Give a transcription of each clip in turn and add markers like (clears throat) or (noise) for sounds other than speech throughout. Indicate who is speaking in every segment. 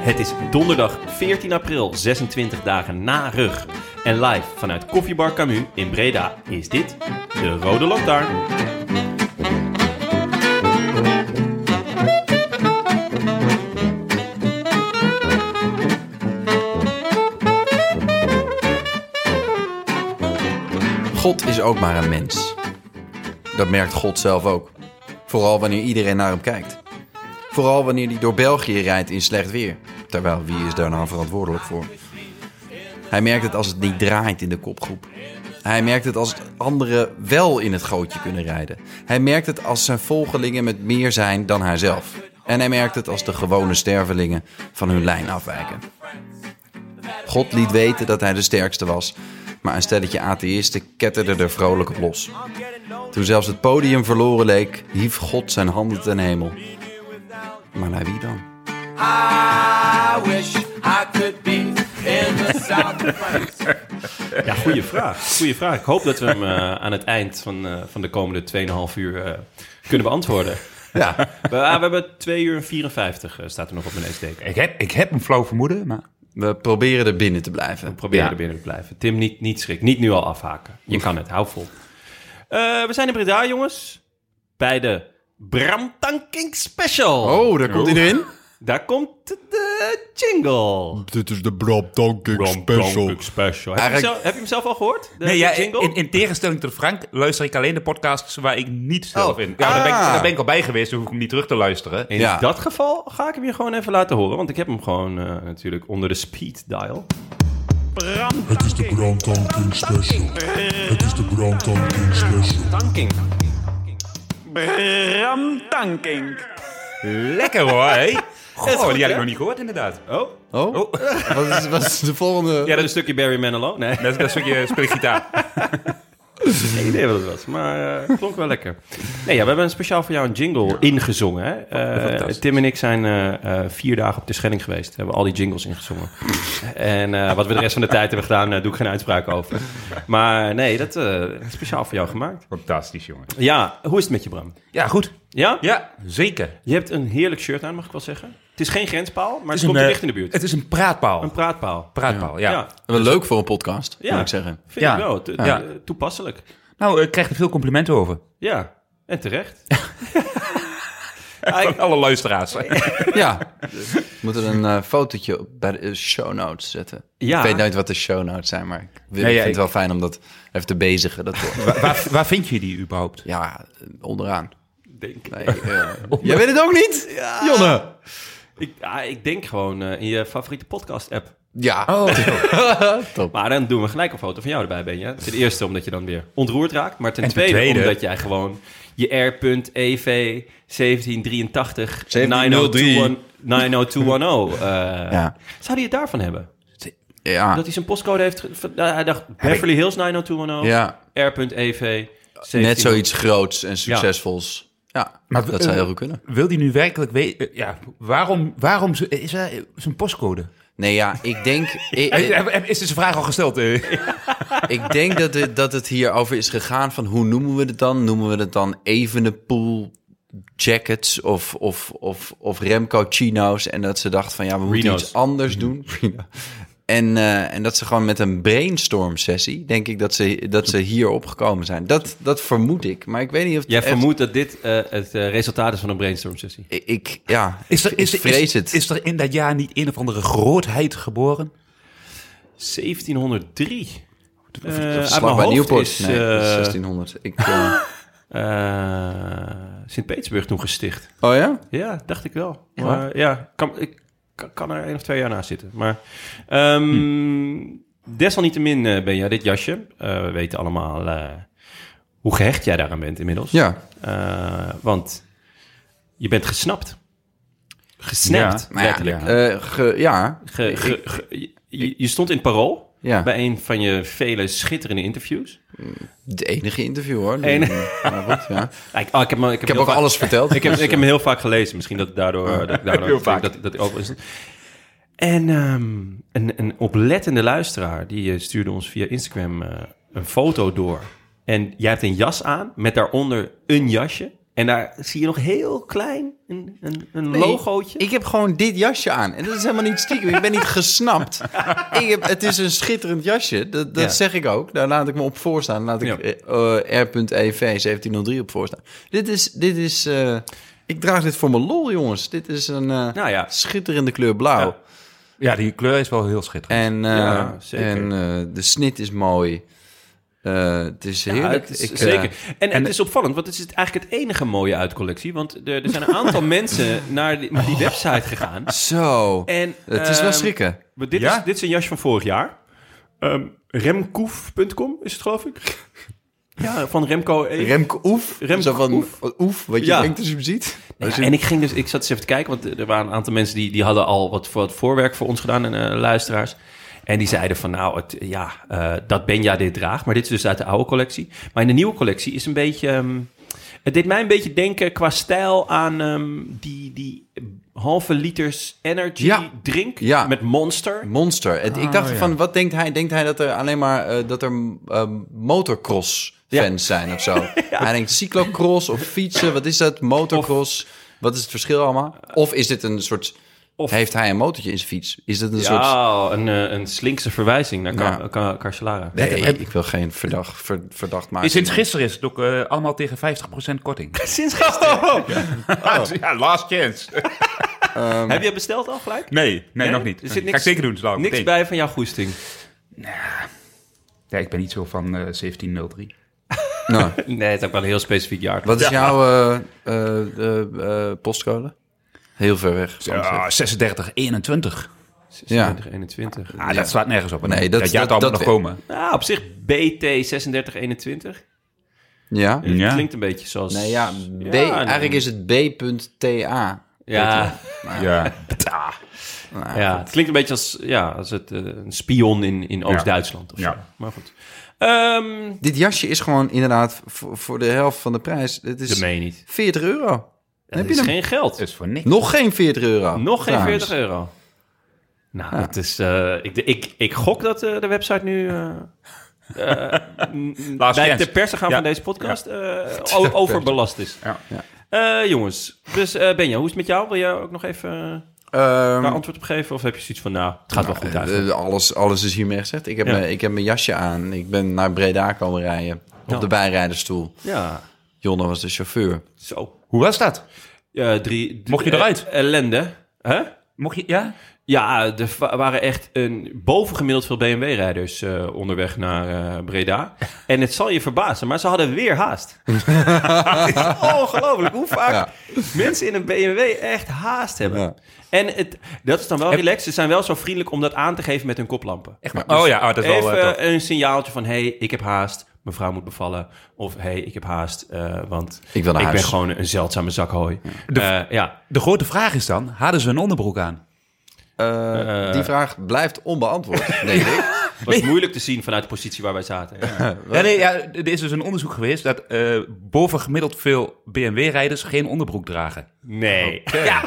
Speaker 1: Het is donderdag 14 april, 26 dagen na rug. En live vanuit Koffiebar Camus in Breda is dit de Rode Lantaarn.
Speaker 2: God is ook maar een mens. Dat merkt God zelf ook. Vooral wanneer iedereen naar hem kijkt. Vooral wanneer hij door België rijdt in slecht weer. Terwijl wie is daar nou verantwoordelijk voor? Hij merkt het als het niet draait in de kopgroep. Hij merkt het als anderen wel in het gootje kunnen rijden. Hij merkt het als zijn volgelingen met meer zijn dan hijzelf. En hij merkt het als de gewone stervelingen van hun lijn afwijken. God liet weten dat hij de sterkste was, maar een stelletje atheïsten ketterde er vrolijk op los. Toen zelfs het podium verloren leek, hief God zijn handen ten hemel. Maar naar wie dan?
Speaker 3: I wish I could be in the South of France.
Speaker 1: Ja, goede vraag. Goeie vraag. Ik hoop dat we hem eh, aan het eind van, eh, van de komende 2,5 uur eh, kunnen beantwoorden.
Speaker 2: Ja,
Speaker 1: We, ah, we hebben 2 uur en 54, eh, staat er nog op mijn neusdeken.
Speaker 4: Ik heb, ik heb een flauw vermoeden, maar...
Speaker 2: we proberen er binnen te blijven.
Speaker 1: Probeer
Speaker 4: Ja.
Speaker 1: er binnen te blijven. Tim, niet, niet schrik. Niet nu al afhaken. Je kan het. Hou vol. Eh, we zijn in Breda, jongens. Bij de Bram Tanking Special.
Speaker 2: Oh, daar komt hij erin.
Speaker 1: Daar komt de jingle.
Speaker 5: Dit is de Bram Tankink
Speaker 1: Special. Heb, je
Speaker 2: Eigenlijk-
Speaker 1: hem zelf, heb je hem zelf al gehoord? De,
Speaker 4: Nee,
Speaker 1: de
Speaker 4: (laughs) ja,
Speaker 1: jingle?
Speaker 4: in, in tegenstelling tot Frank luister ik alleen de podcasts waar ik niet zelf
Speaker 2: Oh,
Speaker 4: in... Ja, daar, ben ik,
Speaker 2: ah.
Speaker 4: daar ben ik al bij geweest, dus hoef ik hem niet terug te luisteren.
Speaker 1: In
Speaker 2: Ja.
Speaker 1: dat geval ga ik hem je gewoon even laten horen. Want ik heb hem gewoon eh, natuurlijk onder de speed dial.
Speaker 6: Het is de Grand Tanking Special. Het is de Grand Tanking Special.
Speaker 1: Tanking.
Speaker 3: Bram Tankink.
Speaker 4: Lekker hoor, hé. Goh,
Speaker 1: goed,
Speaker 4: die
Speaker 1: hè?
Speaker 4: had ik nog niet gehoord, inderdaad.
Speaker 1: Oh,
Speaker 2: Oh, Wat, is, wat is de volgende?
Speaker 1: ja, dat is een stukje Barry Manilow. Nee,
Speaker 4: Dat is dat stukje eh, speelgitaar.
Speaker 1: (laughs) geen idee wat het was. Maar eh klonk wel lekker. Nee, ja, we hebben speciaal voor jou een jingle ingezongen. Hè? Eh,
Speaker 4: Oh, Fantastisch.
Speaker 1: Tim en ik zijn eh, eh, vier dagen op de Schelling geweest. Hebben al die jingles ingezongen. en eh, wat we de rest van de tijd hebben gedaan, daar doe ik geen uitspraak over. Maar nee, dat eh, is speciaal voor jou gemaakt.
Speaker 4: Fantastisch, jongen.
Speaker 1: Ja, hoe is het met je, Bram?
Speaker 4: Ja, goed.
Speaker 1: Ja?
Speaker 4: Ja, zeker.
Speaker 1: Je hebt een heerlijk shirt aan, mag ik wel zeggen. Het is geen grenspaal, maar het,
Speaker 4: een,
Speaker 1: komt er
Speaker 4: eh,
Speaker 1: dicht in de buurt.
Speaker 4: Het is een praatpaal.
Speaker 1: Een praatpaal.
Speaker 4: praatpaal, ja.
Speaker 2: Wel leuk voor een podcast,
Speaker 1: Ja.
Speaker 2: moet ik zeggen.
Speaker 1: Vind
Speaker 4: Dus- Ja.
Speaker 1: ik wel. T-
Speaker 4: Ja.
Speaker 1: t- Toepasselijk.
Speaker 4: Nou, ik krijg er veel complimenten over.
Speaker 1: Ja. En
Speaker 2: (laughs)
Speaker 1: terecht.
Speaker 4: Van alle luisteraars.
Speaker 2: Ja.
Speaker 4: (laughs)
Speaker 2: We moeten een eh, fotootje op- bij de eh, show notes zetten.
Speaker 1: Ja.
Speaker 2: Ik weet nou- nooit wat de show notes zijn, maar ik, wil-
Speaker 4: Nee,
Speaker 2: ik
Speaker 4: ja,
Speaker 2: vind het wel
Speaker 4: ik-
Speaker 2: fijn om dat even te bezigen. Dat,
Speaker 4: waar, waar, waar vind je die überhaupt?
Speaker 2: ja, eh, onderaan.
Speaker 1: Denk ik.
Speaker 2: Nee, eh, jij weet het ook niet? Jonne!
Speaker 1: Ik, ah, ik denk gewoon eh, in je favoriete podcast-app.
Speaker 2: Ja.
Speaker 1: Oh,
Speaker 2: Top.
Speaker 1: Maar dan doen we gelijk een foto van jou erbij, ben je. Ten eerste omdat je dan weer ontroerd raakt. Maar ten,
Speaker 4: En ten
Speaker 1: tweede,
Speaker 4: tweede-
Speaker 1: omdat jij gewoon je R.EV 1783
Speaker 2: 1703.
Speaker 1: 90210...
Speaker 4: (laughs)
Speaker 1: 90210 eh,
Speaker 2: Ja.
Speaker 1: Zou die het daarvan hebben?
Speaker 2: (laughs)
Speaker 4: Ah.
Speaker 2: Ja.
Speaker 1: Dat hij zijn postcode heeft... ge- van- nou, hij dacht Beverly Hills 90210,
Speaker 2: ja.
Speaker 1: R.EV...
Speaker 2: Net zoiets groots en succesvols. Ja,
Speaker 4: Maar
Speaker 2: dat zou
Speaker 4: eh,
Speaker 2: heel goed kunnen.
Speaker 4: Wil die nu werkelijk weten... Ja, waarom, waarom ze- is er eh, zijn postcode?
Speaker 2: Nee, ja,
Speaker 1: (laughs)
Speaker 2: ik denk, ik,
Speaker 4: Eh,
Speaker 2: ik,
Speaker 4: eh, eh, Is deze vraag al gesteld? eh?
Speaker 2: ik denk dat het, dat het hierover is gegaan van hoe noemen we het dan? Noemen we het dan Evenepoel jackets of, of, of, of Remco chino's? En dat ze dacht van ja, we moeten
Speaker 1: Reno's. Mhm. (laughs)
Speaker 2: iets anders doen. En, eh, en dat ze gewoon met een brainstorm sessie, denk ik dat ze, dat ze hier opgekomen zijn. Dat, dat vermoed ik, maar ik weet niet of het
Speaker 1: Jij
Speaker 2: echt-
Speaker 1: vermoedt dat dit eh, het eh, resultaat is van een brainstorm sessie.
Speaker 2: Ik, ja,
Speaker 4: Is er, is,
Speaker 2: ik vrees
Speaker 4: is,
Speaker 2: het.
Speaker 4: Is er in dat jaar niet een of andere grootheid geboren?
Speaker 1: 1703. Eh, uit
Speaker 2: Slag
Speaker 1: mijn
Speaker 2: bij
Speaker 1: hoofd
Speaker 2: Nieuwpoort.
Speaker 1: is,
Speaker 2: nee, dat is
Speaker 1: eh,
Speaker 2: 1600. Ik,
Speaker 1: (laughs)
Speaker 2: eh,
Speaker 1: eh, Sint-Petersburg toen gesticht.
Speaker 2: oh ja?
Speaker 1: Ja, dacht ik wel. Maar ja, kan, ik kan, kan er één of twee jaar naast zitten. Maar ehm, desalniettemin eh, ben jij dit jasje. Eh, we weten allemaal eh, hoe gehecht jij daaraan bent inmiddels.
Speaker 2: Ja.
Speaker 1: Eh, want je bent gesnapt. Gesnapt,
Speaker 2: Maar ja,
Speaker 1: letterlijk.
Speaker 2: eh, ge- ja,
Speaker 1: Ge- ge- ge- je, je stond in het parool
Speaker 2: Ja.
Speaker 1: bij een van je vele schitterende interviews.
Speaker 2: de enige interview hoor.
Speaker 1: Enig-
Speaker 2: Maar goed,
Speaker 1: (laughs)
Speaker 2: ja.
Speaker 1: Ah, Ik, oh, ik heb, me- ik heb,
Speaker 2: Ik heb
Speaker 1: heel
Speaker 2: ook
Speaker 1: vaak-
Speaker 2: alles verteld. (laughs)
Speaker 1: Ik heb, ik heb hem heel vaak gelezen. Misschien dat daardoor... eh, Dat, ik daardoor
Speaker 2: Heel vaak.
Speaker 1: Dat, dat hij over is. En ehm, een, een oplettende luisteraar... die eh, stuurde ons via Instagram eh, een foto door. En jij hebt een jas aan met daaronder een jasje. En daar zie je nog heel klein een, een, een
Speaker 2: Nee,
Speaker 1: logootje.
Speaker 2: Ik heb gewoon dit jasje aan. En dat is helemaal niet stiekem. Ik ben niet
Speaker 1: (laughs)
Speaker 2: gesnapt. Ik heb, het is een schitterend jasje. Dat, dat
Speaker 1: Ja.
Speaker 2: zeg ik ook. Daar laat ik me op voorstaan. Daar Laat ik eh, eh, R.EV 1703 op voorstaan. Dit is... Dit is eh, ik draag dit voor mijn lol, jongens. Dit is een eh,
Speaker 1: Nou ja.
Speaker 2: schitterende kleur blauw.
Speaker 1: Ja.
Speaker 4: Ja, die kleur is wel heel schitterend.
Speaker 2: En, eh,
Speaker 1: Ja, zeker.
Speaker 2: en eh, de snit is mooi. Eh, het is
Speaker 1: Ja,
Speaker 2: heerlijk.
Speaker 1: het is,
Speaker 2: Ik, eh,
Speaker 1: zeker. en, het is opvallend, want het is eigenlijk het enige mooie uitcollectie. Want er, er zijn een
Speaker 2: (laughs)
Speaker 1: aantal mensen naar die, naar die website gegaan.
Speaker 2: zo.
Speaker 1: En,
Speaker 2: Oh. het is wel
Speaker 1: ehm,
Speaker 2: schrikken.
Speaker 1: Maar dit,
Speaker 4: Ja?
Speaker 1: is, dit is een jasje van vorig jaar. Ehm, Remkoef.com is het, geloof
Speaker 2: (laughs)
Speaker 1: ik. Ja, van Remco. E.
Speaker 2: Remke Oef.
Speaker 1: Remke
Speaker 2: zo van, eh,
Speaker 1: Oef.
Speaker 2: oef. wat je
Speaker 1: Ja.
Speaker 2: denkt als je hem ziet.
Speaker 1: Ja, en ik ging dus, ik zat eens even te kijken, want er waren een aantal mensen die, die hadden al wat, voor- wat voorwerk voor ons gedaan en eh, luisteraars. En die zeiden van, nou, het, ja, eh, dat Benja dit draagt. Maar dit is dus uit de oude collectie. Maar in de nieuwe collectie is een beetje... ehm, het deed mij een beetje denken qua stijl aan ehm, die, die halve liters energy
Speaker 2: Ja.
Speaker 1: drink
Speaker 2: Ja.
Speaker 1: met Monster.
Speaker 2: Monster. Het- ik dacht
Speaker 4: ja.
Speaker 2: van, wat denkt hij? Denkt hij dat er alleen maar eh, dat er ehm, motocross fans zijn
Speaker 1: (laughs)
Speaker 2: of zo? Hij denkt cyclocross of fietsen. Wat is dat? Motocross. wat is het verschil allemaal? Of is dit een soort...
Speaker 1: Of-
Speaker 2: Heeft hij een motortje in zijn fiets? Is dit een soort...
Speaker 1: Ja, een, eh, een slinkse verwijzing naar Car-
Speaker 2: Ja.
Speaker 1: Car-
Speaker 2: (laughs)
Speaker 1: Carcelara.
Speaker 2: Nee, ik wil geen verdacht, ver- verdacht maken.
Speaker 4: Sinds gisteren is het ook eh, allemaal tegen 50% korting. Oh.
Speaker 1: Sinds gisteren.
Speaker 4: (laughs) ja, last chance.
Speaker 1: (laughs) Heb je besteld al gelijk?
Speaker 4: Nee, nee, nog niet.
Speaker 1: Er zit niks,
Speaker 4: Ga ik zeker doen. Zo,
Speaker 1: niks
Speaker 4: meteen.
Speaker 1: bij van jouw goesting.
Speaker 4: Ja, ik ben niet zo van eh, 1703.
Speaker 2: Nou,
Speaker 1: Nee, het is ook wel een heel specifiek jaar.
Speaker 2: wat is jouw eh, eh, eh, eh, postcode? Heel ver weg.
Speaker 4: Ja, 36, 21.
Speaker 2: Ja.
Speaker 1: 21.
Speaker 4: Ah, dat slaat nergens op.
Speaker 2: Nee, dat-
Speaker 4: dat gaat
Speaker 2: dat-
Speaker 4: allemaal
Speaker 2: dat-
Speaker 4: nog komen.
Speaker 1: Nou, op zich BT 3621.
Speaker 2: Ja?
Speaker 1: Het
Speaker 4: Ja.
Speaker 1: klinkt een beetje zoals...
Speaker 2: Nee, ja. B,
Speaker 1: nee.
Speaker 2: eigenlijk is het B.TA.
Speaker 1: Ja,
Speaker 4: Ja.
Speaker 1: ja, het klinkt een beetje als, ja, als het, eh, een spion in, in Oost-Duitsland of zo.
Speaker 4: Ja.
Speaker 1: Maar goed. Ehm
Speaker 2: Dit jasje is gewoon inderdaad voor, voor de helft van de prijs. Het is
Speaker 1: dat meen je niet.
Speaker 2: 40 euro.
Speaker 1: Dat
Speaker 2: heb je
Speaker 1: is
Speaker 2: hem?
Speaker 1: geen geld.
Speaker 4: Dat is voor niks.
Speaker 2: Nog geen 40 euro.
Speaker 4: Oh,
Speaker 1: Nog geen
Speaker 2: trouwens.
Speaker 1: 40 euro. Nou, dat is, eh, ik, ik, ik gok dat eh, de website nu...
Speaker 4: (laughs)
Speaker 1: eh eh, m-
Speaker 4: Laatste
Speaker 1: bij
Speaker 4: kans.
Speaker 1: de persen gaan
Speaker 4: Ja.
Speaker 1: van deze podcast
Speaker 4: (laughs)
Speaker 1: eh, o- overbelast is.
Speaker 4: Ja.
Speaker 1: Eh, jongens, dus eh, Benja, hoe is het met jou? Wil jij ook nog even eh,
Speaker 2: Ehm,
Speaker 4: Um,
Speaker 1: daar antwoord op geven? Of heb je zoiets van, nou, het gaat wel goed uit?
Speaker 2: eh, alles, alles is hiermee gezegd. Ik heb,
Speaker 1: Ja.
Speaker 2: mijn, ik heb mijn jasje aan. Ik ben naar Breda komen rijden. Op
Speaker 1: Ja.
Speaker 2: de bijrijdersstoel.
Speaker 1: ja,
Speaker 2: Jonne was de chauffeur.
Speaker 1: zo.
Speaker 4: Hoe was dat?
Speaker 1: Ja, drie, drie-
Speaker 4: Mocht je eruit?
Speaker 1: eh, ellende. Hè?
Speaker 4: Mocht je... Ja?
Speaker 1: Ja, er wa- waren echt een, bovengemiddeld veel BMW-rijders eh, onderweg naar eh,
Speaker 2: (laughs)
Speaker 1: Breda. En het zal je verbazen, maar ze hadden weer haast. Het is Ongelooflijk hoe vaak mensen in een BMW echt haast hebben.
Speaker 2: Ja.
Speaker 1: En het, dat is dan wel relaxed. Ze zijn wel zo vriendelijk om dat aan te geven met hun koplampen.
Speaker 4: Echt maar. Oh ja, oh, dat is wel... eh,
Speaker 1: Even
Speaker 4: tof.
Speaker 1: een signaaltje van, hey, ik heb haast. Mevrouw moet bevallen. Of, hey, ik heb haast, eh, want
Speaker 2: Ik wil naar huis.
Speaker 1: ben gewoon een zeldzame zak hooi.
Speaker 4: De-
Speaker 1: Eh, ja.
Speaker 4: De grote vraag is dan, hadden ze een onderbroek aan?
Speaker 2: Eh, die vraag blijft onbeantwoord, denk ik.
Speaker 1: was moeilijk te zien vanuit de positie waar wij zaten.
Speaker 2: (laughs)
Speaker 4: Ja, nee, ja, er is dus een onderzoek geweest dat eh bovengemiddeld veel BMW-rijders geen onderbroek dragen.
Speaker 1: Nee.
Speaker 4: Ja,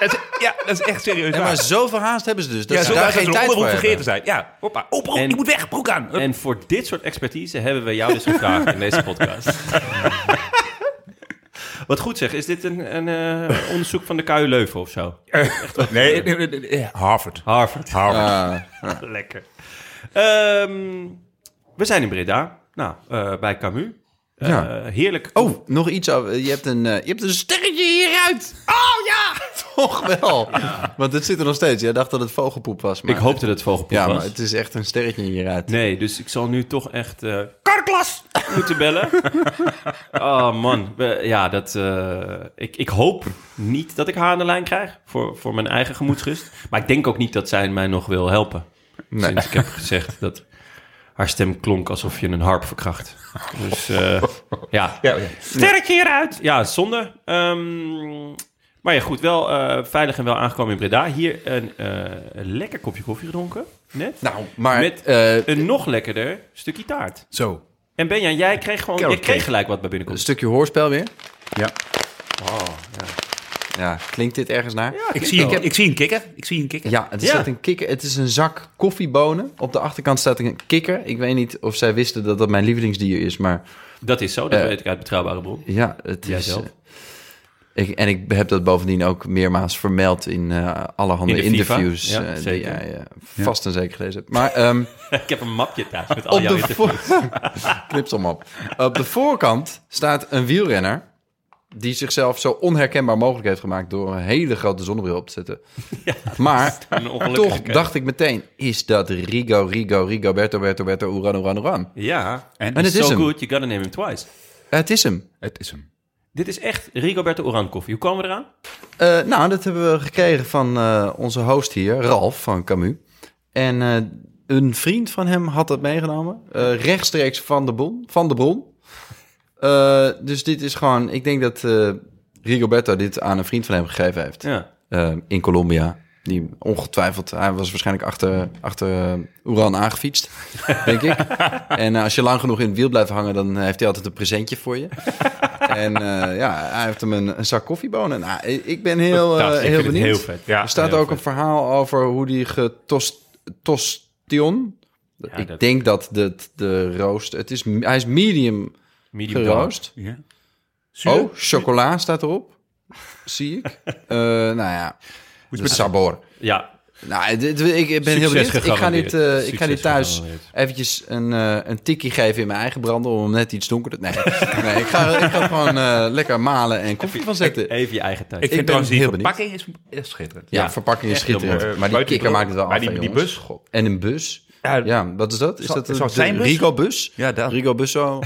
Speaker 4: dat is, ja, dat is echt serieus.
Speaker 2: Ja,
Speaker 4: waar.
Speaker 2: maar zoveel haast hebben ze dus. Dat
Speaker 4: ja,
Speaker 2: ze
Speaker 4: zo
Speaker 2: daar
Speaker 4: daar ze
Speaker 2: geen
Speaker 4: een
Speaker 2: tijd voor
Speaker 4: onderbroek vergeten
Speaker 2: hebben.
Speaker 4: zijn. Ja, hoppa. Oh, broek,
Speaker 1: En-
Speaker 4: je moet weg, broek aan. Hup.
Speaker 1: En voor dit soort expertise hebben we jou dus gevraagd in deze podcast. (laughs) Wat goed zeg, is dit een, een eh, onderzoek van de KU Leuven of zo?
Speaker 4: nee, nee, nee, nee, Harvard.
Speaker 1: Harvard.
Speaker 4: Harvard.
Speaker 2: Ah,
Speaker 1: Lekker. Ehm, we zijn in Breda. Nou, eh, bij Camus. Eh,
Speaker 2: Ja.
Speaker 1: Heerlijk.
Speaker 2: oh, nog iets. over- Je hebt een, eh, je hebt een sterretje hieruit. Oh ja, (laughs) toch wel. Want het zit er nog steeds. Jij dacht dat het vogelpoep was. Maar
Speaker 1: Ik hoopte dat het vogelpoep
Speaker 2: Ja,
Speaker 1: was.
Speaker 2: maar het is echt een sterretje hieruit.
Speaker 1: Nee, dus ik zal nu toch echt... eh Karklas! (laughs) Moeten bellen. oh man. We- Ja, dat... eh, ik, ik hoop niet dat ik haar aan de lijn krijg. Voor, voor mijn eigen gemoedsrust. Maar ik denk ook niet dat zij mij nog wil helpen. Sinds ik heb gezegd dat... Haar stem klonk alsof je een harp verkracht. Dus eh, ja,
Speaker 4: Ja, ja.
Speaker 1: Sterretje hieruit! Ja, zonde. Ehm, maar ja, goed, wel eh, veilig en wel aangekomen in Breda. Hier een, eh, een lekker kopje koffie gedronken, net.
Speaker 2: Nou, maar...
Speaker 1: Met-
Speaker 2: eh,
Speaker 1: Een nog lekkerder stukje taart.
Speaker 2: zo,
Speaker 1: En Benja, jij kreeg gewoon
Speaker 2: Carrot
Speaker 1: jij kreeg
Speaker 2: cake. Dus-
Speaker 1: gelijk wat bij
Speaker 2: een
Speaker 1: binnenkomst.
Speaker 2: stukje hoorspel weer. Oh,
Speaker 4: Ja.
Speaker 2: Ja, klinkt dit ergens naar? Ja,
Speaker 4: Ik, zie een, ik zie een kikker. Ik zie een kikker.
Speaker 2: het, is
Speaker 1: Ja.
Speaker 2: echt een kikker, het is een zak koffiebonen. Op de achterkant staat een kikker. Ik weet niet of zij wisten dat dat mijn lievelingsdier is, maar
Speaker 1: Dat is zo, dat
Speaker 2: Eh.
Speaker 1: weet ik uit betrouwbare bron.
Speaker 2: ja, het is...
Speaker 1: Jijzelf.
Speaker 2: eh, ik, en ik heb dat bovendien ook meermaals vermeld in eh allerhande
Speaker 1: In de FIFA,
Speaker 2: interviews
Speaker 1: ja,
Speaker 2: eh, die
Speaker 1: zeker.
Speaker 2: jij eh, vast en zeker gelezen hebt. Maar ehm,
Speaker 1: ik heb een mapje thuis met (laughs) al
Speaker 2: op
Speaker 1: jouw
Speaker 2: de (laughs)
Speaker 1: interviews.
Speaker 2: voor- Knip ze allemaal op. Op de voorkant staat een wielrenner die zichzelf zo onherkenbaar mogelijk heeft gemaakt door een hele grote zonnebril op te
Speaker 1: (laughs)
Speaker 2: zetten. maar
Speaker 1: Een ongelukkige
Speaker 2: toch
Speaker 1: keuze.
Speaker 2: dacht ik meteen, is dat Rigo, Rigo, Rigo, Berto, Berto, Berto, Oeran, Oeran, Oeran?
Speaker 1: Ja,
Speaker 4: En
Speaker 2: En het is
Speaker 1: so
Speaker 2: hem.
Speaker 1: good, you gotta name him twice.
Speaker 2: Het is hem.
Speaker 4: Het is hem.
Speaker 1: Dit is echt Rigoberto Oran koffie. Hoe komen we eraan?
Speaker 2: Eh, nou, dat hebben we gekregen van eh, onze host hier, Ralf van Camus. En eh, een vriend van hem had dat meegenomen, eh, rechtstreeks van de, bon, van de bron. Eh, dus dit is gewoon, ik denk dat eh Rigoberto dit aan een vriend van hem gegeven heeft
Speaker 1: Ja.
Speaker 2: eh, in Colombia. Die ongetwijfeld, hij was waarschijnlijk achter, achter eh, Oeran aangefietst, (laughs) denk ik. En eh, als je lang genoeg in het wiel blijft hangen, dan heeft hij altijd een presentje voor
Speaker 1: (laughs)
Speaker 2: je. En eh, ja, hij heeft hem een, een zak koffiebonen. Nou, ik ik ben heel, eh,
Speaker 1: Fantastisch, Ah, ik
Speaker 2: heel
Speaker 1: vind het
Speaker 2: benieuwd.
Speaker 1: heel vet.
Speaker 4: Ja,
Speaker 2: er staat
Speaker 1: heel
Speaker 2: ook
Speaker 1: vet.
Speaker 2: een verhaal over hoe die getostion... ik
Speaker 1: dat-
Speaker 2: denk dat de, de roost... Het is, hij is medium
Speaker 1: Medium dark.
Speaker 2: geroost.
Speaker 4: Ja. Zuur?
Speaker 2: Oh, chocola staat erop. Zie ik.
Speaker 1: (laughs)
Speaker 2: Eh nou ja, de sabor.
Speaker 1: Ja,
Speaker 2: Nou, het- het- ik ben
Speaker 1: Succes
Speaker 2: heel benieuwd. Ik ga
Speaker 1: gegarandeerd.
Speaker 2: dit, eh, ik
Speaker 1: Succes
Speaker 2: ga dit thuis
Speaker 1: gegarandeerd.
Speaker 2: eventjes een, eh een tikkie geven in mijn eigen brander... om hem net iets donkerder... Nee, (laughs) nee ik, ga, ik ga gewoon eh, lekker malen en koffie van zetten.
Speaker 1: even je eigen tijd.
Speaker 4: Ik vind
Speaker 2: ben
Speaker 4: trouwens die
Speaker 2: heel benieuwd.
Speaker 4: verpakking is, is schitterend.
Speaker 2: ja,
Speaker 1: ja,
Speaker 2: verpakking is
Speaker 1: echt eh, heel
Speaker 2: schitterend.
Speaker 4: mooi.
Speaker 2: maar die
Speaker 4: Buiten
Speaker 2: kikker
Speaker 4: die
Speaker 2: maakt het wel
Speaker 4: maar
Speaker 2: af,
Speaker 4: die-
Speaker 2: hè,
Speaker 4: die
Speaker 2: jongens.
Speaker 4: bus?
Speaker 2: God. En een bus.
Speaker 4: Ja,
Speaker 2: Ja, wat is dat? Is
Speaker 4: Zal-
Speaker 2: dat een
Speaker 4: zal het zijn bus?
Speaker 2: Rigo-bus?
Speaker 4: Ja,
Speaker 1: (laughs)
Speaker 4: daarom.
Speaker 2: Rigo-busso?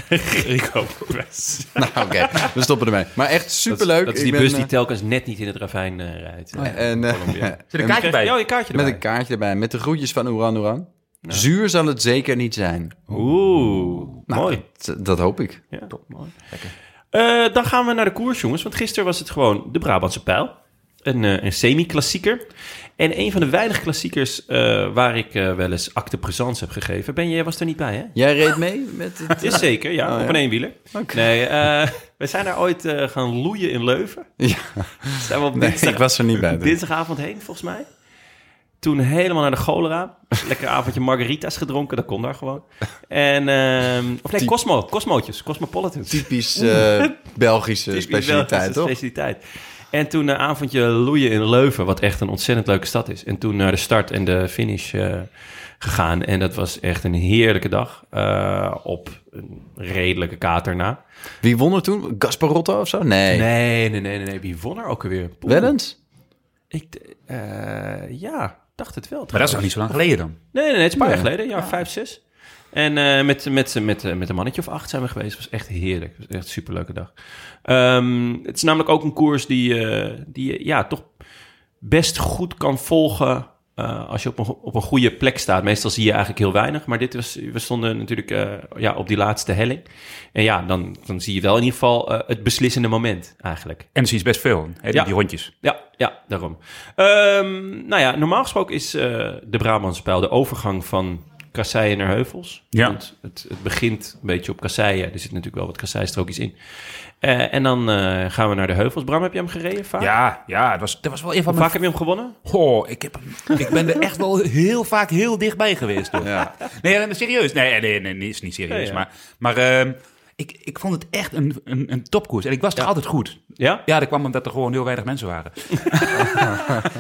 Speaker 2: nou, oh. (laughs) oké. We stoppen ermee. Maar echt superleuk.
Speaker 1: Dat is
Speaker 2: Ik
Speaker 1: die
Speaker 2: ben,
Speaker 1: bus die
Speaker 2: eh,
Speaker 1: telkens net niet in het ravijn eh, rijdt. Ja.
Speaker 2: en, eh, (laughs)
Speaker 4: Zit een kaartje bij?
Speaker 1: Ja, je kaartje
Speaker 2: met
Speaker 1: erbij.
Speaker 2: een kaartje erbij. Met de groetjes van Oeran Oeran. Zuur zal het zeker niet zijn.
Speaker 1: Oeh,
Speaker 2: Nou,
Speaker 1: mooi.
Speaker 2: Dat- Dat hoop ik.
Speaker 1: Ja, mooi. Eh, dan gaan we naar de koers, jongens. Want gisteren was het gewoon de Brabantse pijl. Een, eh, een semi-klassieker. En een van de weinige klassiekers eh, waar ik eh, wel eens acte présence heb gegeven. Ben jij was er niet bij, hè?
Speaker 2: Jij reed mee met het...
Speaker 1: (laughs) Is zeker,
Speaker 2: Oh,
Speaker 1: ja. op een eenwieler. Nee, eh, we zijn daar ooit eh, gaan loeien in Leuven.
Speaker 2: Ja.
Speaker 1: Zijn we op
Speaker 2: Nee,
Speaker 1: dinsdag-
Speaker 2: ik was er niet bij. dus.
Speaker 1: dinsdagavond heen, volgens mij. Toen helemaal naar de cholera. Lekker avondje margaritas gedronken, dat kon daar gewoon. En, ehm, of nee, Cosmo, Cosmootjes, Cosmopolitans.
Speaker 2: Typisch eh, Belgische
Speaker 1: Typisch
Speaker 2: specialiteit,
Speaker 1: Belgische
Speaker 2: toch?
Speaker 1: specialiteit. En toen een avondje loeien in Leuven, wat echt een ontzettend leuke stad is. En toen naar de start en de finish eh, gegaan. En dat was echt een heerlijke dag. eh, op een redelijke kater na.
Speaker 2: Wie won er toen? Gasparotto of zo? Nee.
Speaker 1: Nee, nee, nee, nee. nee. Wie won er ook alweer? Poeh.
Speaker 2: Wel eens?
Speaker 1: Ik, eh, ja, dacht het wel.
Speaker 4: Maar dat is
Speaker 1: trouwens.
Speaker 4: nog niet zo lang geleden dan.
Speaker 1: Nee, nee, nee, het is een paar jaar geleden. Ja, vijf, zes. En eh, met, met, met, met een mannetje of acht zijn we geweest. Het was echt heerlijk. Het was echt een superleuke dag. Ehm, het is namelijk ook een koers die, eh, die je ja, toch best goed kan volgen... eh, als je op een, go- op een goede plek staat. Meestal zie je eigenlijk heel weinig. Maar dit was, we stonden natuurlijk eh, ja, op die laatste helling. En ja, dan, dan zie je wel in ieder geval eh, het beslissende moment eigenlijk.
Speaker 4: En ze is best veel, hè, die,
Speaker 1: Ja.
Speaker 4: die hondjes.
Speaker 1: Ja, ja daarom. Ehm, nou ja, normaal gesproken is eh, de Brabantse pijl de overgang van kasseien naar heuvels.
Speaker 4: Ja.
Speaker 1: Want het, het begint een beetje op kasseien. Er zit natuurlijk wel wat kasseistrookjes in. Eh, en dan eh, gaan we naar de heuvels. Bram, heb je hem gereden vaak?
Speaker 4: Ja, ja, dat was, dat was wel een van
Speaker 1: Hoe
Speaker 4: mijn...
Speaker 1: vaak heb je hem gewonnen?
Speaker 4: Goh, ik, heb, hem- ik ben er echt wel heel vaak heel dichtbij geweest. dus. Hoor.
Speaker 2: Ja.
Speaker 4: Nee, nee, maar serieus. Nee, nee, nee, nee, is niet serieus.
Speaker 1: Ja, ja.
Speaker 4: Maar, maar ehm, ik, ik vond het echt een, een, een topkoers. En ik was er altijd goed.
Speaker 1: Ja?
Speaker 4: Ja, dat kwam omdat er gewoon heel weinig mensen
Speaker 2: (laughs)
Speaker 4: waren.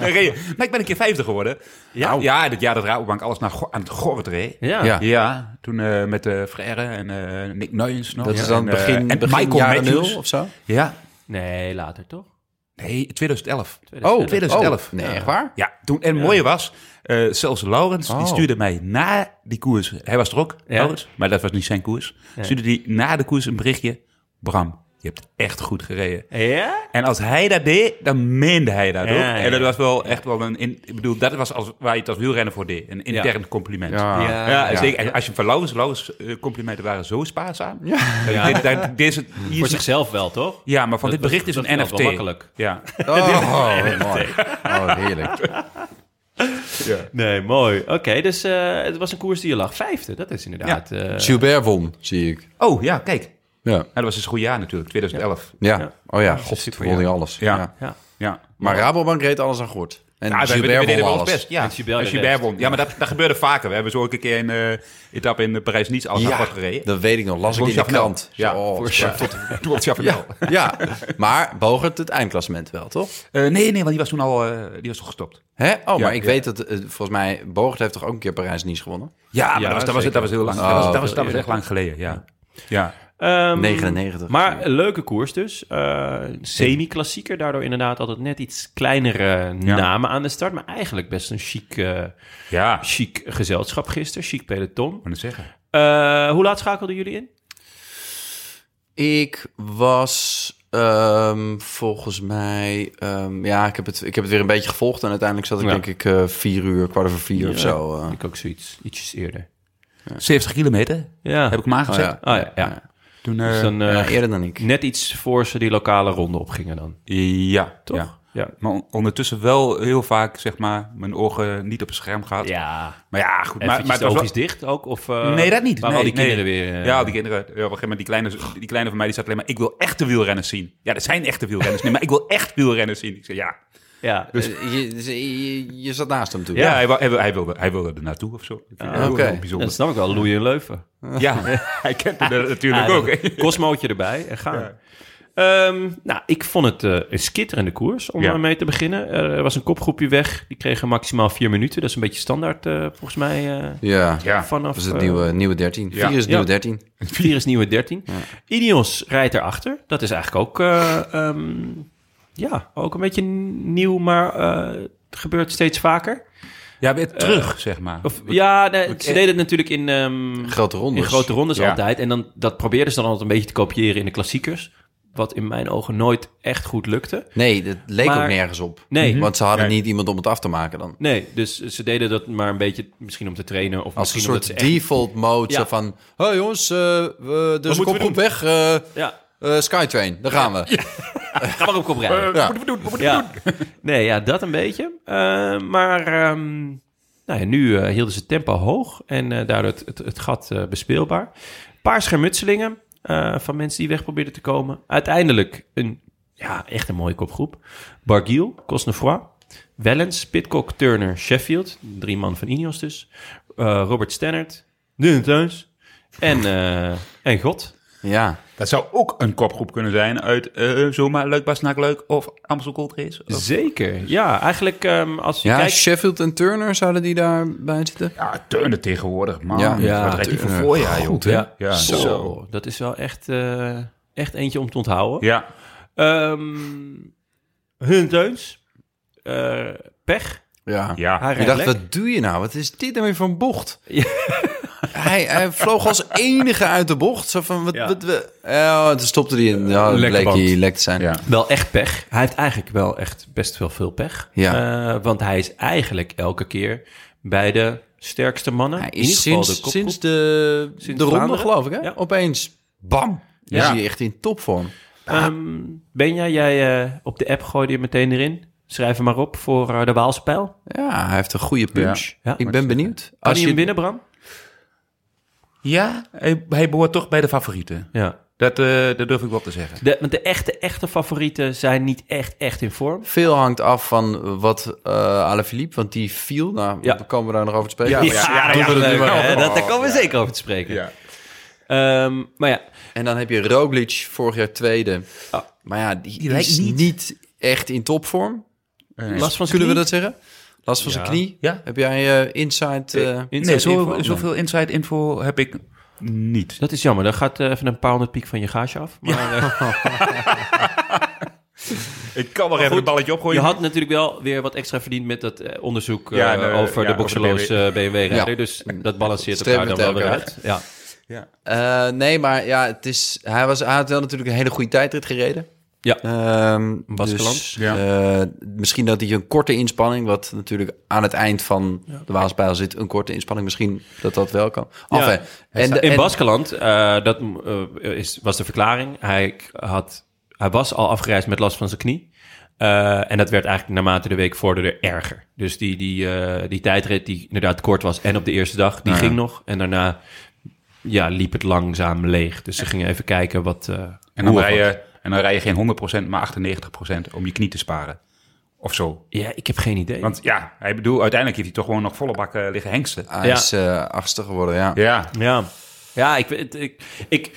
Speaker 4: Dan reed je. maar ik ben een keer vijfde geworden.
Speaker 1: Ja?
Speaker 4: Nou, ja dit jaar dat Rabobank alles naar, go- aan het gorret reed.
Speaker 1: Ja.
Speaker 2: Ja.
Speaker 4: Ja, toen eh, met de Frère en eh, Nick Nuyens nog.
Speaker 2: Dat
Speaker 4: Ja.
Speaker 2: is dan
Speaker 4: en, eh,
Speaker 2: begin,
Speaker 4: en
Speaker 2: begin
Speaker 4: Michael
Speaker 2: jaren
Speaker 4: Matthews.
Speaker 2: nul of zo?
Speaker 4: Ja,
Speaker 1: Nee, later toch?
Speaker 4: nee, 2011.
Speaker 2: Oh,
Speaker 4: 2011.
Speaker 2: oh, nee, echt waar?
Speaker 4: Ja, toen, en het mooie was, eh, zelfs Laurens,
Speaker 2: Oh.
Speaker 4: die stuurde mij na die koers, hij was er ook,
Speaker 1: Ja.
Speaker 4: Laurens, maar dat was niet zijn koers, stuurde die na de koers een berichtje, Bram, je hebt echt goed gereden.
Speaker 1: Ja?
Speaker 4: En als hij dat deed, dan meende hij dat
Speaker 1: Ja,
Speaker 4: ook.
Speaker 1: ja,
Speaker 4: En dat
Speaker 1: ja.
Speaker 4: was wel echt wel een, in, ik bedoel, dat was als, waar je het als wielrenner voor deed, een intern compliment.
Speaker 2: Ja.
Speaker 1: (laughs)
Speaker 4: Ah, Ja, zeker. En als je van Laurens, Laurens eh, complimenten waren zo spaarzaam. Ja. Dit, dat- deze, hier
Speaker 1: Voor
Speaker 4: is-
Speaker 1: zichzelf wel, toch?
Speaker 4: ja, maar van
Speaker 1: Dat-
Speaker 4: dit bericht is
Speaker 1: dat-
Speaker 4: een
Speaker 1: dat
Speaker 4: NFT.
Speaker 1: wel makkelijk.
Speaker 4: Ja.
Speaker 2: Oh, mooi. Oh, heerlijk.
Speaker 1: Nee, mooi. Oké, dus eh, het was een koers die je lag. Vijfde, dat is inderdaad... eh,
Speaker 2: Gilbert won, zie ik.
Speaker 4: Oh ja, kijk. Nou,
Speaker 2: Ja,
Speaker 4: dat was dus een goed jaar natuurlijk, 2011.
Speaker 2: ja. oh ja, god,
Speaker 1: super,
Speaker 2: won hij
Speaker 1: ja.
Speaker 2: alles.
Speaker 4: Ja.
Speaker 2: Ja.
Speaker 1: ja.
Speaker 4: Ja.
Speaker 2: Maar Rabobank reed alles aan goed. En
Speaker 4: Ja, wij- we, we
Speaker 2: Gilbert
Speaker 4: deden
Speaker 2: won
Speaker 4: wel ons
Speaker 2: alles.
Speaker 4: best. Ja,
Speaker 1: En Gilbert
Speaker 4: En
Speaker 1: de
Speaker 4: Gilbert
Speaker 1: rest.
Speaker 4: won. Ja, maar dat, dat gebeurde vaker. We hebben zo ook een keer een eh, etappe in Parijs-Niets al
Speaker 2: Ja,
Speaker 4: ja. gereden.
Speaker 2: dat weet ik nog. Las ik in de
Speaker 4: Chavanel.
Speaker 2: krant.
Speaker 4: Ja,
Speaker 2: Zo, oh,
Speaker 4: voor (laughs)
Speaker 2: ja.
Speaker 4: Chav- Toen op Chavanel.
Speaker 2: Ja, maar bogert het eindklassement wel, toch?
Speaker 4: Eh, nee, nee, want die was toen al eh, die was al gestopt.
Speaker 2: Hè? Oh,
Speaker 4: Ja,
Speaker 2: maar ik
Speaker 4: ja.
Speaker 2: weet dat, eh, volgens mij, Bogert heeft toch ook een keer Parijs-Nice gewonnen?
Speaker 4: Ja, maar
Speaker 1: Ja,
Speaker 4: dat, was, dat, was, dat was heel lang. dat was, dat was, dat was echt lang geleden, ja. ja.
Speaker 1: Ehm,
Speaker 2: 99.
Speaker 1: Maar een leuke koers dus. Eh, Semi-klassieker, daardoor inderdaad altijd net iets kleinere namen aan de start. Maar eigenlijk best een chic, eh,
Speaker 4: Ja, ik
Speaker 1: chic gezelschap gisteren, chic peloton.
Speaker 4: moet het zeggen.
Speaker 1: Eh, hoe laat schakelden jullie in?
Speaker 2: Ik was ehm, volgens mij... ehm, ja, ik heb, het, ik heb het weer een beetje gevolgd. En uiteindelijk zat ik
Speaker 1: Ja.
Speaker 2: denk ik eh, vier uur, kwart over vier of zo. eh.
Speaker 1: Ik ook zoiets, ietsjes eerder.
Speaker 4: 70 kilometer
Speaker 1: Ja.
Speaker 4: heb ik hem aangezet.
Speaker 2: Oh,
Speaker 1: Ah, ja, ja.
Speaker 4: Toen, eh,
Speaker 1: Dus dan eh,
Speaker 2: ja, eerder dan ik.
Speaker 1: net iets voor ze die lokale ronde opgingen dan.
Speaker 4: eh, ja,
Speaker 1: Toch?
Speaker 4: ja.
Speaker 1: Ja.
Speaker 4: Maar on- ondertussen wel heel vaak, zeg maar, mijn ogen niet op het scherm gehad.
Speaker 1: Ja.
Speaker 4: Maar ja, goed. Maar,
Speaker 1: Maar,
Speaker 4: maar het was wel-
Speaker 1: dicht ook? Of, eh,
Speaker 4: nee, dat niet.
Speaker 1: Waar
Speaker 4: nee,
Speaker 1: al die
Speaker 4: nee.
Speaker 1: kinderen weer... eh,
Speaker 4: ja, die kinderen. Ja, op een gegeven moment, die kleine, die kleine van mij, die zat alleen maar... Ik wil echte wielrenners zien. Ja, er zijn echte wielrenners. nee, maar ik wil echt wielrenners zien. Ik zei, ja.
Speaker 1: ja.
Speaker 2: Eh, je, je, je zat naast hem toen.
Speaker 4: Ja, hij, wou- hij, wil- hij, wilde, hij wilde er naartoe of zo. Ik vind het heel
Speaker 2: oké.
Speaker 4: heel
Speaker 1: dat
Speaker 4: bijzonder.
Speaker 1: snap ik wel. Loeien en Leuven.
Speaker 4: Ja, (laughs) hij kent hem er natuurlijk ook. hè.
Speaker 1: Ah, Cosmootje erbij en gaan.
Speaker 4: Ja.
Speaker 1: Ehm, nou, ik vond het eh, een skitterende koers om
Speaker 4: Ja.
Speaker 1: eh, mee te beginnen. Er was een kopgroepje weg. Die kregen maximaal vier minuten. Dat is een beetje standaard eh, volgens mij. eh,
Speaker 2: Ja,
Speaker 4: Ja,
Speaker 1: vanaf
Speaker 2: dat is het
Speaker 1: eh,
Speaker 2: nieuwe, nieuwe 13.
Speaker 4: Ja.
Speaker 2: Vier is het nieuwe
Speaker 1: Ja.
Speaker 2: 13.
Speaker 1: vier is nieuwe 13. Ineos rijdt erachter. Dat is eigenlijk ook, eh, ehm, ja, ook een beetje nieuw, maar eh, het gebeurt steeds vaker.
Speaker 4: Ja, weer terug, zeg maar.
Speaker 1: Of, ja, nee, ze deden het natuurlijk in, ehm,
Speaker 2: Grote rondes.
Speaker 1: in grote rondes
Speaker 4: Ja.
Speaker 1: altijd. En dan, dat probeerden ze dan altijd een beetje te kopiëren in de klassiekers. Wat in mijn ogen nooit echt goed lukte.
Speaker 2: Nee, dat leek
Speaker 1: Maar-
Speaker 2: ook nergens op.
Speaker 1: Nee.
Speaker 2: Want ze hadden
Speaker 4: Nee.
Speaker 2: niet iemand om het af te maken dan.
Speaker 1: Nee, dus ze deden dat maar een beetje misschien om te trainen. Of
Speaker 2: Als een
Speaker 1: misschien
Speaker 2: soort
Speaker 1: omdat ze echt...
Speaker 2: default mode zo
Speaker 1: Ja.
Speaker 2: van... Hé jongens, eh we, dus
Speaker 1: moeten
Speaker 2: kom
Speaker 1: we
Speaker 2: goed weg. eh,
Speaker 1: Ja,
Speaker 2: eh, Skytrain, daar gaan we.
Speaker 1: ga maar op kop rijden.
Speaker 2: Ja.
Speaker 1: ja. (laughs) Nee, ja, dat een beetje. Eh, maar ehm, nou ja, nu eh, hielden ze het tempo hoog en eh, daardoor het, het, het gat eh, bespeelbaar. Een paar schermutselingen eh, van mensen die weg probeerden te komen. Uiteindelijk een, ja, echt een mooie kopgroep. Barguil, Cosnefroid, Wellens, Pitcock, Turner, Sheffield. Drie man van Ineos dus. Eh, Robert Stennert, Dylan Teuns en, eh, en God.
Speaker 2: Ja,
Speaker 4: Dat zou ook een kopgroep kunnen zijn uit eh, zomaar Leuk Bastenaak Leuk of Amstel Gold Race. Of-
Speaker 1: Zeker. Ja, eigenlijk ehm, als je
Speaker 2: ja
Speaker 1: kijkt...
Speaker 2: Sheffield en Turner zouden die daarbij zitten?
Speaker 4: Ja, turnen tegenwoordig, man.
Speaker 2: Ja.
Speaker 4: ja,
Speaker 2: Ja,
Speaker 4: wat rijdt die voor
Speaker 2: Turner.
Speaker 4: voorjaar, joh.
Speaker 1: Ja.
Speaker 4: Ja.
Speaker 1: Zo. dat is wel echt, eh, echt eentje om te onthouden.
Speaker 4: Ja,
Speaker 1: Ehm, hun Teuns. Eh, pech.
Speaker 2: Ja.
Speaker 4: ja.
Speaker 1: Hij
Speaker 2: Je
Speaker 1: rijdt lek.
Speaker 2: dacht, wat doe je nou? Wat is dit nou weer voor een bocht? (laughs) hij, hij vloog als enige uit de bocht. Zo van, wat,
Speaker 1: Ja.
Speaker 2: wat, we- eh, toen stopte hij in. Ja,
Speaker 4: Lekke
Speaker 2: bleek
Speaker 4: band.
Speaker 2: hij lek te zijn.
Speaker 4: Ja.
Speaker 1: Wel echt pech. Hij heeft eigenlijk wel echt best wel veel pech.
Speaker 2: Ja.
Speaker 1: Eh, want hij is eigenlijk elke keer bij de sterkste mannen.
Speaker 2: Hij
Speaker 1: In ieder
Speaker 2: is
Speaker 1: geval
Speaker 2: sinds de,
Speaker 1: kopgroep.
Speaker 2: sinds de,
Speaker 1: Sinds
Speaker 2: de ronde,
Speaker 1: Vlaanderen?
Speaker 2: geloof ik, hè?
Speaker 1: Ja.
Speaker 2: Opeens, bam,
Speaker 4: Ja.
Speaker 2: is hij echt in topvorm.
Speaker 1: Ehm,
Speaker 2: Ah.
Speaker 1: Benja, jij eh, op de app gooide je meteen erin. Schrijf hem maar op voor eh, de Waalse pijl.
Speaker 2: Ja, hij heeft een goede punch.
Speaker 1: Ja.
Speaker 2: ik ben benieuwd.
Speaker 1: Kan
Speaker 2: Als
Speaker 1: hij
Speaker 2: je,
Speaker 1: hem winnen, Bram?
Speaker 4: ja hij, hij behoort toch bij de favorieten.
Speaker 1: Ja.
Speaker 4: Dat, eh, dat durf ik wel te zeggen.
Speaker 1: De, want de echte, echte favorieten zijn niet echt, echt in vorm.
Speaker 2: veel hangt af van wat eh Alaphilippe, want die viel. Nou,
Speaker 1: Ja.
Speaker 2: komen we daar nog over te spreken.
Speaker 4: Ja,
Speaker 2: Ja,
Speaker 1: Ja, ja,
Speaker 4: doen we dat
Speaker 1: leuk.
Speaker 4: nu maar.
Speaker 1: Ja, dat, daar komen we zeker over te spreken.
Speaker 4: Ja.
Speaker 1: Ehm, maar ja,
Speaker 2: En dan heb je Roglic, vorig jaar tweede.
Speaker 1: Ja.
Speaker 2: Maar ja, die,
Speaker 4: lijkt
Speaker 2: is
Speaker 4: niet-
Speaker 2: niet. echt in topvorm.
Speaker 1: last van zijn
Speaker 2: Kunnen we
Speaker 1: knie?
Speaker 2: dat zeggen? Last van zijn knie.
Speaker 4: Ja.
Speaker 2: Heb jij eh insight? eh,
Speaker 1: Inside
Speaker 4: Nee, zo,
Speaker 1: info?
Speaker 4: zoveel inside info heb ik niet.
Speaker 1: Dat is jammer. Dan gaat eh, even een paar honderd piek van je gaasje af. Maar
Speaker 2: (laughs)
Speaker 1: eh,
Speaker 4: Ik kan wel even een balletje
Speaker 1: je
Speaker 4: opgooien.
Speaker 1: had natuurlijk wel weer wat extra verdiend met dat eh, onderzoek eh,
Speaker 4: Ja, en, eh,
Speaker 1: over
Speaker 4: ja,
Speaker 1: de boxeloos
Speaker 4: over
Speaker 1: BMW-rijder.
Speaker 2: Ja.
Speaker 1: Dus dat balanceert
Speaker 2: Streven
Speaker 1: elkaar dan wel
Speaker 2: met
Speaker 1: weer
Speaker 2: elkaar.
Speaker 1: uit. Ja.
Speaker 2: eh, nee, maar ja, het is, hij, was, hij had wel natuurlijk een hele goede tijdrit gereden.
Speaker 1: Ja.
Speaker 2: Ehm,
Speaker 1: Baskeland.
Speaker 2: dus, eh, misschien dat hij een korte inspanning, wat natuurlijk aan het eind van de Waalspijl zit, een korte inspanning, misschien dat dat wel kan. Enfin, en, de-
Speaker 1: In
Speaker 2: en-
Speaker 1: Baskeland, eh, dat eh, is, was de verklaring. Hij, k- had, hij was al afgereisd met last van zijn knie. Eh, en dat werd eigenlijk naarmate de week vorderde erger. Dus die, die, eh, die tijdrit die inderdaad kort was en op de eerste dag, die ging nog. En daarna ja, liep het langzaam leeg. Dus ze gingen even kijken wat... eh,
Speaker 4: En dan,
Speaker 1: hoe
Speaker 4: rij
Speaker 1: of wat.
Speaker 4: je, en dan rij je geen 100%, maar 98% om je knie te sparen. Of zo.
Speaker 1: eh, Ja, ik heb geen idee.
Speaker 4: Want ja, hij bedoel, uiteindelijk heeft hij toch gewoon nog volle bak eh, liggen hengsten.
Speaker 2: hij
Speaker 1: Ja.
Speaker 2: is eh, achtste geworden, ja.
Speaker 4: Ja,
Speaker 1: Ja, ja ik, weet- ik, ik,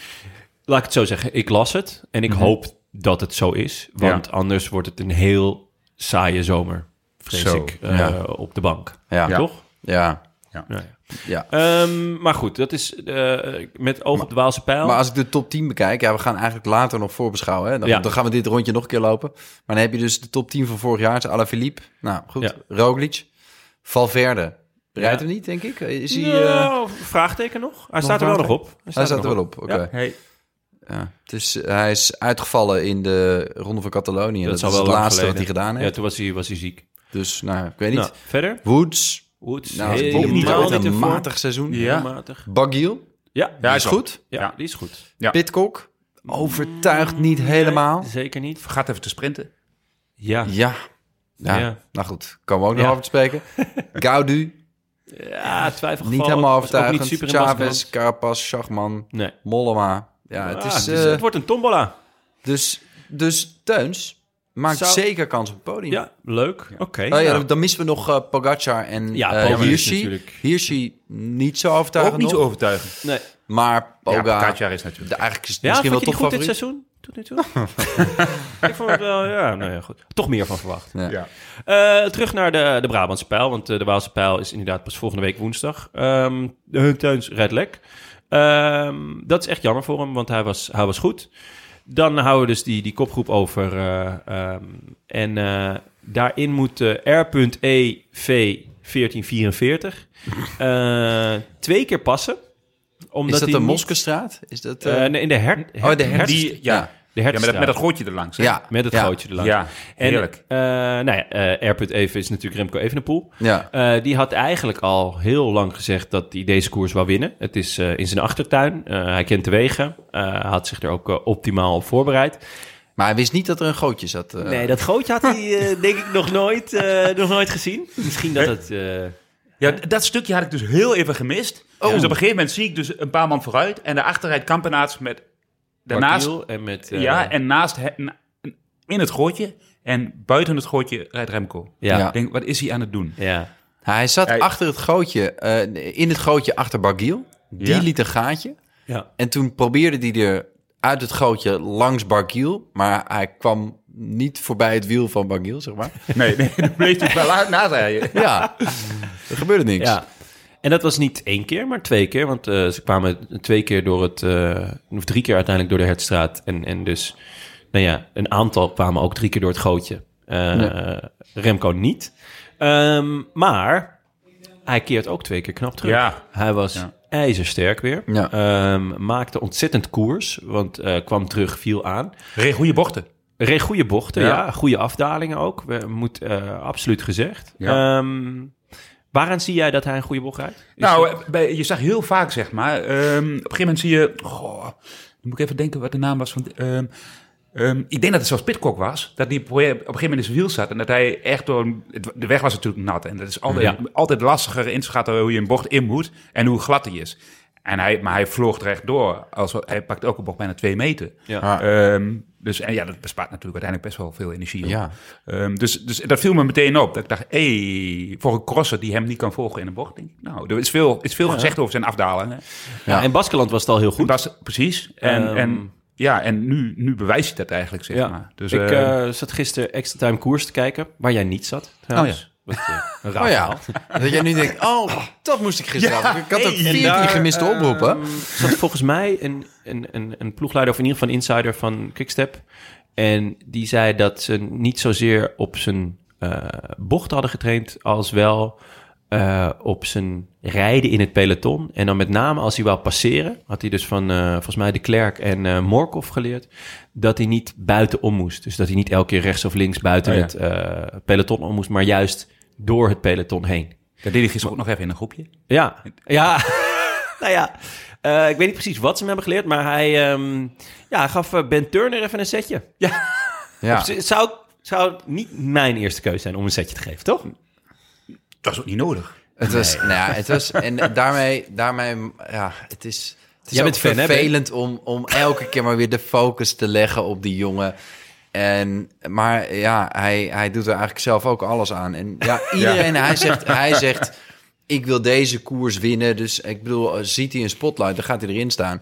Speaker 1: laat ik het zo zeggen. Ik las het en ik hoop dat het zo is. Want anders wordt het een heel saaie zomer, vrees
Speaker 4: Zo,
Speaker 1: ik, eh,
Speaker 2: ja.
Speaker 1: op de bank.
Speaker 2: Ja.
Speaker 4: Ja.
Speaker 1: Toch?
Speaker 2: ja.
Speaker 1: ja.
Speaker 2: Ja.
Speaker 1: Ehm, maar goed, dat is eh, met oog op de Waalse pijl.
Speaker 2: Maar als ik de top 10 bekijk, ja, we gaan eigenlijk later nog voorbeschouwen. Hè? Dan,
Speaker 1: Ja.
Speaker 2: dan gaan we dit rondje nog een keer lopen. Maar dan heb je dus de top 10 van vorig jaar. Ala Philippe. Nou, goed.
Speaker 1: Ja.
Speaker 2: Roglic. Valverde. Rijdt
Speaker 1: Ja.
Speaker 2: hem niet, denk ik. Is hij, eh,
Speaker 1: Nou, vraagteken nog? Hij staat er wel nog op. Hij
Speaker 2: hij staat
Speaker 1: nog
Speaker 2: er wel op. Oké.
Speaker 1: Ja.
Speaker 4: hey.
Speaker 2: Ja. Dus hij is uitgevallen in de Ronde van Catalonië. Dat,
Speaker 1: zal
Speaker 2: is het
Speaker 1: lang
Speaker 2: laatste wat
Speaker 1: geleden.
Speaker 2: hij gedaan
Speaker 1: Ja,
Speaker 2: heeft.
Speaker 1: toen was hij, was hij ziek.
Speaker 2: Dus nou, ik weet niet.
Speaker 1: Nou, verder?
Speaker 2: Woods.
Speaker 1: Woods,
Speaker 2: Nou,
Speaker 1: helemaal
Speaker 2: Woods
Speaker 1: niet,
Speaker 2: niet ooit
Speaker 1: in
Speaker 2: een
Speaker 1: vorm.
Speaker 2: matig seizoen.
Speaker 1: Heel
Speaker 4: Ja.
Speaker 1: matig.
Speaker 2: Baguil.
Speaker 1: Ja,
Speaker 2: Ja, is goed.
Speaker 1: ja,
Speaker 4: Ja.
Speaker 1: die is goed.
Speaker 4: Ja.
Speaker 2: Pitcock. Overtuigt niet helemaal.
Speaker 1: Nee, zeker niet.
Speaker 4: Gaat even te sprinten.
Speaker 1: Ja,
Speaker 2: Ja. Ja.
Speaker 1: Ja.
Speaker 2: Nou goed, komen we ook nog
Speaker 1: Ja.
Speaker 2: over te
Speaker 1: (laughs)
Speaker 2: spreken. Gaudu.
Speaker 1: Ja, twijfelgeval.
Speaker 2: Niet helemaal
Speaker 1: Was ook niet
Speaker 2: overtuigend.
Speaker 1: super in Baskeland.
Speaker 2: Chavez, Carapaz, Schachman,
Speaker 1: Nee.
Speaker 2: Mollema. Ja, het
Speaker 1: Ah,
Speaker 2: is...
Speaker 1: dus
Speaker 2: eh,
Speaker 1: het wordt een tombola.
Speaker 2: dus, dus Teuns maakt
Speaker 1: Zou-
Speaker 2: zeker kans op het podium.
Speaker 1: Ja, leuk. Oké.
Speaker 2: Oh ja,
Speaker 1: nou.
Speaker 2: dan, dan missen we nog eh, Pogacar en
Speaker 1: Ja,
Speaker 2: eh,
Speaker 1: Pogacar is
Speaker 2: Hirschi.
Speaker 1: natuurlijk-
Speaker 2: Hirschi niet zo overtuigend
Speaker 4: Ook niet zo
Speaker 2: nog,
Speaker 4: overtuigend.
Speaker 1: Nee.
Speaker 2: Maar
Speaker 4: Ja,
Speaker 2: Pogacar,
Speaker 4: Pogacar is
Speaker 2: de-
Speaker 4: natuurlijk.
Speaker 2: eigenlijk is het
Speaker 1: Ja,
Speaker 2: misschien
Speaker 1: vond
Speaker 2: wel
Speaker 1: je die
Speaker 2: toch
Speaker 1: goed dit
Speaker 2: favoriet.
Speaker 1: seizoen? Tot nu toe? (laughs) ik vond het wel, ja, nou ja, goed. Toch meer van verwacht.
Speaker 2: Ja.
Speaker 4: Ja.
Speaker 1: Eh, terug naar de, de Brabantse pijl, want eh, de Waalse pijl is inderdaad pas volgende week woensdag. Ehm de Hunteuns red lek. Ehm, dat is echt jammer voor hem, want hij was, hij was goed. Dan houden we dus die, die kopgroep over. eh, ehm, en eh, daarin moet eh, E R.E.V.1444 eh, twee keer passen. Omdat
Speaker 2: Is dat
Speaker 1: hij
Speaker 2: de
Speaker 1: niet-
Speaker 2: Moskestraat? Is dat... eh,
Speaker 1: Eh, nee, in de her,
Speaker 2: oh, de herfst.
Speaker 4: die- ja.
Speaker 1: de
Speaker 4: Ja, met dat,
Speaker 1: Hertstraat.
Speaker 4: met dat gootje erlangs. hè?
Speaker 2: Ja,
Speaker 1: Met het
Speaker 2: ja,
Speaker 1: gootje erlangs.
Speaker 4: ja
Speaker 1: En,
Speaker 4: heerlijk.
Speaker 1: eh, nou ja, eh, R.E.V. is natuurlijk Remco Evenepoel.
Speaker 2: Ja,
Speaker 1: Eh, die had eigenlijk al heel lang gezegd dat hij deze koers wou winnen. Het is eh, in zijn achtertuin. Eh, hij kent de wegen. Eh, hij had zich er ook eh, optimaal op voorbereid.
Speaker 2: maar hij wist niet dat er een gootje zat. eh.
Speaker 1: nee, dat gootje had hij (laughs) eh, denk ik nog nooit, eh, nog nooit gezien. Misschien dat het... eh,
Speaker 4: Ja, d- dat stukje had ik dus heel even gemist. Dus op een gegeven moment zie ik dus een paar man vooruit. En daarachter rijdt Kampenaerts met... Daarnaast,
Speaker 1: Barguil en met... eh,
Speaker 4: ja, en naast he- na- in het gootje. En buiten het gootje rijdt Remco.
Speaker 1: Ja, ja.
Speaker 2: Ja.
Speaker 4: Ik denk, wat is hij aan het
Speaker 1: (laughs)
Speaker 4: doen?
Speaker 2: Hij zat
Speaker 4: Hij-
Speaker 2: achter het gootje, eh, in het gootje achter Bargiel. Die
Speaker 4: Ja.
Speaker 2: liet een gaatje.
Speaker 1: Ja.
Speaker 2: En toen probeerde hij er uit het gootje langs Bargiel. Maar hij kwam niet voorbij het wiel van Bargiel, zeg
Speaker 1: (laughs)
Speaker 2: maar.
Speaker 4: Nee, nee, dan bleef hij wel laat naast rijden.
Speaker 2: ja, er gebeurde niks.
Speaker 1: Ja. En dat was niet één keer, maar twee keer. Want eh, ze kwamen twee keer door het... eh, of drie keer uiteindelijk door de Hertstraat. En, en dus, nou ja, een aantal kwamen ook drie keer door het gootje. Eh, Remco niet. Ehm, maar hij keert ook twee keer knap terug.
Speaker 4: Ja.
Speaker 1: Hij was
Speaker 4: Ja.
Speaker 1: ijzersterk weer.
Speaker 2: Ja.
Speaker 1: Ehm, maakte ontzettend koers, want eh, kwam terug, viel aan.
Speaker 4: Reed goede bochten.
Speaker 1: Reed goede bochten, ja.
Speaker 4: Ja.
Speaker 1: Goede afdalingen ook. We, moet eh, absoluut gezegd.
Speaker 4: Ja.
Speaker 1: Ehm, waaraan zie jij dat hij een goede bocht rijdt? Is
Speaker 4: nou,
Speaker 1: dat-
Speaker 4: eh, bij, je zag heel vaak, zeg maar. ehm, op een gegeven moment zie je... Goh, dan moet ik even denken wat de naam was van... ehm, ehm, ik denk dat het zelfs Pitcock was. Dat die probeer- op een gegeven moment in zijn wiel zat. En dat hij echt door... een- het- De weg was natuurlijk nat. En dat is altijd,
Speaker 1: Ja.
Speaker 4: altijd lastiger in te schatten hoe je een bocht in moet. En hoe glad hij is.
Speaker 2: Ah.
Speaker 4: En hij, maar hij vloog er echt door. Als, hij pakt elke bocht bijna twee meter.
Speaker 1: Ja.
Speaker 4: Ehm, Dus en ja, dat bespaart natuurlijk uiteindelijk best wel veel energie. hoor.
Speaker 2: Ja.
Speaker 4: Ehm, dus, dus dat viel me meteen op. Dat ik dacht, hey, voor een crosser die hem niet kan volgen in een bocht. Denk ik, nou, er is veel, is veel gezegd over zijn afdalen. hè.
Speaker 1: Ja, in Baskeland was het al heel goed.
Speaker 4: Dat is, precies. En,
Speaker 1: Ehm.
Speaker 4: en, ja, en nu, nu bewijst hij dat eigenlijk, zeg maar. Dus,
Speaker 1: ik
Speaker 4: eh, Oh
Speaker 1: eh, zat gisteren extra time koers te kijken, waar jij niet zat. trouwens. Wat, eh, een raar
Speaker 2: Oh ja,
Speaker 1: verhaal.
Speaker 2: dat jij nu denkt, oh, dat moest ik gisteravond. ik had ook
Speaker 1: hey. En
Speaker 2: 14
Speaker 1: daar,
Speaker 2: gemiste oproepen.
Speaker 1: Ehm, zat volgens mij een, een, een, een ploegleider, of in ieder geval een insider van Quickstep. En die zei dat ze niet zozeer op zijn eh bocht hadden getraind, als wel eh, op zijn rijden in het peloton. En dan met name als hij wou passeren, had hij dus van eh, volgens mij de Klerk en eh Morkov geleerd, dat hij niet buitenom moest. Dus dat hij niet elke keer rechts of links buiten
Speaker 4: Oh ja.
Speaker 1: het eh, peloton om moest, maar juist door het peloton heen.
Speaker 4: dat deed ik gisteren ook nog even in een groepje.
Speaker 1: Ja, ja. (laughs) nou ja, eh, ik weet niet precies wat ze hem hebben geleerd, maar hij ehm, ja, hij gaf eh, Ben Turner even een setje.
Speaker 2: Ja.
Speaker 1: Dus het zou, zou het niet mijn eerste keuze zijn om een setje te geven, toch?
Speaker 4: Dat is ook niet nodig.
Speaker 2: Het was, nou ja, het was, en daarmee, daarmee, ja, het is, het is
Speaker 1: Jij
Speaker 2: ook
Speaker 1: bent fan, hè,
Speaker 2: vervelend om, om elke keer maar weer de focus te leggen op die jongen. En, maar ja, hij, hij doet er eigenlijk zelf ook alles aan. En ja, iedereen, Hij, zegt, hij zegt, ik wil deze koers winnen. Dus ik bedoel, eh, ziet hij een spotlight, dan gaat hij erin staan.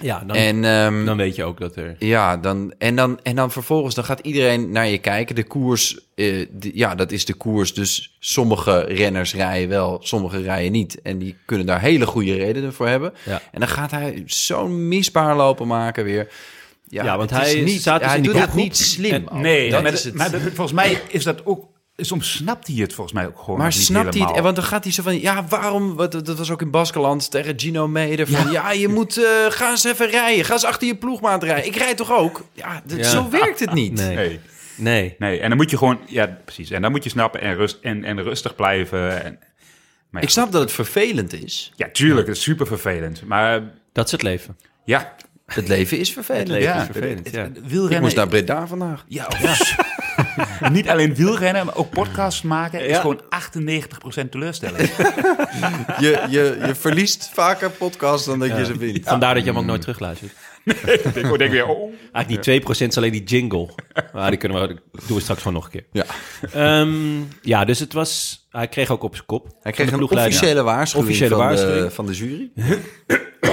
Speaker 1: Ja, dan,
Speaker 2: En, ehm,
Speaker 1: dan weet je ook dat er...
Speaker 2: ja, dan, en, dan, en dan vervolgens dan gaat iedereen naar je kijken. De koers, eh, die- ja, dat is de koers. Dus sommige renners rijden wel, sommige rijden niet. En die kunnen daar hele goede redenen voor hebben.
Speaker 1: Ja.
Speaker 2: En dan gaat hij zo'n misbaar lopen maken weer. Ja,
Speaker 1: Ja, want
Speaker 2: het is
Speaker 1: hij
Speaker 2: niet,
Speaker 1: staat dus
Speaker 2: hij
Speaker 1: in die
Speaker 2: doet het
Speaker 1: kopgroep.
Speaker 2: niet slim.
Speaker 1: En-
Speaker 2: ook.
Speaker 4: nee,
Speaker 2: dat
Speaker 4: maar,
Speaker 2: is het.
Speaker 4: maar dat- volgens mij is dat ook... Soms snapt hij het volgens mij ook gewoon
Speaker 2: Maar
Speaker 4: nog niet
Speaker 2: snapt hij het?
Speaker 4: helemaal.
Speaker 2: En Want dan gaat hij zo van, ja, waarom? Wat, dat was ook in Baskeland tegen Gino Meder. Van, ja. je moet, eh, ga eens even rijden. Ga eens achter je ploegmaat rijden. Ik rijd toch ook? Ja, dat-
Speaker 1: Ja.
Speaker 2: zo werkt het niet.
Speaker 1: Nee, nee.
Speaker 4: Nee. Nee, en dan moet je gewoon, ja, precies. En dan moet je snappen en, rust, en, en rustig blijven. En, maar ja,
Speaker 2: Ik snap dat het vervelend is.
Speaker 4: ja, tuurlijk, dat is super vervelend. Maar
Speaker 1: dat is het leven.
Speaker 2: (laughs)
Speaker 4: ja,
Speaker 2: Het leven is vervelend.
Speaker 1: Het leven
Speaker 4: ja,
Speaker 1: is vervelend,
Speaker 4: het-
Speaker 1: ja.
Speaker 4: het- wielrennen.
Speaker 2: Ik moest naar Breda vandaag.
Speaker 4: ja, ja. Niet alleen wielrennen, maar ook podcasts maken is gewoon 98% (laughs) teleurstelling.
Speaker 2: (laughs) Je, je, je verliest vaker podcasts dan dat je ze wint.
Speaker 1: Vandaar dat je hem ook nooit terugluistert.
Speaker 4: ik hoor denk weer, oh.
Speaker 1: Eigenlijk die 2% is alleen die jingle. Maar die kunnen we, die doen we straks gewoon nog een keer.
Speaker 2: Ja.
Speaker 1: Ehm, ja, dus het was... Hij kreeg ook op zijn kop.
Speaker 2: Hij kreeg
Speaker 1: Van
Speaker 2: een
Speaker 1: de ploegleider.
Speaker 2: officiële waarschuwing,
Speaker 1: Officiële
Speaker 2: van,
Speaker 1: waarschuwing.
Speaker 2: De, van de jury.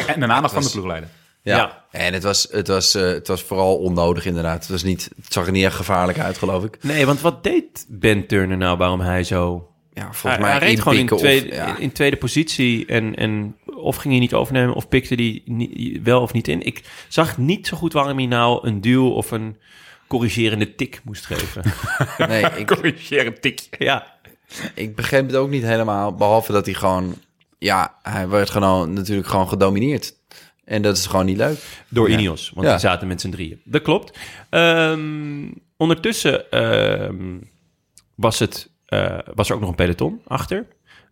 Speaker 4: En de aandacht van de ploegleider.
Speaker 2: Ja.
Speaker 1: Ja.
Speaker 2: En het was, het, was, eh, het was vooral onnodig inderdaad. Het, was niet, het zag er niet echt gevaarlijk uit, geloof ik.
Speaker 1: Nee, want wat deed Ben Turner nou waarom hij zo...
Speaker 2: Ja, volgens
Speaker 1: hij,
Speaker 2: mij
Speaker 1: hij reed gewoon in
Speaker 2: inpikken
Speaker 1: tweede,
Speaker 2: of, (laughs) ja.
Speaker 1: in tweede positie en, en of ging hij niet overnemen of pikte hij ni- wel of niet in. Ik zag niet zo goed waarom hij nou een duw of een corrigerende tik moest (laughs) geven.
Speaker 2: Nee, ik,
Speaker 4: Corrigeer een tikje.
Speaker 1: ja,
Speaker 2: ik begreep het ook niet helemaal. Behalve dat hij gewoon... Ja, hij werd gewoon, natuurlijk gewoon gedomineerd. En dat is gewoon niet leuk.
Speaker 1: door Ineos, want
Speaker 2: Ja.
Speaker 1: die zaten met z'n drieën. Dat klopt. Ehm, ondertussen ehm, was, het, eh, was er ook nog een peloton achter.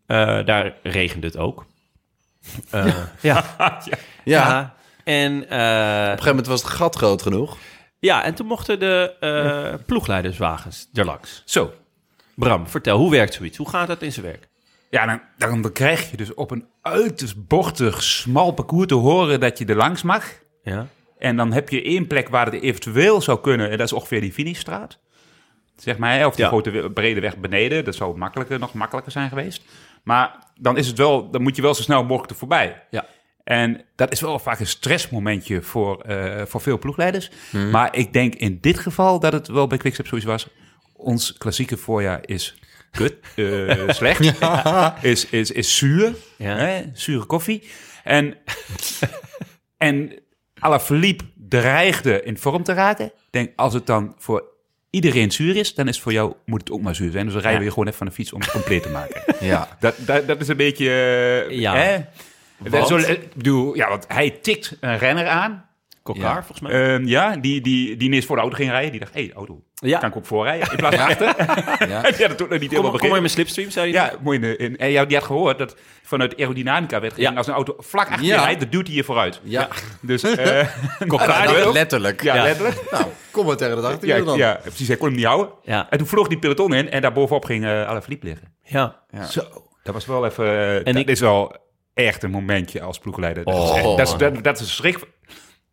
Speaker 1: Eh, daar regende het ook. Eh, ja.
Speaker 2: Ja, op een
Speaker 1: Ja. En eh,
Speaker 2: gegeven moment was het gat groot genoeg.
Speaker 1: Ja, en toen mochten de eh, ploegleiderswagens erlangs.
Speaker 4: Zo.
Speaker 1: Bram, vertel, hoe werkt zoiets? Hoe gaat dat in zijn werk?
Speaker 4: Ja, dan, dan, dan krijg je dus op een uiterst bochtig, smal parcours te horen dat je er langs mag.
Speaker 1: Ja.
Speaker 4: En dan heb je één plek waar het eventueel zou kunnen. En dat is ongeveer die finishstraat. Zeg maar, hè, of die
Speaker 1: Ja.
Speaker 4: grote we- brede weg beneden. Dat zou makkelijker, nog makkelijker zijn geweest. Maar dan, is het wel, dan moet je wel zo snel mogelijk er voorbij.
Speaker 1: Ja.
Speaker 4: En dat is wel vaak een stressmomentje voor, eh, voor veel ploegleiders.
Speaker 1: Hmm.
Speaker 4: Maar ik denk in dit geval dat het wel bij Quickstep zoiets was. Ons klassieke voorjaar is kut,
Speaker 1: (laughs)
Speaker 4: eh, slecht, is, is, is zuur,
Speaker 1: Ja.
Speaker 4: hè, zure koffie. En, (laughs) en Alaphilippe dreigde in vorm te raken. Ik denk, als het dan voor iedereen zuur is, dan is het voor jou, moet het ook maar zuur zijn. Dus dan rijden we je gewoon even van de fiets om het compleet te maken. (laughs)
Speaker 2: Ja.
Speaker 4: Dat, dat, dat is een beetje. eh,
Speaker 1: Ja.
Speaker 4: Hè?
Speaker 1: Want?
Speaker 4: Zo, eh, ik bedoel, ja, want hij tikt een renner aan.
Speaker 1: Kokkaar,
Speaker 2: Ja.
Speaker 1: volgens mij.
Speaker 4: Ehm, ja, die, die, die ineens voor de auto ging rijden. Die dacht, hé, hey, auto,
Speaker 1: Ja.
Speaker 4: kan ik op voorrijden? In plaats van achter.
Speaker 2: Ja.
Speaker 4: (laughs) ja, dat doet
Speaker 1: kom,
Speaker 4: nog niet helemaal
Speaker 1: kom maar in
Speaker 4: begin.
Speaker 1: mijn slipstream, zei hij.
Speaker 4: Ja, mooi. in de- in- en ja, die had gehoord dat vanuit aerodynamica werd gezien.
Speaker 1: Ja.
Speaker 4: Als een auto vlak achter je
Speaker 2: Ja.
Speaker 4: rijdt, dan duwt hij je vooruit.
Speaker 2: Ja.
Speaker 4: (laughs) Dus, eh, (laughs)
Speaker 1: Kokkaar.
Speaker 4: Ja,
Speaker 1: Ja,
Speaker 4: dat-
Speaker 2: letterlijk.
Speaker 4: ja,
Speaker 1: Ja.
Speaker 4: letterlijk.
Speaker 2: Nou, kom maar tegen de dag
Speaker 4: Ja, ja, precies. Hij kon hem niet houden.
Speaker 1: Ja.
Speaker 4: En toen vloog die peloton in en daarbovenop ging eh Alaphilippe liggen.
Speaker 1: ja.
Speaker 4: Zo. Dat was wel even. eh, dat
Speaker 1: ik-
Speaker 4: is wel echt een momentje als ploegleider. Dat, is,
Speaker 2: Oh.
Speaker 4: echt- dat, is, dat, dat is een schrik.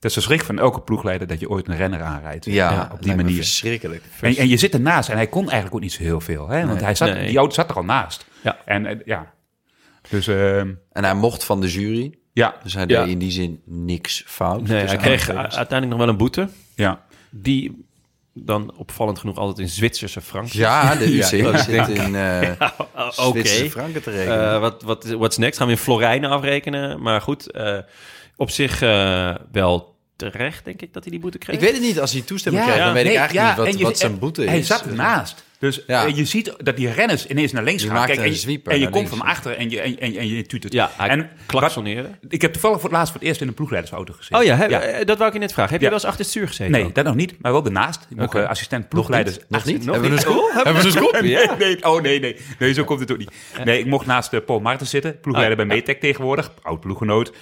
Speaker 4: Dat is de schrik van elke ploegleider dat je ooit een renner aanrijdt.
Speaker 2: Ja,
Speaker 4: op die
Speaker 2: lijkt me
Speaker 4: manier.
Speaker 2: Verschrikkelijk.
Speaker 4: En, en je zit ernaast en hij kon eigenlijk ook niet zo heel veel. Hè? Want hij zat,
Speaker 1: Nee.
Speaker 4: die auto zat er al naast.
Speaker 1: Ja.
Speaker 4: En eh, ja. Dus ehm,
Speaker 2: En hij mocht van de jury,
Speaker 4: ja,
Speaker 2: dus hij
Speaker 1: Ja.
Speaker 2: deed in die zin niks fout.
Speaker 1: Nee,
Speaker 2: Dus
Speaker 1: hij kreeg u-
Speaker 2: eigenlijk-
Speaker 1: uiteindelijk nog wel een boete.
Speaker 4: ja.
Speaker 1: Die dan opvallend genoeg altijd in Zwitserse frank.
Speaker 2: Ja, de UC
Speaker 1: Ja, dat
Speaker 2: zit in eh
Speaker 1: Oké.
Speaker 2: Zwitserse franken te rekenen.
Speaker 1: Eh, wat, wat, what's next? Gaan we in Florijnen afrekenen? Maar goed, eh, op zich eh, wel terecht, denk ik, dat hij die boete kreeg.
Speaker 2: ik weet het niet, als hij toestemming krijgt, dan weet
Speaker 4: nee,
Speaker 2: ik eigenlijk
Speaker 4: ja,
Speaker 2: niet
Speaker 4: en
Speaker 2: wat,
Speaker 4: je-
Speaker 2: wat zijn
Speaker 4: en
Speaker 2: boete
Speaker 4: Hij
Speaker 2: is. Eh,
Speaker 4: zat ernaast. Dus
Speaker 2: Ja.
Speaker 4: eh, je ziet dat die renners ineens naar links
Speaker 2: Die
Speaker 4: gaan.
Speaker 2: maakt
Speaker 4: Kijk, en,
Speaker 2: een
Speaker 4: je-
Speaker 2: sweeper
Speaker 4: en je
Speaker 2: naar
Speaker 4: komt
Speaker 2: links.
Speaker 4: van achter en je, en, en, en je tuut het.
Speaker 1: Ja, hij
Speaker 4: en wat-
Speaker 1: klaksoneren.
Speaker 4: ik heb toevallig voor het laatst voor het eerst in een ploegleidersauto gezeten.
Speaker 1: Oh ja, hè, eh, dat wou ik je net vragen. Heb
Speaker 4: Ja.
Speaker 1: je wel eens achter het stuur gezeten?
Speaker 4: Nee,
Speaker 1: dan?
Speaker 4: dat nog niet, maar wel daarnaast. Ik mocht
Speaker 1: Oké.
Speaker 4: eh, assistent ploegleiders.
Speaker 2: Nog
Speaker 1: Nog
Speaker 2: niet? Hebben we
Speaker 1: niet?
Speaker 2: een school?
Speaker 1: Hebben we een scoop?
Speaker 4: Nee, (laughs) nee, oh nee, nee. Nee, zo komt het ook niet. Nee, ik mocht naast eh, Paul Martens zitten, ploegleider
Speaker 1: Ah,
Speaker 4: bij Metec tegenwoordig, oud ploeggenoot.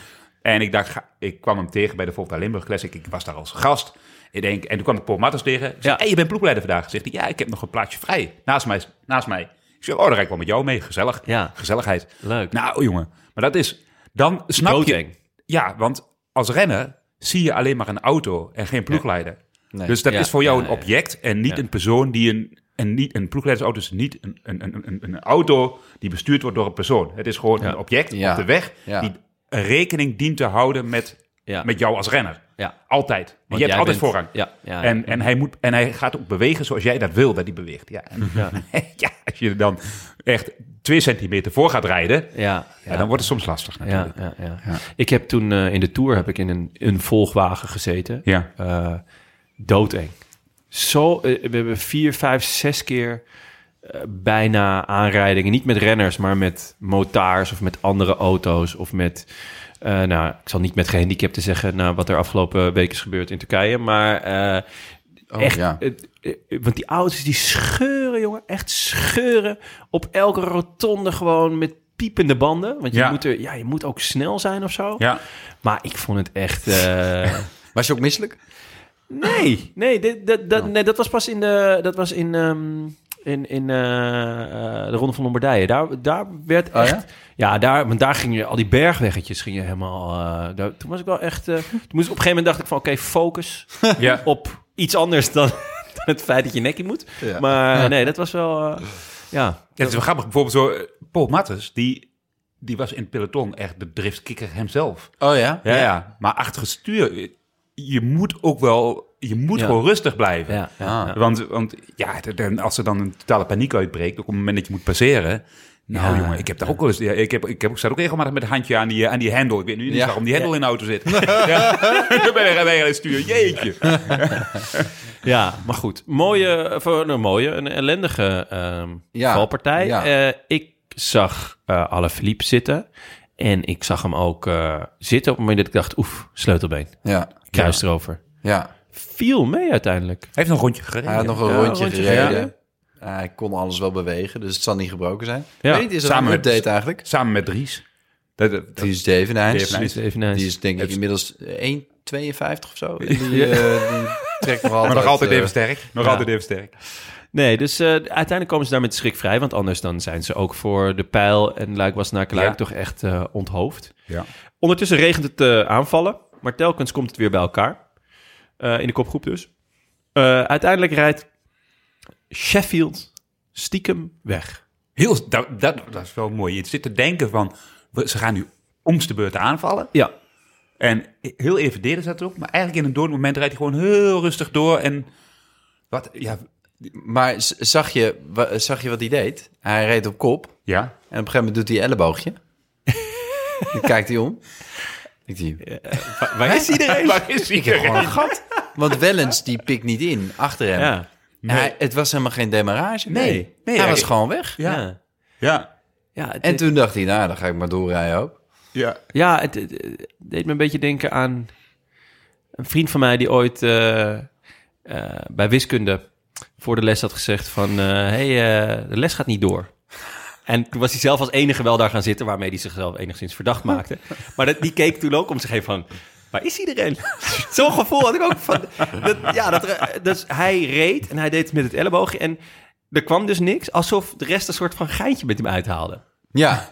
Speaker 4: En ik dacht, ga- ik kwam hem tegen bij de Volta Limburg Classic. Ik was daar als gast. Ik denk, en toen kwam ik Paul Martens tegen. Ik zei,
Speaker 1: Ja.
Speaker 4: hey, je bent ploegleider vandaag. Zegt hij, ja, ik heb nog een plaatsje vrij naast mij. Naast mij. Ik zeg, oh, dan rijd ik wel met jou mee. Gezellig.
Speaker 1: Ja.
Speaker 4: Gezelligheid.
Speaker 1: Leuk.
Speaker 4: Nou, jongen. Maar dat is, dan snap je...
Speaker 1: Doodeng.
Speaker 4: Ja, want als renner zie je alleen maar een auto en geen ploegleider.
Speaker 2: Nee.
Speaker 4: Dus dat
Speaker 1: Ja,
Speaker 4: is voor jou
Speaker 1: ja,
Speaker 4: een
Speaker 1: ja.
Speaker 4: object en niet
Speaker 1: Ja.
Speaker 4: een persoon die een... En niet, een ploegleidersauto is niet een, een, een, een, een auto die bestuurd wordt door een persoon. Het is gewoon een object
Speaker 2: Ja.
Speaker 4: op de weg
Speaker 2: Ja.
Speaker 4: die rekening dient te houden met,
Speaker 1: Ja.
Speaker 4: met jou als renner.
Speaker 1: Ja.
Speaker 4: Altijd. En je
Speaker 1: jij
Speaker 4: hebt
Speaker 1: bent-
Speaker 4: altijd voorrang.
Speaker 1: Ja, ja, ja.
Speaker 4: En, en, hij moet, en hij gaat ook bewegen zoals jij dat wil dat hij beweegt. Ja, en, (laughs) ja. als je er dan echt twee centimeter voor gaat rijden, ja.
Speaker 1: Ja, ja,
Speaker 4: dan wordt het soms lastig
Speaker 1: ja,
Speaker 4: natuurlijk.
Speaker 1: ja, ja. Ik heb toen eh, in de Tour heb ik in een, een volgwagen gezeten.
Speaker 4: Ja.
Speaker 1: Eh, doodeng. Zo, eh, we hebben vier, vijf, zes keer eh, bijna aanrijdingen. Niet met renners, maar met motaars of met andere auto's. Of met, eh, nou, ik zal niet met gehandicapten zeggen... Nou, wat er afgelopen week is gebeurd in Turkije. Maar eh,
Speaker 2: Oh,
Speaker 1: echt,
Speaker 2: ja.
Speaker 1: het- eh, want die auto's die scheuren, jongen. Echt scheuren. Op elke rotonde gewoon met piepende banden. Want je,
Speaker 4: Ja.
Speaker 1: moet, er, ja, je moet ook snel zijn of zo.
Speaker 4: Ja.
Speaker 1: Maar ik vond het echt... eh, (laughs)
Speaker 2: Was je ook misselijk?
Speaker 1: Nee, nee, dit, dat, dat, nee, dat was pas in de. Dat was in. ehm, in, in eh, eh, de Ronde van Lombardije. Daar, daar werd
Speaker 2: Oh,
Speaker 1: echt...
Speaker 2: ja?
Speaker 1: ja? daar, want daar gingen al die bergweggetjes gingen helemaal... eh, daar, toen was ik wel echt... eh, toen moest, op een gegeven moment dacht ik van... Oké, focus
Speaker 4: Ja.
Speaker 1: op iets anders dan, (laughs) dan het feit dat je nekkie moet.
Speaker 2: Ja.
Speaker 1: Maar nee, dat was wel... eh, ja,
Speaker 4: Ja, het is wel grappig. Bijvoorbeeld zo, eh, Paul Mattes, die, die was in het peloton echt de driftkikker hemzelf.
Speaker 2: Oh ja?
Speaker 4: Ja, ja. Maar achter het stuur, eh, je moet ook wel, je moet
Speaker 1: Ja.
Speaker 4: gewoon rustig blijven.
Speaker 1: ja, ja.
Speaker 2: Ah.
Speaker 4: Want, want ja, d- dan- als er dan een totale paniek uitbreekt, ook op het moment dat je moet passeren. Nou
Speaker 1: Ja.
Speaker 4: jongen, ik heb daar ook wel eens, ja, ik, heb, ik, heb, ik zat ook regelmatig met een handje aan die, eh, aan die hendel. Ik weet nu niet
Speaker 2: Ja.
Speaker 4: waarom die hendel in de auto zit. ja. (laughs) Dan ben je bij het stuur, jeetje.
Speaker 1: Ja, maar goed. Mooie, of, eh, nou, mooie een ellendige ehm
Speaker 2: Ja,
Speaker 1: valpartij.
Speaker 2: ja.
Speaker 1: Eh, ik zag eh Alaphilippe zitten. En ik zag hem ook eh, zitten op het moment dat ik dacht... oef, sleutelbeen,
Speaker 2: Ja.
Speaker 1: kruis erover.
Speaker 2: ja.
Speaker 1: Viel mee uiteindelijk.
Speaker 4: Hij heeft nog een rondje gereden.
Speaker 2: Hij had nog een
Speaker 1: Ja,
Speaker 2: rondje,
Speaker 1: rondje
Speaker 2: gereden.
Speaker 1: gereden.
Speaker 2: Ja, hij kon alles wel bewegen, dus het zal niet gebroken zijn.
Speaker 1: Ja.
Speaker 2: Ik weet niet, is er
Speaker 4: Samen
Speaker 2: een
Speaker 4: met-
Speaker 2: update eigenlijk?
Speaker 4: Samen met Dries. Dat, dat- (laughs)
Speaker 2: Die is Dave en
Speaker 4: Dave
Speaker 1: Dus Even
Speaker 2: Die
Speaker 1: nice.
Speaker 2: is denk ik inmiddels 1,52 of zo. En
Speaker 4: (laughs)
Speaker 2: Die, eh, die trekt nog altijd...
Speaker 4: maar nog altijd
Speaker 2: eh,
Speaker 4: even sterk. Nog
Speaker 1: ja.
Speaker 4: altijd even sterk.
Speaker 1: Nee, dus eh, uiteindelijk komen ze daar met schrik vrij. Want anders dan zijn ze ook voor de pijl en Luik was naar Luik
Speaker 4: Ja.
Speaker 1: toch echt eh, onthoofd.
Speaker 4: Ja.
Speaker 1: Ondertussen regent het eh, aanvallen, maar telkens komt het weer bij elkaar. Eh, in de kopgroep dus. Eh, uiteindelijk rijdt Sheffield stiekem weg.
Speaker 4: Heel, dat, dat, dat is wel mooi. Je zit te denken van, we- ze gaan nu omste beurt aanvallen.
Speaker 1: Ja,
Speaker 4: En heel even deden ze dat ook. Maar eigenlijk in een dood moment rijdt hij gewoon heel rustig door. En wat, ja,
Speaker 2: Maar z- zag je, wa- zag je wat hij deed? Hij reed op kop en op
Speaker 4: (laughs) ja.
Speaker 2: een gegeven moment doet hij
Speaker 4: (laughs)
Speaker 2: elleboogje. Dan kijkt hij om. Ik zie
Speaker 1: waar is iedereen?
Speaker 4: Waar is iedereen? (laughs)
Speaker 2: gat. Want Wellens die pikt niet in achter hem.
Speaker 1: Ja,
Speaker 2: En hij- het was helemaal geen demarrage.
Speaker 4: Nee. Nee,
Speaker 2: hij
Speaker 4: ja,
Speaker 2: was
Speaker 4: ik-
Speaker 2: gewoon weg.
Speaker 1: ja. ja.
Speaker 4: Ja,
Speaker 1: het,
Speaker 2: En toen dacht hij, nou, dan ga ik maar doorrijden ook.
Speaker 4: ja.
Speaker 1: ja het, het- het deed me een beetje denken aan een vriend van mij die ooit eh, eh, bij wiskunde voor de les had gezegd van... eh, hey, eh, de les gaat niet door. En toen was hij zelf als enige wel daar gaan zitten... waarmee hij zichzelf enigszins verdacht maakte. Maar dat, die keek toen ook om zich heen van... waar is iedereen? Zo'n gevoel had ik ook van... Dat, ja, dat, er- dus hij reed en hij deed het met het elleboogje... en er kwam dus niks, alsof de rest een soort van geintje met hem uithaalde.
Speaker 2: Ja.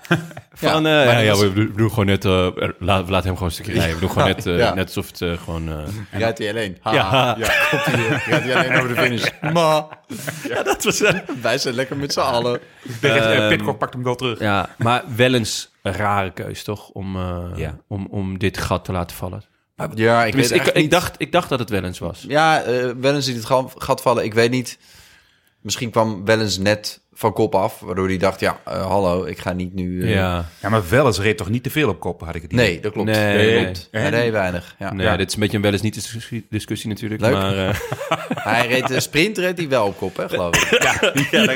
Speaker 1: Van, eh,
Speaker 2: maar
Speaker 1: ja,
Speaker 2: dat is-
Speaker 1: we doen- we doen gewoon net, eh, er- laat, laat hem gewoon een stukje rijden. We doen gewoon net, eh,
Speaker 2: (laughs) Ja.
Speaker 1: net alsof het eh, gewoon... eh,
Speaker 2: (laughs) Rijdt hij alleen? Ha,
Speaker 1: Ja.
Speaker 2: ja. ja komt hij, eh, rijdt hij alleen over de finish? Maar
Speaker 1: (laughs) ja, dat was... eh,
Speaker 2: wij zijn lekker met z'n allen.
Speaker 4: De rechter- eh, Pitcock pakt hem wel terug.
Speaker 1: ja, maar wel eens een rare keus, toch? Om, eh,
Speaker 4: Ja.
Speaker 1: om, om dit gat te laten vallen.
Speaker 2: Ja, ik weet
Speaker 1: Tenminste, ik,
Speaker 2: echt niet-
Speaker 1: ik, dacht, ik dacht dat het wel eens was.
Speaker 2: Ja, eh Wellens in het ga- gat vallen. Ik weet niet. Misschien kwam Wellens net van kop af, waardoor hij dacht: ja, eh, hallo, ik ga niet nu. eh,
Speaker 1: Ja,
Speaker 4: Ja, maar wel eens reed toch niet te veel op kop, had ik het idee.
Speaker 2: Nee, dat klopt.
Speaker 1: Nee,
Speaker 2: dat
Speaker 1: nee.
Speaker 2: klopt. Hij reed weinig. Ja.
Speaker 1: nee, dit is een beetje een wel eens niet discussie, discussie natuurlijk.
Speaker 2: Leuk.
Speaker 1: Maar,
Speaker 2: (laughs)
Speaker 1: eh,
Speaker 2: Hij reed de sprint, reed hij wel op kop, hè, geloof
Speaker 1: (laughs)
Speaker 2: ik.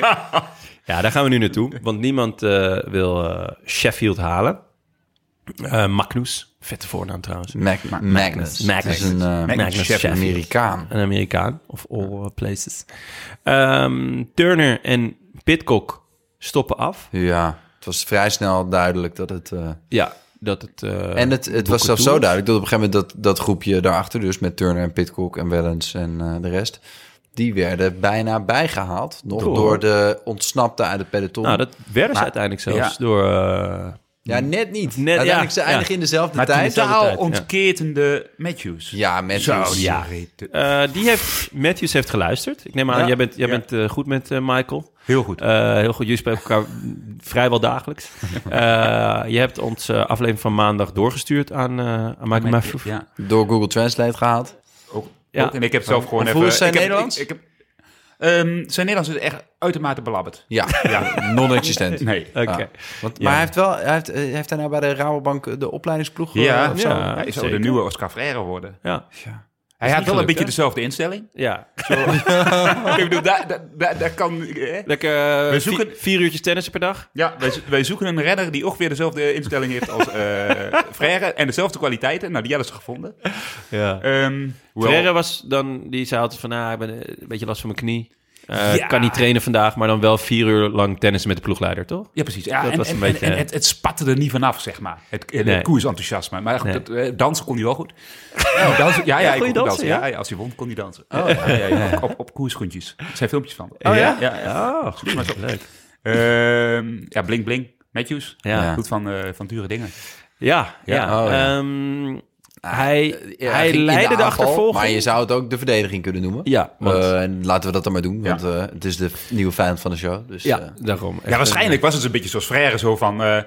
Speaker 1: Ja, daar gaan we nu naartoe. Want niemand eh, wil eh, Sheffield halen. Eh Magnus, vette voornaam trouwens.
Speaker 2: Mag Magnus.
Speaker 1: Magnus.
Speaker 2: Het is een eh,
Speaker 1: Magnus Sheffield.
Speaker 2: Amerikaan.
Speaker 1: Een Amerikaan, of all places. Ehm, Turner en Pitcock stoppen af.
Speaker 2: Ja, het was vrij snel duidelijk dat het. eh,
Speaker 1: Ja, dat het... eh,
Speaker 2: en het, het was
Speaker 1: Boekatoe.
Speaker 2: zelfs zo duidelijk dat op een gegeven moment dat, dat groepje daarachter, dus met Turner en Pitcock en Wellens en eh, de rest, die werden bijna bijgehaald. Nog
Speaker 1: Door-
Speaker 2: door, de ontsnapte uit het peloton.
Speaker 1: Nou, dat werden ze uiteindelijk zelfs door... eh,
Speaker 2: Ja, net niet.
Speaker 1: Net-
Speaker 2: Uiteindelijk
Speaker 1: ja,
Speaker 2: ze eindigen
Speaker 1: ja.
Speaker 2: in dezelfde
Speaker 4: Maar
Speaker 2: tijd.
Speaker 1: dezelfde
Speaker 4: totaal
Speaker 1: tijd, ja.
Speaker 4: ontketende Matthews.
Speaker 2: Ja, met
Speaker 4: Zo,
Speaker 2: dus-
Speaker 4: ja.
Speaker 1: eh, die heeft... Matthews heeft geluisterd. Ik neem aan,
Speaker 4: Ja,
Speaker 1: jij bent, jij
Speaker 4: ja.
Speaker 1: bent eh, goed met eh, Michael.
Speaker 4: Heel goed.
Speaker 1: Eh, heel goed, jullie spreken elkaar (laughs) vrijwel dagelijks. (laughs) Eh, je hebt ons eh, aflevering van maandag doorgestuurd aan, eh aan Michael Matthews.
Speaker 4: ja.
Speaker 2: Door Google Translate gehaald.
Speaker 4: Ook,
Speaker 1: Ja.
Speaker 4: ook- en ik heb zelf gewoon
Speaker 2: hoe
Speaker 4: even...
Speaker 2: is zijn
Speaker 4: ik heb-
Speaker 2: Nederlands?
Speaker 4: ik- ik heb- Ehm, zijn Nederlands is echt uitermate belabberd.
Speaker 1: (laughs)
Speaker 2: Ja, non-existent.
Speaker 4: Nee.
Speaker 1: Oké.
Speaker 2: Ja. Want, maar hij heeft wel, hij heeft, eh, heeft hij nou bij de Rabobank de opleidingsploeg eh,
Speaker 4: Ja,
Speaker 2: of zo?
Speaker 1: ja,
Speaker 4: hij zou
Speaker 1: zeker.
Speaker 4: de nieuwe Oscar Freire worden.
Speaker 1: Ja.
Speaker 4: Hij had wel
Speaker 1: gelukt,
Speaker 4: een beetje
Speaker 1: hè?
Speaker 4: dezelfde instelling.
Speaker 1: Ja.
Speaker 4: ik bedoel, daar, daar, daar, daar kan... eh,
Speaker 1: Lekker
Speaker 4: We
Speaker 1: we
Speaker 4: zoeken-
Speaker 1: vier, uurtjes tennissen per dag.
Speaker 4: Ja, wij, zo- wij zoeken een redder die ook weer dezelfde instelling heeft als eh Freire. En dezelfde kwaliteiten. Nou, die hadden ze gevonden.
Speaker 1: Ja.
Speaker 4: Ehm hoewel-
Speaker 1: Ferreira was dan, die zei altijd van, ah, ik ben eh, een beetje last van mijn knie. Eh,
Speaker 4: Ja.
Speaker 1: Kan niet trainen vandaag, maar dan wel vier uur lang tennissen met de ploegleider, toch?
Speaker 4: Ja, precies. Ja,
Speaker 1: Dat
Speaker 4: en,
Speaker 1: was een
Speaker 4: en-
Speaker 1: beetje-
Speaker 4: en het, het spatte er niet vanaf, zeg maar. Het, het
Speaker 1: Nee.
Speaker 4: koersenthousiasme. Maar goed,
Speaker 1: Nee.
Speaker 4: dat, eh, dansen kon hij wel
Speaker 1: (laughs)
Speaker 4: goed. Ja, dansen, ja, ja, ik
Speaker 1: kon
Speaker 4: kon
Speaker 1: je
Speaker 4: dansen.
Speaker 1: dansen,
Speaker 4: ja?
Speaker 1: ja?
Speaker 4: ja, als hij won, kon hij dansen. ja, ja, ja, Op, op, op koersschoentjes. Er zijn filmpjes van.
Speaker 1: Oh, ja?
Speaker 4: Ja, ja.
Speaker 1: Oh, goed. Leuk.
Speaker 4: Ehm, ja, Blink Blink. Matthews.
Speaker 1: Ja.
Speaker 4: Ja. Goed van, eh, van dure dingen.
Speaker 1: Ja, ja.
Speaker 2: Ja, oh, ja. eh,
Speaker 1: Ehm, hij
Speaker 2: Ja,
Speaker 1: hij
Speaker 2: ging in
Speaker 1: leidde de,
Speaker 2: aanval,
Speaker 1: achtervolging.
Speaker 2: Maar je zou het ook de verdediging kunnen noemen.
Speaker 1: Ja, want-
Speaker 2: Eh, en laten we dat dan maar doen, want eh, het is de nieuwe vijand van de show. Dus,
Speaker 1: ja,
Speaker 2: eh,
Speaker 1: daarom. Echt
Speaker 4: Ja,
Speaker 1: een-
Speaker 4: waarschijnlijk was het een beetje zoals Frère zo van... eh,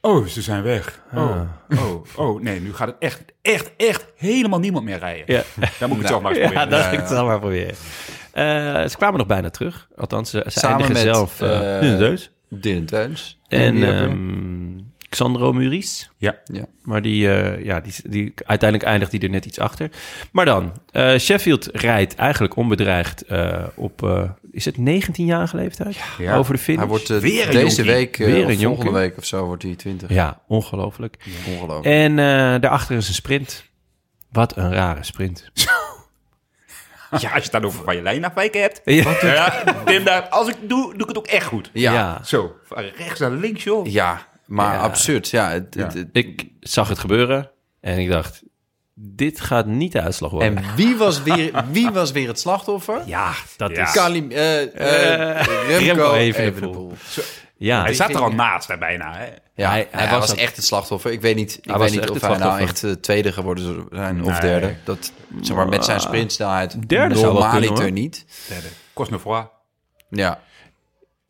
Speaker 4: oh, ze zijn weg.
Speaker 1: Ah.
Speaker 4: Oh, oh, oh. Nee, nu gaat het echt, echt, echt helemaal niemand meer rijden.
Speaker 1: Ja.
Speaker 2: (laughs)
Speaker 4: Dan moet ik het zelf maar eens
Speaker 1: Ja,
Speaker 4: proberen.
Speaker 1: dat ik het wel maar proberen. Eh, ze kwamen nog bijna terug. Althans, eh, ze, ze
Speaker 2: Samen
Speaker 1: eindigen
Speaker 2: met,
Speaker 1: zelf eh,
Speaker 2: eh,
Speaker 1: in de deus.
Speaker 2: Dylan Teuns.
Speaker 1: En
Speaker 2: die hebben-
Speaker 1: ehm Xandro Muris.
Speaker 4: Ja.
Speaker 2: Ja.
Speaker 1: Maar die, eh, ja, die, die, uiteindelijk eindigt hij er net iets achter. Maar dan, eh, Sheffield rijdt eigenlijk onbedreigd eh, op, eh, is het 19-jarige leeftijd?
Speaker 4: Ja.
Speaker 1: Over de finish.
Speaker 2: hij wordt eh,
Speaker 4: Weer een
Speaker 2: deze
Speaker 4: jonkie.
Speaker 2: week, eh,
Speaker 1: Weer een
Speaker 2: of volgende
Speaker 1: jonkie.
Speaker 2: week of zo, wordt hij 20.
Speaker 1: Ja, ongelooflijk.
Speaker 2: Ongelooflijk.
Speaker 1: En eh, daarachter is een sprint. Wat een rare sprint.
Speaker 4: Ja, als je het dan over van je lijn afwijken hebt.
Speaker 1: Ja.
Speaker 4: Ja, Tim, daar, als ik doe, doe ik het ook echt goed.
Speaker 2: Ja,
Speaker 1: (laughs)
Speaker 2: ja.
Speaker 1: Ja.
Speaker 4: Zo, van rechts naar links, joh.
Speaker 2: maar
Speaker 1: Ja.
Speaker 2: absurd. Ja, het, het- het-
Speaker 1: Ik zag het gebeuren en ik dacht, dit gaat niet de uitslag worden.
Speaker 2: en wie was, weer, wie was weer het slachtoffer?
Speaker 1: ja, dat
Speaker 4: Ja.
Speaker 1: is...
Speaker 2: Kalim, eh, eh, Remco,
Speaker 1: Remco Evenepoel.
Speaker 2: Evenepoel.
Speaker 1: Ja,
Speaker 4: Hij zat er al naast, hè, bijna. Hè.
Speaker 2: Ja,
Speaker 1: Hij-
Speaker 2: hij,
Speaker 1: hij was
Speaker 2: was,
Speaker 1: dat-
Speaker 2: echt het slachtoffer. Ik weet niet, ik
Speaker 1: was
Speaker 2: weet niet
Speaker 1: echt
Speaker 2: of
Speaker 1: het
Speaker 2: hij nou
Speaker 1: slachtoffer.
Speaker 2: echt eh, tweede geworden zou zijn of
Speaker 4: Nee.
Speaker 2: derde. Dat, zeg maar, met zijn sprintsnelheid
Speaker 1: Ah. Derde zou wel kunnen, hoor.
Speaker 2: normaliter niet.
Speaker 4: Cosnefroy.
Speaker 2: Ja,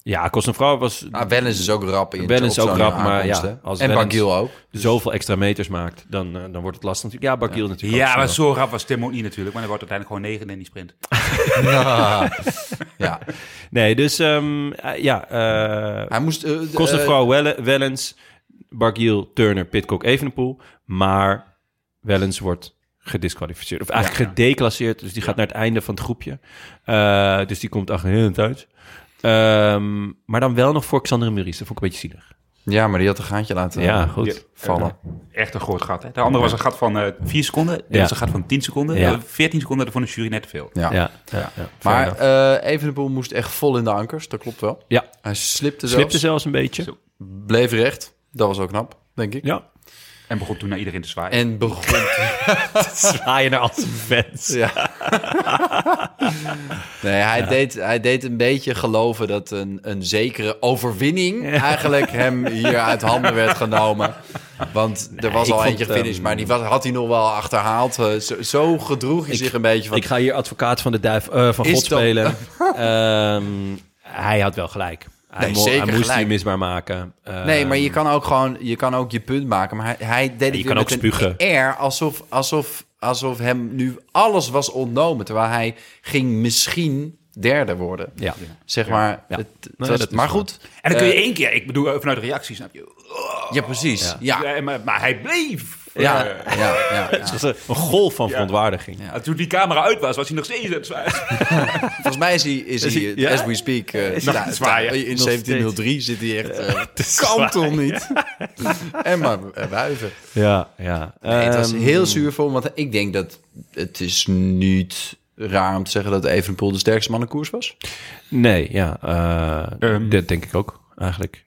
Speaker 1: ja Cosnefroid was
Speaker 2: nou, Wellens is ook rap in
Speaker 1: Wellens is
Speaker 2: op
Speaker 1: ook
Speaker 2: zo'n
Speaker 1: rap, maar
Speaker 2: aankomst,
Speaker 1: ja,
Speaker 2: hè.
Speaker 1: als
Speaker 2: en
Speaker 1: Wellens-
Speaker 2: Bagiel ook.
Speaker 1: zoveel extra meters maakt, dan, eh, dan wordt het lastig natuurlijk. Ja, Bakiel natuurlijk
Speaker 4: Ja,
Speaker 1: ook
Speaker 4: maar
Speaker 1: snel.
Speaker 4: zo rap was Tim ook niet natuurlijk. Maar hij wordt uiteindelijk gewoon negen in die sprint.
Speaker 1: (laughs)
Speaker 2: Ja,
Speaker 1: Nee, dus ehm, eh, ja, eh
Speaker 2: hij moest... eh, de-
Speaker 1: Kostenvrouw Welle- Wellens, Bargiel, Turner, Pitcock, Evenepoel. Maar Wellens wordt gedisqualificeerd. Of eigenlijk gedeclasseerd, dus die gaat naar het einde van het groepje. Eh, dus die komt achter heel het uit. Ehm, maar dan wel nog voor Xander Muris. Dat vond ik een beetje zielig.
Speaker 2: eh, ja, maar die had een gaatje laten
Speaker 1: Ja, goed.
Speaker 4: Ja.
Speaker 2: vallen.
Speaker 4: Echt een groot gat. Hè. De andere was een gat van eh 4 seconden. Dit
Speaker 1: Ja.
Speaker 4: was een gat van 10 seconden.
Speaker 1: Ja.
Speaker 4: Eh, 14 seconden, dat vond de jury net te veel.
Speaker 2: Ja.
Speaker 1: Ja, ja, ja.
Speaker 2: Maar eh Evenepoel moest echt vol in de ankers, dat klopt wel.
Speaker 1: ja,
Speaker 2: Hij slipte zelfs,
Speaker 1: slipte zelfs een beetje.
Speaker 4: Zo.
Speaker 2: bleef recht. Dat was ook knap, denk ik.
Speaker 1: Ja,
Speaker 4: En begon toen naar iedereen te zwaaien.
Speaker 2: En begon,
Speaker 1: (laughs) Zwaaien naar al zijn fans.
Speaker 2: Ja. nee, hij, Deed, hij deed een beetje geloven dat een, een zekere overwinning eigenlijk hem hier uit handen werd genomen. Want er was
Speaker 1: ik
Speaker 2: al
Speaker 1: vond,
Speaker 2: eentje finish,
Speaker 1: ehm,
Speaker 2: maar die was, had hij nog wel achterhaald. Eh, Zo, zo gedroeg hij zich een beetje van...
Speaker 1: Ik ga hier advocaat van de duif, eh, van
Speaker 2: Is
Speaker 1: God
Speaker 2: dat- (laughs)
Speaker 1: spelen. Ehm, hij had wel gelijk. Hij,
Speaker 2: Nee,
Speaker 1: mo-
Speaker 2: zeker
Speaker 1: hij moest
Speaker 2: gelijk.
Speaker 1: die misbaar maken. Ehm,
Speaker 2: Nee, maar je kan ook gewoon je, kan ook je punt maken. Maar hij, hij deed het
Speaker 1: je
Speaker 2: weer
Speaker 1: kan
Speaker 2: met
Speaker 1: ook spugen.
Speaker 2: een air alsof, alsof, alsof hem nu alles was ontnomen. Terwijl hij ging misschien derde worden.
Speaker 1: Ja.
Speaker 2: Zeg maar.
Speaker 1: Ja.
Speaker 2: het- het
Speaker 1: Nee,
Speaker 2: was-
Speaker 1: dat is
Speaker 2: maar
Speaker 1: waar.
Speaker 2: goed.
Speaker 4: En dan kun je één keer, ik bedoel eh, vanuit de reacties, snap je?
Speaker 2: Ja, precies. Ja.
Speaker 4: Ja, maar, maar hij bleef.
Speaker 2: Ja,
Speaker 4: Eh,
Speaker 2: ja, ja,
Speaker 1: (laughs)
Speaker 2: ja.
Speaker 1: Het was Ehm, een- een golf van verontwaardiging.
Speaker 4: Ja, Toen die camera uit was, was hij nog steeds aan het zwaaien.
Speaker 2: Volgens mij is hij, is hij
Speaker 1: ja?
Speaker 2: as we speak, eh
Speaker 4: hij
Speaker 2: daar-
Speaker 4: aan het zwaaien?
Speaker 2: daar- in
Speaker 1: Nog
Speaker 2: 1703 zit hij echt...
Speaker 1: (laughs)
Speaker 2: eh kan toch niet? en maar eh, wuiven.
Speaker 1: Ja, ja.
Speaker 2: Nee, het was
Speaker 1: Ehm,
Speaker 2: heel zuur voor hem, want ik denk dat het is niet raar om te zeggen dat Evenepoel de sterkste man in koers was.
Speaker 1: Nee, ja. eh, dat denk ik ook, eigenlijk.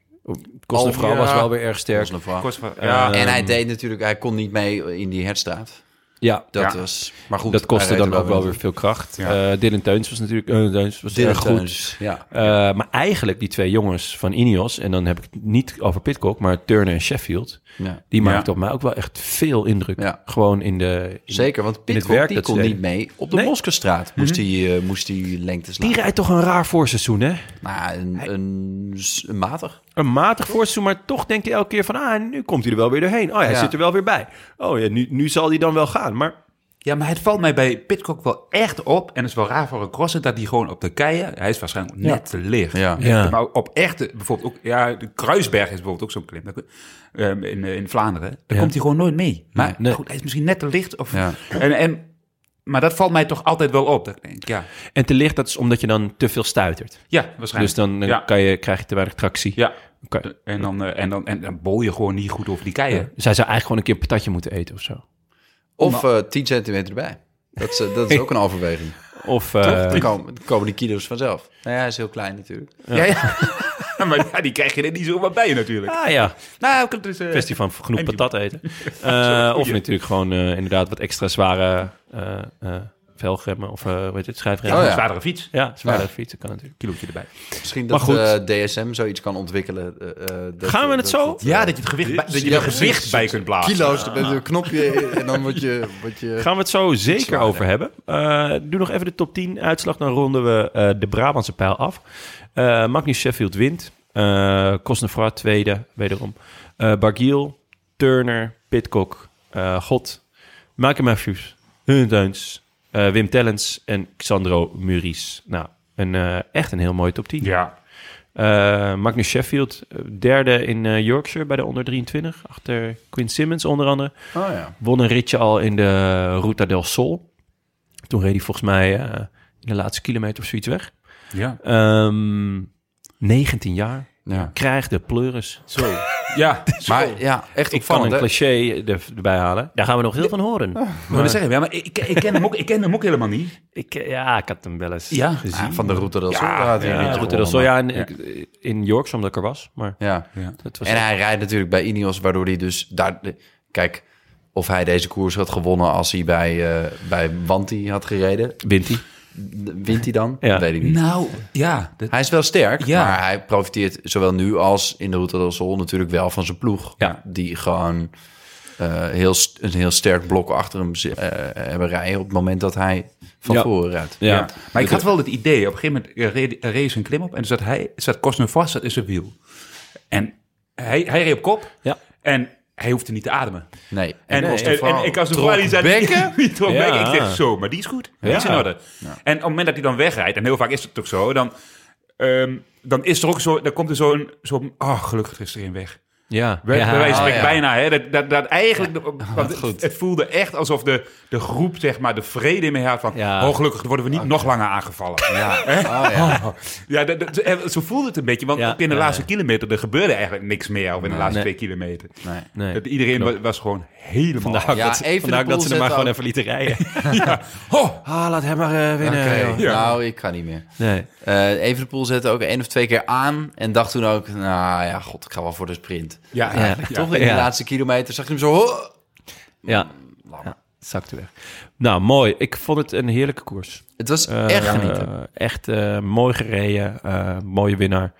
Speaker 1: Kostenvrouw
Speaker 2: Al-
Speaker 1: was
Speaker 2: ja.
Speaker 1: wel weer erg sterk. Ehm,
Speaker 2: Volgens mij.
Speaker 4: Ja,
Speaker 2: en hij deed natuurlijk, hij kon niet mee in die herstraat.
Speaker 1: Ja, dat,
Speaker 2: Dat
Speaker 4: Ja.
Speaker 2: was, maar goed.
Speaker 1: dat kostte
Speaker 2: hij reed
Speaker 1: dan
Speaker 2: er
Speaker 1: ook wel weer veel kracht.
Speaker 4: Ja.
Speaker 1: Eh, Dylan Teuns was natuurlijk eh, Teuns was
Speaker 2: Dylan
Speaker 1: erg goed.
Speaker 2: Teuns, ja.
Speaker 1: Eh, maar eigenlijk die twee jongens van Ineos... en dan heb ik het niet over Pitcock, maar Turner en Sheffield...
Speaker 2: Ja.
Speaker 1: die maakten op mij ook wel echt veel indruk.
Speaker 2: Ja.
Speaker 1: Gewoon in de... in-
Speaker 2: Zeker, want Pitcock
Speaker 1: werk
Speaker 2: die
Speaker 1: dat ze
Speaker 2: kon niet
Speaker 1: deden.
Speaker 2: mee op de
Speaker 1: Nee. Mhm.
Speaker 2: Moskestraat. Moest hij eh, moest hij lengte slaan.
Speaker 1: Die rijdt toch een raar voorseizoen, hè?
Speaker 2: Maar een, een, een matig.
Speaker 1: Een matig voorseizoen, maar toch denk je elke keer van... ah, nu komt hij er wel weer doorheen. Oh, hij
Speaker 2: Ja.
Speaker 1: zit er wel weer bij. Oh ja, nu, nu zal hij dan wel gaan. Maar
Speaker 4: Ja, maar het valt mij bij Pitcock wel echt op. En het is wel raar voor een crosser dat hij gewoon op de keien... Hij is waarschijnlijk net te licht.
Speaker 2: Ja.
Speaker 1: Ja.
Speaker 4: Maar op echte, bijvoorbeeld ook... Ja, de Kruisberg is bijvoorbeeld ook zo'n klim. dat- ehm, in, eh, in Vlaanderen. Daar komt hij gewoon nooit mee. Maar
Speaker 1: Nee.
Speaker 4: goed, hij is misschien net te licht. Of,
Speaker 2: Ja.
Speaker 4: en, en, maar dat valt mij toch altijd wel op. Dat ik denk, ja,
Speaker 1: En te licht, dat is omdat je dan te veel stuitert.
Speaker 4: ja, waarschijnlijk.
Speaker 1: Dus dan eh,
Speaker 4: ja.
Speaker 1: kan je, krijg je te weinig tractie.
Speaker 4: Ja.
Speaker 2: Dus
Speaker 1: Oké.
Speaker 4: En dan, eh, en dan, en dan bol je gewoon niet goed over die keien.
Speaker 1: Dus hij zou eigenlijk gewoon een keer een patatje moeten eten of zo.
Speaker 2: Of eh 10 centimeter erbij. Dat is, eh,
Speaker 1: (laughs)
Speaker 2: dat is ook een overweging.
Speaker 1: Of eh,
Speaker 2: Dan komen, dan komen die kilo's vanzelf. Nou ja, hij is heel klein natuurlijk.
Speaker 4: Ja, ja. (laughs) maar ja, die krijg je er niet zo wat bij natuurlijk.
Speaker 1: ah ja,
Speaker 4: Nou, ik heb dus, eh,
Speaker 1: kwestie van genoeg
Speaker 4: En die-
Speaker 1: patat eten. Eh, of natuurlijk gewoon eh, inderdaad wat extra zware eh eh, velgremmen of eh, hoe heet het, schijfremmen.
Speaker 2: Oh
Speaker 4: een
Speaker 2: ja.
Speaker 4: zwaardere fiets.
Speaker 1: Ja, zware
Speaker 2: Ja.
Speaker 1: fietsen kan natuurlijk.
Speaker 4: Kilootje erbij.
Speaker 2: Misschien
Speaker 1: Maar
Speaker 2: dat
Speaker 1: goed.
Speaker 2: eh, DSM zoiets kan ontwikkelen. eh, eh, dat-
Speaker 1: Gaan we het
Speaker 2: dat-
Speaker 1: zo?
Speaker 2: dat, eh, Ah,
Speaker 4: Ja, dat je het gewicht, bij- dat je
Speaker 2: Ja,
Speaker 4: er
Speaker 2: precies.
Speaker 4: gewicht bij kunt blazen.
Speaker 2: kilo's, dan ben je een knopje en dan word je... Word je
Speaker 1: Gaan we het zo zeker over hebben. Eh, doe nog even de top 10 uitslag. Dan ronden we eh, de Brabantse pijl af. Eh Magnus Sheffield wint. Eh Cosnefroid tweede, wederom. Eh Bargiel, Turner, Pitcock, eh, God, Malcolm Matthews, Hun Deuns, eh, Wim Tellens en Xandro Muris. Nou, een, eh, echt een heel mooie top 10.
Speaker 4: Ja.
Speaker 1: Eh, Magnus Sheffield, eh, derde in eh, Yorkshire bij de onder 23. Achter Quinn Simmons onder andere
Speaker 2: Oh ja.
Speaker 1: won een ritje al in de Ruta del Sol. Toen reed hij volgens mij eh, in de laatste kilometer of zoiets weg.
Speaker 4: Ja.
Speaker 1: Ehm, 19 jaar.
Speaker 2: Ja.
Speaker 1: Krijg de pleuris.
Speaker 4: Zo. Ja.
Speaker 2: Maar ja, echt
Speaker 1: Ik kan
Speaker 2: opvallend.
Speaker 1: een
Speaker 2: hè?
Speaker 1: cliché er, erbij halen. Daar gaan we nog heel van horen.
Speaker 4: Maar, dat zeggen we, ja, maar (laughs) ik, ik, ken hem ook, ik ken hem ook helemaal niet.
Speaker 1: Ik, eh, ja, ik had hem wel eens
Speaker 4: Ja.
Speaker 1: gezien.
Speaker 2: Ah, van de Route del Sol.
Speaker 4: Ja,
Speaker 2: had hij
Speaker 1: Ja,
Speaker 2: een beetje
Speaker 1: Ruta del Sol,
Speaker 2: gewonnen,
Speaker 1: ja, in, in Yorkshire omdat ik er was. Maar
Speaker 2: maar- Ja.
Speaker 1: dat was
Speaker 2: En hij rijdt natuurlijk bij Ineos, waardoor hij dus daar... Kijk, of hij deze koers had gewonnen als hij bij, eh, bij Wanti had gereden.
Speaker 1: wint hij.
Speaker 2: Wint hij dan?
Speaker 1: Ja.
Speaker 2: Weet ik niet.
Speaker 4: Nou, ja. dat-
Speaker 2: Hij is wel sterk,
Speaker 4: Ja.
Speaker 2: maar hij profiteert zowel nu als in de Route del Sol natuurlijk wel van zijn ploeg.
Speaker 1: Ja.
Speaker 2: Die gewoon eh, heel, st- een heel sterk blok achter hem zi- eh, hebben rijden op het moment dat hij van
Speaker 1: Ja.
Speaker 2: voren rijdt.
Speaker 1: Ja.
Speaker 4: ja. Maar ik had wel het idee, op een gegeven moment eh, reed- reed ze een klim op en zat hij, zat Cosner vast zat in zijn wiel. En hij, hij reed op kop
Speaker 1: Ja.
Speaker 4: en hij hoefde niet te ademen.
Speaker 2: Nee.
Speaker 4: En, eh,
Speaker 2: Nee.
Speaker 4: en, en ik als een Ferrari zei
Speaker 2: bekken?
Speaker 4: (laughs) die trok
Speaker 1: Ja.
Speaker 4: bekken. Ik zeg zo, maar die is goed. Die is in
Speaker 1: Ja.
Speaker 4: orde. En op het moment dat hij dan wegrijdt, en heel vaak is het toch zo, dan, ehm, dan is er ook zo, dan komt er zo'n, zo oh gelukkig is er een weg.
Speaker 1: Ja,
Speaker 4: Bij,
Speaker 1: ja, Oh,
Speaker 4: bij wijze van
Speaker 2: Oh,
Speaker 4: spreken
Speaker 2: ja.
Speaker 4: bijna, hè. Dat, dat, dat eigenlijk, want het, het voelde echt alsof de, de groep, zeg maar, de vrede in me had van,
Speaker 1: Ja.
Speaker 4: oh gelukkig worden we niet nog langer aangevallen.
Speaker 2: Ja. Oh, ja.
Speaker 4: (laughs) Ja, dat, dat- eh, zo voelde het een beetje, want
Speaker 1: Ja,
Speaker 4: ook in de
Speaker 1: ja,
Speaker 4: laatste kilometer, er gebeurde eigenlijk niks meer, of in de
Speaker 1: Nee.
Speaker 4: laatste twee kilometer.
Speaker 2: Nee.
Speaker 1: Nee.
Speaker 4: Dat iedereen wa- was gewoon helemaal...
Speaker 1: Vandaar
Speaker 2: Ja,
Speaker 1: dat, ze-
Speaker 2: Evenepoel
Speaker 1: vandaar dat ze er
Speaker 2: zet
Speaker 1: maar gewoon
Speaker 2: ook-
Speaker 1: even lieten rijden.
Speaker 4: Ho!
Speaker 1: Ah, laat hem maar eh, winnen.
Speaker 2: Oké,
Speaker 1: joh.
Speaker 4: Ja.
Speaker 2: Nou, ik kan niet meer.
Speaker 1: Nee.
Speaker 2: Eh Evenepoel zette ook één of twee keer aan en dacht toen ook, nou ja, god, ik ga wel voor de sprint.
Speaker 4: Ja,
Speaker 1: Ja.
Speaker 4: ja.
Speaker 2: Toch in de
Speaker 1: Ja.
Speaker 2: laatste kilometer zag je hem zo... "Ho!"
Speaker 1: Ja.
Speaker 2: Lam.
Speaker 1: Ja. zakte weg. Nou, mooi. Ik vond het een heerlijke koers.
Speaker 2: Het was
Speaker 1: Eh,
Speaker 2: echt genieten.
Speaker 1: eh, echt eh, mooi gereden. eh, mooie winnaar.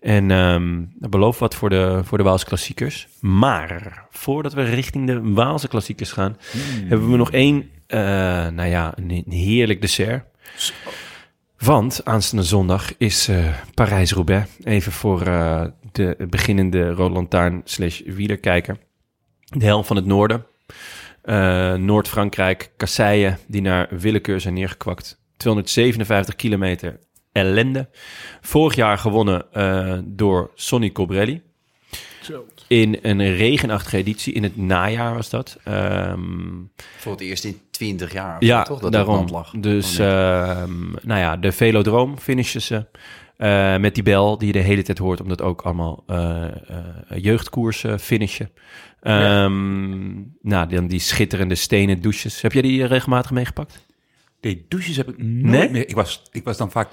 Speaker 1: En ehm beloof wat voor de, voor de Waalse klassiekers. Maar voordat we richting de Waalse klassiekers gaan,
Speaker 2: Hmm.
Speaker 1: hebben we nog één, eh, nou ja, een, een heerlijk dessert. Want aanstaande zondag is eh, Parijs-Roubaix. Even voor eh, de beginnende Roland Taarn slash wielerkijker. De helm van het noorden. Eh, Noord-Frankrijk, kasseien die naar willekeur zijn neergekwakt. 257 kilometer ellende. Vorig jaar gewonnen eh, door Sonny Cobrelli. In een regenachtige editie, in het najaar was dat. Ehm,
Speaker 2: Voor het eerst in 20 jaar.
Speaker 1: ja,
Speaker 2: toch? Dat
Speaker 1: daarom.
Speaker 2: land lag.
Speaker 1: Dus,
Speaker 2: Oh, nee.
Speaker 1: ehm, nou ja, de velodroom finishen ze. eh, met die bel die je de hele tijd hoort, omdat ook allemaal eh, eh, jeugdkoersen finishen. Ehm, Nou, dan die schitterende stenen douches. Heb jij die eh, regelmatig meegepakt?
Speaker 4: Nee, douches heb ik nooit
Speaker 1: Nee?
Speaker 4: meer. Ik was, ik was dan vaak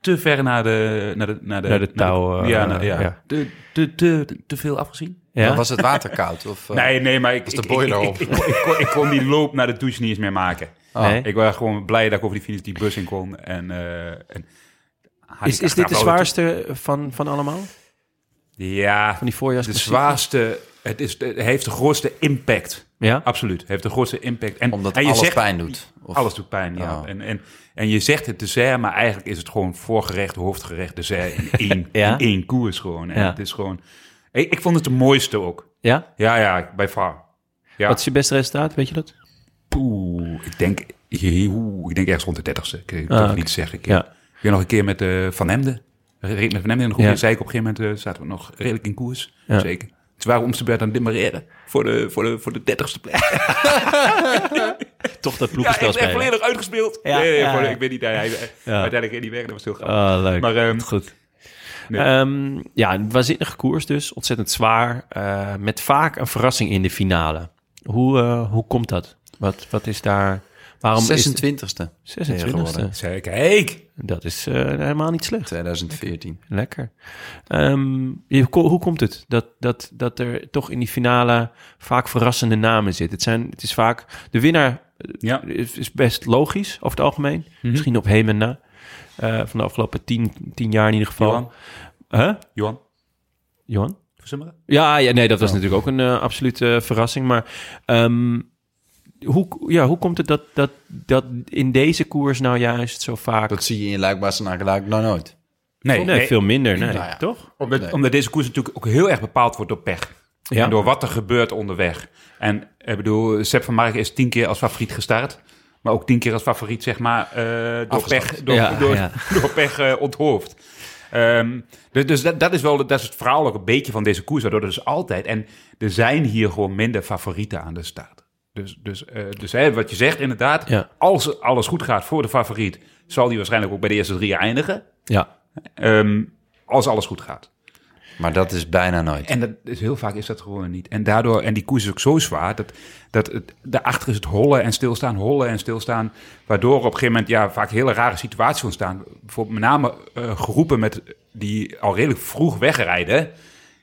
Speaker 4: te ver naar de... Naar de, naar de,
Speaker 1: Naar de touw, eh,
Speaker 4: ja, nou, ja.
Speaker 1: ja.
Speaker 4: Te, te, te, te veel afgezien.
Speaker 1: Ja?
Speaker 2: Maar was het water koud? Of, eh,
Speaker 4: Nee, nee, maar ik,
Speaker 2: Was
Speaker 4: ik,
Speaker 2: de
Speaker 4: ik,
Speaker 2: boiler
Speaker 4: ik,
Speaker 2: op?
Speaker 4: ik, kon- ik kon, ik kon die loop naar de douche niet eens meer maken.
Speaker 1: Nee?
Speaker 4: Ik was gewoon blij dat ik over die finish die bus in kon. En, eh, en had
Speaker 1: Is,
Speaker 4: ik
Speaker 1: is dit
Speaker 4: achteraf
Speaker 1: de
Speaker 4: wel-
Speaker 1: zwaarste van, van allemaal?
Speaker 4: Ja,
Speaker 1: Van die voorjaars?
Speaker 4: de zwaarste... Het, is, het heeft de grootste impact.
Speaker 1: Ja?
Speaker 4: Absoluut. Het heeft de grootste impact. En,
Speaker 2: Omdat
Speaker 4: en je
Speaker 2: alles
Speaker 4: zegt,
Speaker 2: pijn doet. Of,
Speaker 4: Alles doet pijn, ja.
Speaker 2: Ja.
Speaker 1: Oh.
Speaker 4: En, en, en je zegt het dessert, maar eigenlijk is het gewoon voorgerecht, hoofdgerecht, dessert
Speaker 1: (laughs)
Speaker 4: in één,
Speaker 1: Ja.
Speaker 4: in één koers gewoon. En
Speaker 1: Ja.
Speaker 4: Het is gewoon... Ik, ik vond het de mooiste ook.
Speaker 1: Ja?
Speaker 4: Ja, ja, bij far. Ja.
Speaker 1: Wat is je beste resultaat, weet je dat?
Speaker 4: Poeh, ik denk, oeh, ik denk ergens rond de dertigste. Ik weet
Speaker 1: Ah,
Speaker 4: het
Speaker 1: oké.
Speaker 4: niet zeggen. Ik,
Speaker 1: Ja.
Speaker 4: ik ben nog een keer met eh, Van Hemden. Ik reed met Van Hemden in de groep.
Speaker 1: Ja.
Speaker 4: En zei ik op een gegeven moment eh, zaten we nog redelijk in koers.
Speaker 1: Ja.
Speaker 4: Zeker. Dus waren we om Amsterdam aan het demareren voor de, voor de, voor de dertigste plek.
Speaker 1: Toch dat
Speaker 4: Ja, ik
Speaker 1: ploegenspel
Speaker 4: ben echt
Speaker 1: spelen.
Speaker 4: volledig uitgespeeld.
Speaker 1: Ja,
Speaker 4: nee, nee,
Speaker 1: ja,
Speaker 4: voor de-
Speaker 1: ja.
Speaker 4: ik weet niet. Hij, hij,
Speaker 1: Ja.
Speaker 4: Uiteindelijk in die weg, dat was heel grappig.
Speaker 1: Ah, leuk.
Speaker 4: Maar ehm,
Speaker 1: Goed.
Speaker 4: Nee.
Speaker 1: Ehm, ja, een waanzinnige koers dus. Ontzettend zwaar. eh, met vaak een verrassing in de finale. Hoe, eh, hoe komt dat? Wat, wat is daar... Waarom
Speaker 2: 26e.
Speaker 1: is het 26e?
Speaker 2: geworden.
Speaker 4: zei ik, hey,
Speaker 1: Dat is eh, helemaal niet slecht.
Speaker 2: 2014.
Speaker 1: Lekker. Ehm, je- ko- hoe komt het dat, dat, dat er toch in die finale vaak verrassende namen zitten? Het, zijn, het is vaak... De winnaar
Speaker 4: Ja.
Speaker 1: is, is best logisch over het algemeen. Misschien op heen en na. Eh, van de afgelopen tien, tien jaar in ieder geval.
Speaker 4: Johan.
Speaker 1: Huh?
Speaker 4: Johan,
Speaker 1: Johan?
Speaker 4: verzummeren?
Speaker 1: Ja, ja, nee, dat was natuurlijk ook een eh, absolute verrassing. Maar ehm, hoe, ja, hoe komt het dat, dat, dat in deze koers nou juist zo vaak...
Speaker 2: Dat zie je in Luikbaas en Akeluik nou nooit.
Speaker 4: Oh, Nee,
Speaker 1: nee, veel minder, nee.
Speaker 2: Nou ja.
Speaker 1: toch?
Speaker 4: Omdat,
Speaker 2: Nee.
Speaker 4: omdat deze koers natuurlijk ook heel erg bepaald wordt door pech.
Speaker 1: Ja.
Speaker 4: En door wat er gebeurt onderweg. En ik bedoel, Sepp van Marken is tien keer als favoriet gestart. Maar ook tien keer als favoriet, zeg maar, eh, door, pech, door,
Speaker 1: Ja,
Speaker 4: door,
Speaker 1: ja.
Speaker 4: (laughs) door pech eh, onthoofd. Ehm, dus dus dat, dat is wel dat is het verhaal ook een beetje van deze koers. Waardoor er dus altijd... En er zijn hier gewoon minder favorieten aan de start. Dus, dus, eh, dus hè, wat je zegt inderdaad.
Speaker 1: Ja.
Speaker 4: Als alles goed gaat voor de favoriet... zal die waarschijnlijk ook bij de eerste drie eindigen.
Speaker 1: Ja.
Speaker 4: Ehm, als alles goed gaat.
Speaker 2: Maar dat is bijna nooit.
Speaker 4: En dat is, heel vaak is dat gewoon niet. En daardoor, en die koers is ook zo zwaar, dat, dat het, daarachter is het hollen en stilstaan, hollen en stilstaan. Waardoor op een gegeven moment ja, vaak hele rare situaties ontstaan. Bijvoorbeeld met name eh, groepen met, die al redelijk vroeg wegrijden.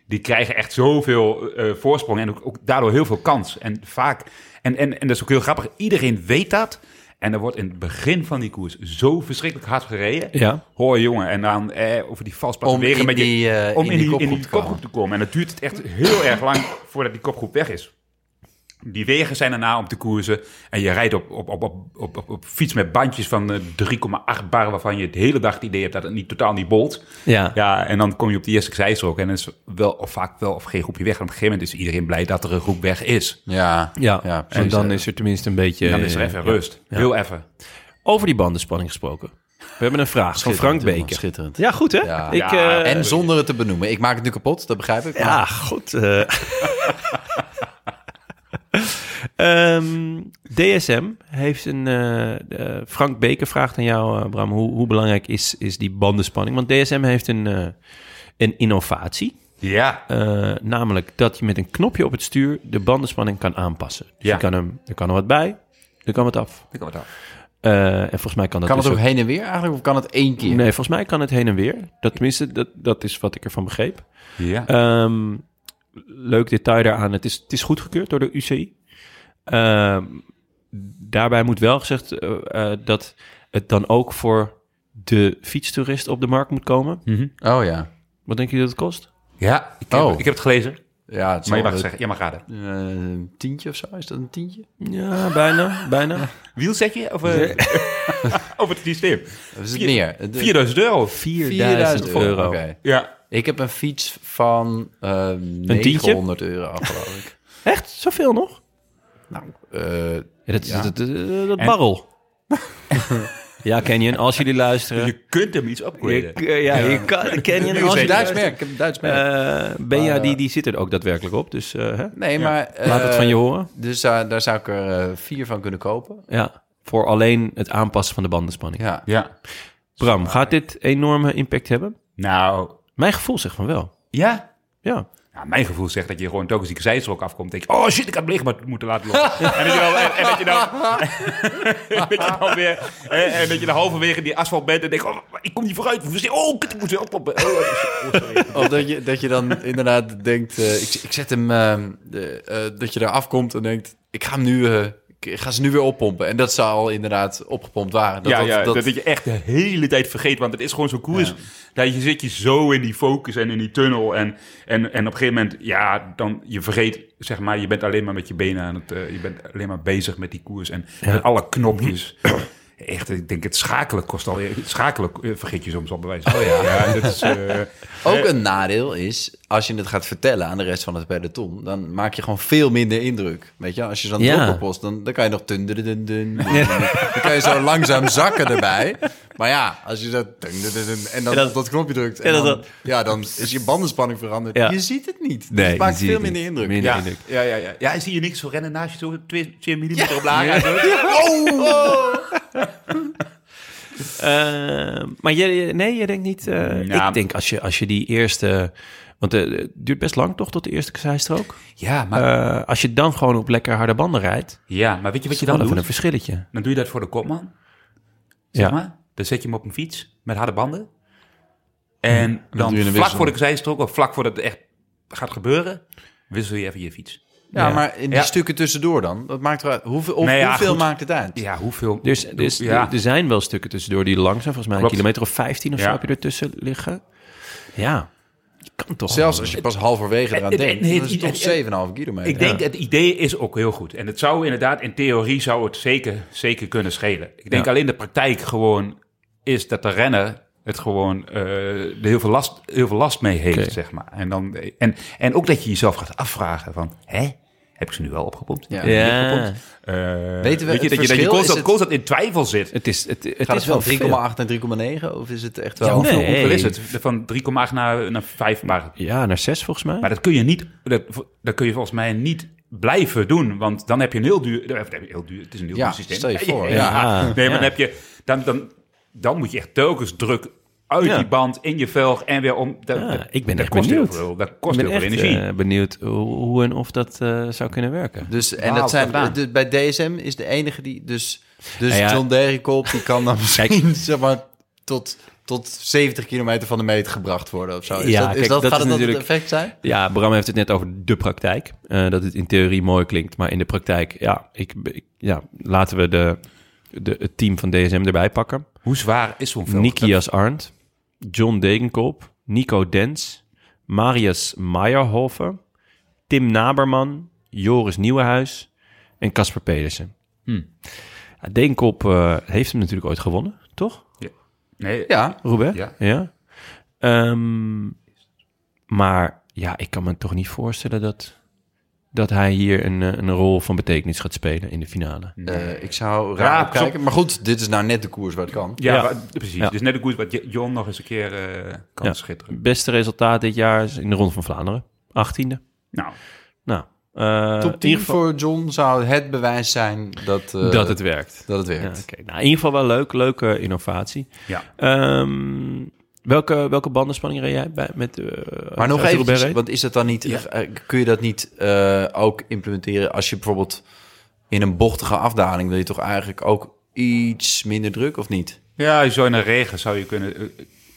Speaker 4: Die krijgen echt zoveel eh, voorsprong en ook, ook daardoor heel veel kans. En vaak, en, en, en dat is ook heel grappig, iedereen weet dat. En er wordt in het begin van die koers zo verschrikkelijk hard gereden.
Speaker 1: Ja.
Speaker 4: Hoor jongen, en dan eh, over die valsplatte
Speaker 2: Om
Speaker 4: wegen
Speaker 2: in
Speaker 4: met je-
Speaker 2: die, eh,
Speaker 4: om
Speaker 2: in
Speaker 4: in,
Speaker 2: die
Speaker 4: die, in
Speaker 2: kopgroep
Speaker 4: die
Speaker 2: te
Speaker 4: kopgroep te komen. En dat duurt het echt heel erg lang voordat die kopgroep weg is. Die wegen zijn erna om te koersen. En je rijdt op, op, op, op, op, op, op fiets met bandjes van eh, 3,8 bar... waarvan je de hele dag het idee hebt dat het niet, totaal niet bolt.
Speaker 1: Ja.
Speaker 4: Ja, en dan kom je op de eerste zijstrook... en dan is wel of vaak wel of geen groepje weg. En op een gegeven moment is iedereen blij dat er een groep weg is.
Speaker 2: Ja,
Speaker 1: Ja. en
Speaker 2: precies.
Speaker 1: dan is er tenminste een beetje...
Speaker 4: Dan is er
Speaker 1: eh,
Speaker 4: even
Speaker 1: ja.
Speaker 4: rust. Heel even.
Speaker 1: Over die bandenspanning gesproken. We hebben een vraag van Frank
Speaker 2: Schitterend,
Speaker 1: Beker.
Speaker 2: jongen, Schitterend.
Speaker 1: Ja, goed hè?
Speaker 2: Ja.
Speaker 1: Ik,
Speaker 4: Ja,
Speaker 1: eh,
Speaker 2: En zonder het te benoemen. Ik maak het nu kapot, dat begrijp ik.
Speaker 1: Ja,
Speaker 2: maar-
Speaker 1: goed. eh. (laughs) Ehm, DSM heeft een... eh, eh, Frank Beker vraagt aan jou, eh, Bram, hoe, hoe belangrijk is, is die bandenspanning? Want DSM heeft een, eh, een innovatie.
Speaker 4: Ja.
Speaker 1: Eh, namelijk dat je met een knopje op het stuur de bandenspanning kan aanpassen. Dus
Speaker 4: Ja.
Speaker 1: je kan hem, er kan er wat bij, er kan wat af.
Speaker 4: Dat kan wat af.
Speaker 1: Eh, en volgens mij kan dat
Speaker 2: kan
Speaker 1: dus
Speaker 2: het ook
Speaker 1: ook-
Speaker 2: heen en weer eigenlijk? Of kan het één keer?
Speaker 1: Nee, volgens mij kan het heen en weer. Dat, tenminste, dat, dat is wat ik ervan begreep.
Speaker 2: Eh,
Speaker 4: Ja.
Speaker 1: Ehm, leuk detail daaraan. Het is, het is goedgekeurd door de UCI. Ehm, daarbij moet wel gezegd eh, eh, dat het dan ook voor de fietstoerist op de markt moet komen.
Speaker 2: Oh ja.
Speaker 1: Wat denk je dat het kost?
Speaker 4: Ja, ik heb,
Speaker 2: Oh.
Speaker 4: ik heb het gelezen.
Speaker 2: Ja, het
Speaker 4: Maar je
Speaker 2: zal
Speaker 4: mag
Speaker 2: het-
Speaker 4: zeggen, je mag raden.
Speaker 2: eh, tientje of zo, is dat een tientje?
Speaker 1: Ja, bijna,
Speaker 2: (laughs)
Speaker 1: bijna.
Speaker 4: Wielsetje? Of, eh, (laughs) of het systeem?
Speaker 2: Of is het
Speaker 4: Vier-
Speaker 2: meer? Eh, De-
Speaker 4: 4000 euro.
Speaker 1: 4000 euro.
Speaker 2: Oké.
Speaker 4: Ja.
Speaker 2: Ik heb een fiets van eh
Speaker 1: tientje?
Speaker 2: 900 euro, geloof ik.
Speaker 1: Echt? Zoveel nog?
Speaker 2: Eh,
Speaker 1: Ja, dat, dat, dat, dat
Speaker 2: (laughs)
Speaker 1: barrel. ja, Canyon, als jullie luisteren.
Speaker 4: Je kunt hem iets upgraden.
Speaker 1: Ik, eh, ja, je (laughs) kan, Canyon, als
Speaker 2: een
Speaker 1: jullie
Speaker 2: Duits
Speaker 1: luisteren.
Speaker 2: merk, ik heb een Duits merk.
Speaker 1: Eh, Benja, die, die zit er ook daadwerkelijk op. Dus eh, hè?
Speaker 2: nee, maar... eh,
Speaker 1: laat het van je horen.
Speaker 2: Dus eh, daar zou ik er eh, vier van kunnen kopen.
Speaker 1: Ja, voor alleen het aanpassen van de bandenspanning.
Speaker 2: Ja.
Speaker 4: Ja.
Speaker 1: Bram, gaat dit enorme impact hebben?
Speaker 4: Nou,
Speaker 1: Mijn gevoel zegt van wel.
Speaker 4: ja.
Speaker 1: Ja.
Speaker 4: Nou, mijn gevoel zegt dat je gewoon telkens die zijstrook afkomt. Denk je, oh shit, ik had hem liggen maar moeten laten lopen. en, dat je dan, en, en dat je dan, (laughs) en dat je dan weer, en, en dat je dan halverwege die asfalt bent en denkt, oh, ik kom niet vooruit. Oh, kut, ik moet weer oplopen. Oh, oh, sorry.
Speaker 2: Of dat je, dat je dan inderdaad denkt, eh, ik, ik zet hem, eh, de- eh, dat je daar afkomt en denkt, ik ga hem nu, eh, ik ga ze nu weer oppompen. En dat zou al inderdaad opgepompt waren. Dat,
Speaker 4: ja,
Speaker 2: dat,
Speaker 4: ja,
Speaker 2: dat-
Speaker 4: dat, dat je echt de hele tijd vergeet. Want het is gewoon zo'n koers. Dat je zit je zo in die focus en in die tunnel. En, en, en op een gegeven moment, ja, dan je vergeet, zeg maar, je bent alleen maar met je benen aan het... eh, je bent alleen maar bezig met die koers en met alle knopjes. (clears throat) Echt, ik denk, het schakelen kost al... het Schakelen eh, vergeet je soms al bewijs. Oh ja. dat is, eh,
Speaker 2: Ook een nadeel is, als je het gaat vertellen aan de rest van het peloton, dan maak je gewoon veel minder indruk. Weet je, als je zo'n
Speaker 1: Ja.
Speaker 2: ja. post, dan, dan kan je nog dun dun dun dun. Dan kan je zo langzaam zakken erbij. Maar ja, als je zo dun dun dun dun en dan
Speaker 1: En dat-
Speaker 2: op dat knopje drukt,
Speaker 1: en
Speaker 2: en
Speaker 1: dat-
Speaker 2: dan, ja, dan is je bandenspanning veranderd.
Speaker 1: Ja.
Speaker 2: Je ziet het niet.
Speaker 1: Nee,
Speaker 2: Dus het maakt
Speaker 1: je ziet het
Speaker 2: veel minder
Speaker 1: niet.
Speaker 2: indruk.
Speaker 1: Minder
Speaker 2: ja.
Speaker 1: indruk.
Speaker 2: Ja, ja, ja.
Speaker 4: ja, en zie je niks zo rennen naast je, zo 2 millimeter op laag.
Speaker 2: Oh!
Speaker 1: Eh, maar je, nee, je denkt niet... eh,
Speaker 4: Ja.
Speaker 1: Ik denk als je, als je die eerste... Want eh, het duurt best lang toch tot de eerste zijstrook?
Speaker 4: Ja, maar,
Speaker 1: Eh, als je dan gewoon op lekker harde banden rijdt...
Speaker 4: ja, maar weet je wat je
Speaker 1: dan
Speaker 4: dan
Speaker 1: even
Speaker 4: doet?
Speaker 1: een verschilletje.
Speaker 4: Dan doe je dat voor de kopman.
Speaker 1: Ja.
Speaker 4: Zeg maar. Dan zet je hem op een fiets met harde banden. En dan,
Speaker 2: doe je een
Speaker 4: vlak
Speaker 2: wissel.
Speaker 4: voor de zijstrook of vlak voordat het echt gaat gebeuren, wissel je even je fiets.
Speaker 2: Ja, maar in die
Speaker 4: Ja.
Speaker 2: stukken tussendoor dan, dat maakt eruit. Hoeveel, of,
Speaker 4: Nee, ja,
Speaker 2: hoeveel
Speaker 4: goed.
Speaker 2: maakt het uit?
Speaker 4: Ja, hoeveel?
Speaker 1: Dus, dus
Speaker 4: Ja.
Speaker 1: er- er zijn wel stukken tussendoor die lang zijn. Volgens mij een
Speaker 4: Klopt.
Speaker 1: kilometer of 15 of
Speaker 4: Ja.
Speaker 1: zo heb je ertussen liggen. Ja, je kan toch.
Speaker 2: Zelfs als je pas halverwege eraan
Speaker 1: Eh,
Speaker 4: en- en-
Speaker 2: denkt,
Speaker 4: nee,
Speaker 2: dan is het
Speaker 4: en-
Speaker 2: toch 7,5 kilometer.
Speaker 4: Ik denk, het idee is ook heel goed. En het zou inderdaad, in theorie zou het zeker, zeker kunnen schelen. Ik denk alleen de praktijk gewoon is dat de renner het gewoon eh, er heel veel last, heel veel last mee heeft,
Speaker 1: Oké.
Speaker 4: zeg maar. En, dan, en, en ook dat je jezelf gaat afvragen van, hè, heb ik ze nu wel opgepompt?
Speaker 2: Ja.
Speaker 1: ja,
Speaker 4: Eh,
Speaker 2: Weten we
Speaker 4: weet je,
Speaker 2: het
Speaker 4: dat je, dat je
Speaker 2: verschil? Is
Speaker 4: constant,
Speaker 2: het-
Speaker 4: constant in twijfel zit.
Speaker 1: het is, het, het
Speaker 2: Gaat
Speaker 1: is
Speaker 2: het wel
Speaker 1: wel 3,8.
Speaker 2: 3,8 en 3,9 of is het echt
Speaker 1: Ja,
Speaker 2: wel...
Speaker 1: hoeveel- Nee.
Speaker 4: Hoeveel is het? Van 3,8 naar, naar 5. Maar,
Speaker 1: Ja, naar 6 volgens mij.
Speaker 4: maar dat kun je niet, dat, dat kun je volgens mij niet blijven doen. Want dan heb je een heel duur, dan heb je een heel duur het is een heel
Speaker 2: Ja,
Speaker 4: duur systeem.
Speaker 2: stel je voor,
Speaker 1: ja.
Speaker 4: Nee, maar
Speaker 1: Ja.
Speaker 4: dan, heb je, dan, dan, dan moet je echt telkens druk uit
Speaker 1: Ja.
Speaker 4: die band, in je velg en weer om. Dat,
Speaker 1: Ja,
Speaker 4: dat-
Speaker 1: ik ben
Speaker 4: dat
Speaker 1: echt
Speaker 4: kost heel
Speaker 1: benieuwd.
Speaker 4: veel, dat
Speaker 1: ik
Speaker 4: kost
Speaker 1: ben
Speaker 4: heel veel
Speaker 1: echt
Speaker 4: energie.
Speaker 1: eh, benieuwd hoe, hoe en of dat eh, zou kunnen werken.
Speaker 2: Dus, en
Speaker 4: Wauw,
Speaker 2: dat zijn,
Speaker 4: gedaan.
Speaker 2: de- bij DSM is de enige die... Dus, dus
Speaker 1: Nou Ja, ja.
Speaker 2: John Derekolb, die
Speaker 1: (laughs)
Speaker 2: kan dan misschien zeg maar, tot, tot 70 kilometer van de meet gebracht worden of zo. Is
Speaker 1: Ja,
Speaker 2: dat, is
Speaker 1: kijk, dat
Speaker 2: dat, gaat
Speaker 1: is
Speaker 2: het dat het
Speaker 1: natuurlijk-
Speaker 2: effect zijn?
Speaker 1: Ja, Bram heeft het net over de praktijk. Eh, dat het in theorie mooi klinkt, maar in de praktijk, ja, ik, ik- ja laten we de, de, het team van DSM erbij pakken.
Speaker 4: Hoe zwaar is zo'n velg?
Speaker 1: Nikias Arndt, John Degenkolb, Nico Dens, Marius Meyerhofer, Tim Naberman, Joris Nieuwenhuis en Casper Pedersen.
Speaker 2: Hmm.
Speaker 1: Ja, Degenkolb eh, heeft hem natuurlijk ooit gewonnen, toch,
Speaker 4: Nee,
Speaker 2: Ja,
Speaker 1: Robert?
Speaker 4: Ja.
Speaker 1: Ehm, maar ja, ik kan me toch niet voorstellen dat, dat hij hier een, eh, een rol van betekenis gaat spelen in de finale.
Speaker 2: eh, ik zou raar
Speaker 4: Ja,
Speaker 2: kijken. Maar goed, dit is nou net de koers waar het kan.
Speaker 4: Ja,
Speaker 1: Ja.
Speaker 4: maar- precies.
Speaker 1: Ja.
Speaker 4: Dus net ook goed wat J- John nog eens een keer eh, kan
Speaker 1: Ja.
Speaker 4: schitteren.
Speaker 1: Beste resultaat dit jaar is in de Ronde van Vlaanderen, 18e.
Speaker 4: Nou,
Speaker 1: Nou, eh, in
Speaker 2: Top
Speaker 1: ieder
Speaker 2: 10
Speaker 1: geval-
Speaker 2: voor John zou het bewijs zijn dat, eh,
Speaker 1: dat het werkt.
Speaker 2: dat het
Speaker 1: Ja,
Speaker 2: werkt.
Speaker 1: oké. Nou, in ieder geval wel leuk. Leuke innovatie.
Speaker 4: ja.
Speaker 1: Ehm, welke, welke bandenspanning reed jij bij, met... eh,
Speaker 2: Maar nog
Speaker 1: uit de Roubaix
Speaker 2: even,
Speaker 1: reed?
Speaker 2: want is dat dan niet, eh, kun je dat niet eh, ook implementeren als je bijvoorbeeld in een bochtige afdaling wil je toch eigenlijk ook iets minder druk of niet?
Speaker 4: ja, zo in de regen zou je kunnen... eh, eh,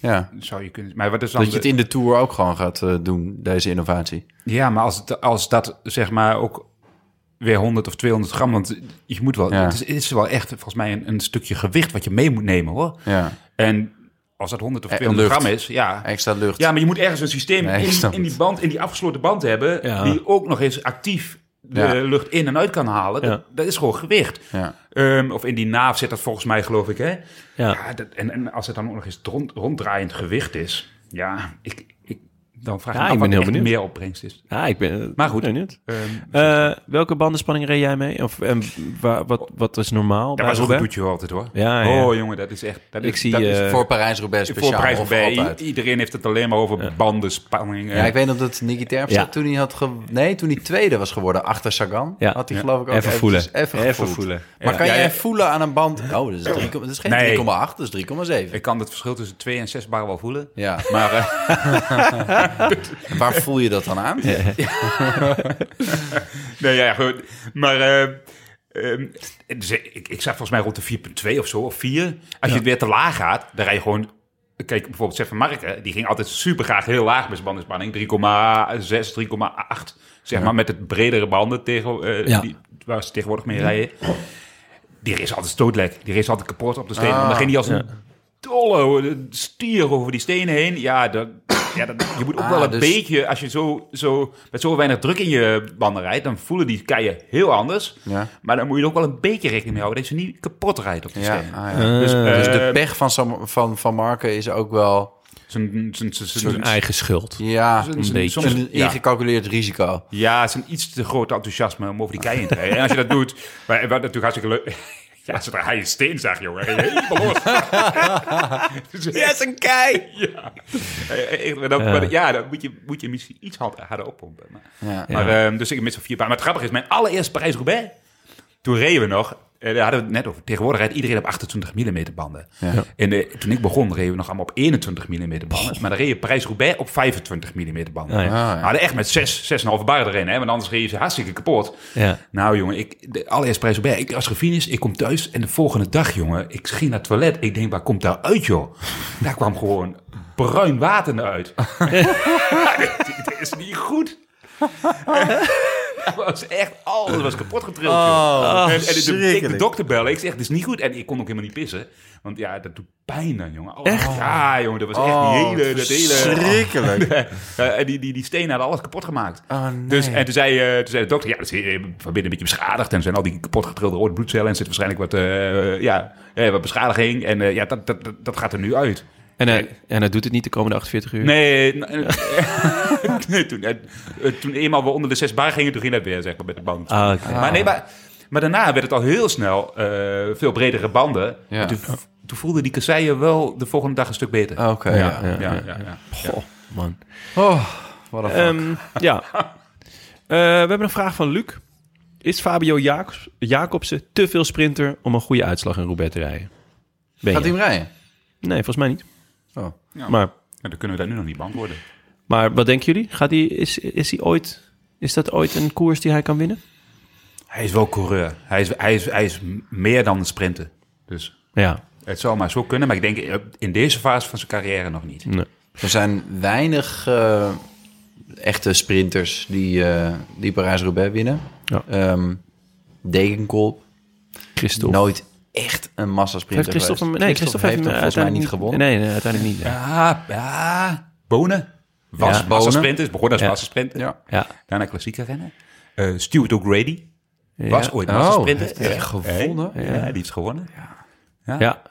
Speaker 2: Ja.
Speaker 4: zou je kunnen maar wat is dan...
Speaker 2: Dat je het
Speaker 4: de-
Speaker 2: in de tour ook gewoon gaat eh, doen, deze innovatie.
Speaker 4: Ja, maar als, het, als dat zeg maar ook weer 100 of 200 gram. Want je moet wel,
Speaker 2: Ja.
Speaker 4: het, is, het is wel echt volgens mij een, een stukje gewicht wat je mee moet nemen hoor.
Speaker 2: Ja,
Speaker 4: En als dat 100 of
Speaker 2: En
Speaker 4: 200
Speaker 2: lucht.
Speaker 4: gram is, ja.
Speaker 2: extra lucht.
Speaker 4: Ja, maar je moet ergens een systeem
Speaker 2: Nee, ik
Speaker 4: in,
Speaker 2: snap
Speaker 4: in die
Speaker 2: het.
Speaker 4: band, in die afgesloten band hebben,
Speaker 1: Ja.
Speaker 4: die ook nog eens actief de
Speaker 2: Ja.
Speaker 4: lucht in en uit kan halen. Dat,
Speaker 1: Ja.
Speaker 4: dat is gewoon gewicht.
Speaker 2: Ja.
Speaker 4: Ehm, of in die naaf zit dat volgens mij, geloof ik. Hè?
Speaker 1: Ja.
Speaker 4: Ja, dat, en, en als het dan ook nog eens rond, ronddraaiend gewicht is, ja, ik, ik, dan vraag
Speaker 1: Ja,
Speaker 4: ik
Speaker 1: ik
Speaker 4: me af
Speaker 1: ben
Speaker 4: wat
Speaker 1: heel
Speaker 4: echt
Speaker 1: benieuwd.
Speaker 4: meer opbrengst is.
Speaker 1: Ja, Ah, ik ben...
Speaker 4: Maar goed.
Speaker 1: Benieuwd.
Speaker 4: Ehm
Speaker 1: Eh, welke bandenspanning reed jij mee? Of, en waar- wat, wat is normaal
Speaker 4: dat
Speaker 1: bij
Speaker 4: was een goed
Speaker 1: Roubaix?
Speaker 4: doetje altijd hoor.
Speaker 1: Ja, ja.
Speaker 4: Oh jongen, dat is echt... Dat
Speaker 1: Ik
Speaker 4: is,
Speaker 1: zie,
Speaker 4: dat is
Speaker 1: eh,
Speaker 2: Voor Parijs-Roubaix
Speaker 4: voor
Speaker 2: speciaal
Speaker 4: prijs
Speaker 2: of
Speaker 4: bij.
Speaker 2: altijd?
Speaker 4: I- Iedereen heeft het alleen maar over banden, spanning.
Speaker 2: Ja, ik weet nog dat Nicky Terpstra
Speaker 1: Ja.
Speaker 2: toen hij had ge- nee, toen hij tweede was geworden achter Sagan,
Speaker 1: Ja.
Speaker 2: had hij
Speaker 1: Ja.
Speaker 2: geloof ik ook
Speaker 1: Even voelen.
Speaker 2: eventjes Even,
Speaker 1: Even
Speaker 2: gevoeld.
Speaker 1: voelen.
Speaker 2: Maar kan
Speaker 4: Ja,
Speaker 2: jij
Speaker 4: ja.
Speaker 2: voelen aan een band? Oh, dat is, 3, dat is geen
Speaker 4: Nee.
Speaker 2: 3,8, dat is 3,7.
Speaker 4: Ik kan het verschil tussen 2 en 6 bar wel voelen.
Speaker 2: Ja,
Speaker 4: Maar eh,
Speaker 2: (laughs) waar voel je dat dan aan?
Speaker 4: (laughs) Nee, ja, goed. Maar eh, ehm, dus ik, ik zag volgens mij rond de 4,2 of zo, of 4. Als je het weer te laag gaat, dan rij je gewoon... Kijk, bijvoorbeeld Seth van Marken, die ging altijd super graag heel laag met zijn bandenspanning. 3,6, 3,8, zeg maar, met het bredere banden tegen, eh,
Speaker 1: Ja.
Speaker 4: die, waar ze tegenwoordig mee rijden. Die race altijd stootlek, die race altijd kapot op de
Speaker 2: Ah,
Speaker 4: stenen. En dan ging hij als een dolle eh, stier over die stenen heen. Ja, dat, ja dat, je moet ook
Speaker 2: Ah,
Speaker 4: wel een
Speaker 2: dus-
Speaker 4: beetje je, eh, als je zo, zo, met zo weinig druk in je banden rijdt, dan voelen die keien heel anders.
Speaker 2: Ja.
Speaker 4: Maar dan moet je er ook wel een beetje rekening mee houden dat je niet kapot rijdt op de
Speaker 2: Ja,
Speaker 4: stenen.
Speaker 2: ah, ja.
Speaker 4: Dus,
Speaker 2: Dus de
Speaker 4: eh,
Speaker 2: pech van, Sam- van, van Marken is ook wel
Speaker 4: zijn- zijn- zijn- zijn-
Speaker 1: Een eigen schuld.
Speaker 2: ja,
Speaker 4: zijn-
Speaker 2: een
Speaker 4: zijn-
Speaker 1: beetje.
Speaker 4: soms- ja.
Speaker 2: ingecalculeerd risico.
Speaker 4: Ja, het is een iets te groot enthousiasme om over die keien te rijden. En als je dat doet, (laughs) maar, wat natuurlijk hartstikke leuk. (laughs) Ja, als het een haaien steen zag, jongen. dan ging je
Speaker 2: (laughs)
Speaker 4: helemaal los. Dus-
Speaker 1: Ja, is een kei!
Speaker 4: ja. Eh, echt, maar dan, maar dan- ja, dan moet je, moet je misschien iets harder, harder oppompen. Maar,
Speaker 2: Ja.
Speaker 4: maar, ehm, dus ik mis zo'n vier paar. Maar het grappige is, mijn allereerste Parijs-Roubaix, toen reden we nog... eh, daar hadden we het net over. Tegenwoordig rijdt iedereen op 28 mm banden. En eh, toen ik begon, reden we nog allemaal op 21 mm banden. Maar dan reed je Parijs-Roubaix op 25 mm banden.
Speaker 1: Ah, ja.
Speaker 4: We hadden echt met 6, 6,5 bar erin. Hè? Want anders reed je ze hartstikke kapot.
Speaker 1: Ja.
Speaker 4: Nou jongen, ik, de allereerste prijs bij. Ik was gefinis, ik kom thuis en de volgende dag jongen, ik ging naar het toilet. Ik denk, waar komt daar
Speaker 1: (laughs)
Speaker 4: uit joh? Daar kwam gewoon bruin water naar uit. (laughs) dit, dit is niet goed. (laughs) dat was echt, alles was kapot getrild joh. en, en de- de, ik de dokter bellen, ik zeg, dit is niet goed. En ik kon ook helemaal niet pissen. Want ja, dat doet pijn dan jongen. Oh, Ja jongen, dat was echt
Speaker 2: Oh,
Speaker 4: die Oh, hele... Dat hele
Speaker 2: Schrikkelijk.
Speaker 4: eh, en die, die, die stenen hadden alles kapot gemaakt. dus, en toen zei, eh, toen zei de dokter, ja, dat is eh, van binnen een beetje beschadigd. En er zijn al die kapot getrilde rode bloedcellen. En er zit waarschijnlijk wat, eh, ja, eh, wat beschadiging. En eh, ja, dat, dat, dat, dat gaat er nu uit.
Speaker 1: En, hij, en hij doet het niet de komende 48 uur?
Speaker 4: Nee, n- eh, (laughs) nee, toen, eh, eh, toen eenmaal we onder de zes bar gingen, toen ging dat weer, zeg maar, met de band.
Speaker 1: Ah, oké.
Speaker 4: Maar, nee, maar, maar daarna werd het al heel snel eh, veel bredere banden.
Speaker 2: Ja.
Speaker 4: En Toen, toen voelden die kasseien wel de volgende dag een stuk beter.
Speaker 2: (laughs) Oké. ja.
Speaker 4: Ah, ja, ja, ja, ja.
Speaker 1: Goh, man.
Speaker 2: Oh, wat een fuck.
Speaker 1: Ehm,
Speaker 2: (laughs)
Speaker 1: ja. Eh, we hebben een vraag van Luc. Is Fabio Jacobs, Jacobsen te veel sprinter om een goede uitslag in Roubaix te rijden? Ben
Speaker 2: Gaat
Speaker 1: je?
Speaker 2: hij hem rijden?
Speaker 1: Nee, volgens mij niet.
Speaker 2: Oh.
Speaker 1: Maar,
Speaker 4: Ja, dan kunnen we daar nu nog niet beantwoorden.
Speaker 1: maar wat denken jullie? Gaat hij, is, is, hij ooit, is dat ooit een koers die hij kan winnen?
Speaker 4: Hij is wel coureur. Hij is, hij is, hij is m- meer dan een sprinter. Dus
Speaker 1: Ja.
Speaker 4: het zou maar zo kunnen. Maar ik denk eh, in deze fase van zijn carrière nog niet.
Speaker 2: Er zijn weinig eh, echte sprinters die, eh die Parijs-Roubaix winnen.
Speaker 1: Ja.
Speaker 2: Ehm, Degenkolb,
Speaker 1: Christophe.
Speaker 2: nooit echt een massasprinter
Speaker 1: heeft Christophe hem,
Speaker 2: geweest.
Speaker 1: nee,
Speaker 2: Nou,
Speaker 1: Christophe
Speaker 2: Christophe
Speaker 1: heeft hem
Speaker 2: volgens mij
Speaker 1: uiteindelijk
Speaker 2: niet gewonnen.
Speaker 1: Nee, nee, uiteindelijk niet. nee.
Speaker 4: Ah, ja. Bonen. Was
Speaker 1: Ja,
Speaker 4: massasprinter. Is begonnen als
Speaker 1: Ja.
Speaker 4: massasprinter.
Speaker 2: Ja.
Speaker 1: Ja.
Speaker 4: Daarna klassieke rennen. Eh, Stuart O'Grady was ooit
Speaker 2: Oh,
Speaker 4: massasprinter.
Speaker 2: heeft hij gewonnen?
Speaker 4: Ja, die heeft gewonnen.
Speaker 1: Ja.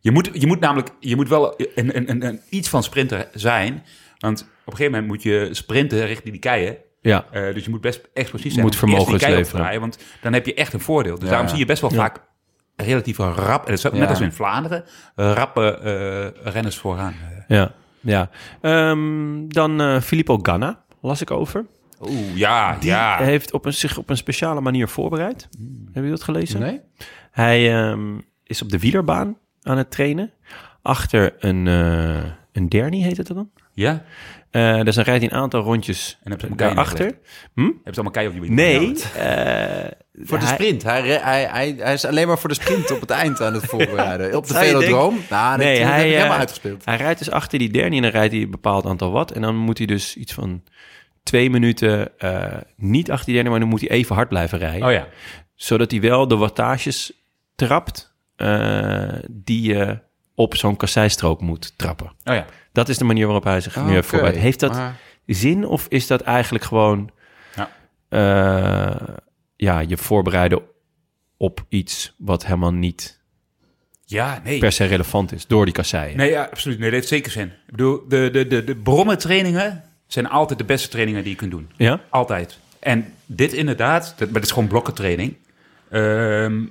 Speaker 4: Je moet, je moet namelijk, je moet wel een, een, een, een iets van sprinter zijn. Want op een gegeven moment moet je sprinten richting die keien.
Speaker 1: Ja.
Speaker 4: Eh, dus je moet best explosief zijn.
Speaker 1: Moet
Speaker 4: om eerst die
Speaker 1: vermogens
Speaker 4: kei op te
Speaker 1: leveren.
Speaker 4: draaien, want dan heb je echt een voordeel. Dus
Speaker 2: Ja.
Speaker 4: daarom zie je best wel vaak relatief rap, en dat is ook net
Speaker 2: Ja.
Speaker 4: als in Vlaanderen, rappe eh, renners vooraan.
Speaker 1: Ja. ja. Ehm, dan eh, Filippo Ganna las ik over.
Speaker 4: Oeh, ja,
Speaker 2: Ah.
Speaker 4: ja.
Speaker 2: eh,
Speaker 1: Hij heeft op een, zich op een speciale manier voorbereid. Hebben jullie dat gelezen?
Speaker 2: Hmm. Nee?
Speaker 1: Hij ehm, is op de wielerbaan aan het trainen. Achter een, eh een derny heet het dan.
Speaker 4: ja?
Speaker 1: Eh dus dan rijdt hij een aantal rondjes
Speaker 4: En heb je hem keihard
Speaker 1: daarachter.
Speaker 4: Hebben ze allemaal kei op je benen?
Speaker 1: Nee. eh,
Speaker 2: Voor de
Speaker 1: Hij-
Speaker 2: sprint. Hij, re- hij, hij, hij is alleen maar voor de sprint op het eind aan
Speaker 1: (laughs)
Speaker 2: het voorbereiden. op de
Speaker 1: zou je
Speaker 2: velodroom. Nou, nee,
Speaker 1: nee,
Speaker 2: hij
Speaker 1: hij,
Speaker 2: heeft
Speaker 1: eh,
Speaker 2: helemaal uitgespeeld.
Speaker 1: hij rijdt dus achter die derny en dan rijdt hij een bepaald aantal wat. En dan moet hij dus iets van twee minuten eh, niet achter die derde, maar dan moet hij even hard blijven rijden.
Speaker 4: Oh ja.
Speaker 1: Zodat hij wel de wattages trapt eh, die je op zo'n kasseistrook moet trappen.
Speaker 4: Oh ja.
Speaker 1: Dat is de manier waarop hij zich nu heeft
Speaker 2: Oké,
Speaker 1: voorbereid. Heeft dat
Speaker 2: maar-
Speaker 1: zin of is dat eigenlijk gewoon
Speaker 4: Ja.
Speaker 1: eh, ja, je voorbereiden op iets wat helemaal niet
Speaker 4: Ja, nee.
Speaker 1: per se relevant is door die kasseien?
Speaker 4: Nee, ja, absoluut. Nee, dat heeft zeker zin. Ik bedoel, de, de, de, de brommentrainingen zijn altijd de beste trainingen die je kunt doen.
Speaker 1: Ja?
Speaker 4: Altijd. En dit inderdaad, dat, maar dit is gewoon blokkentraining. Ehm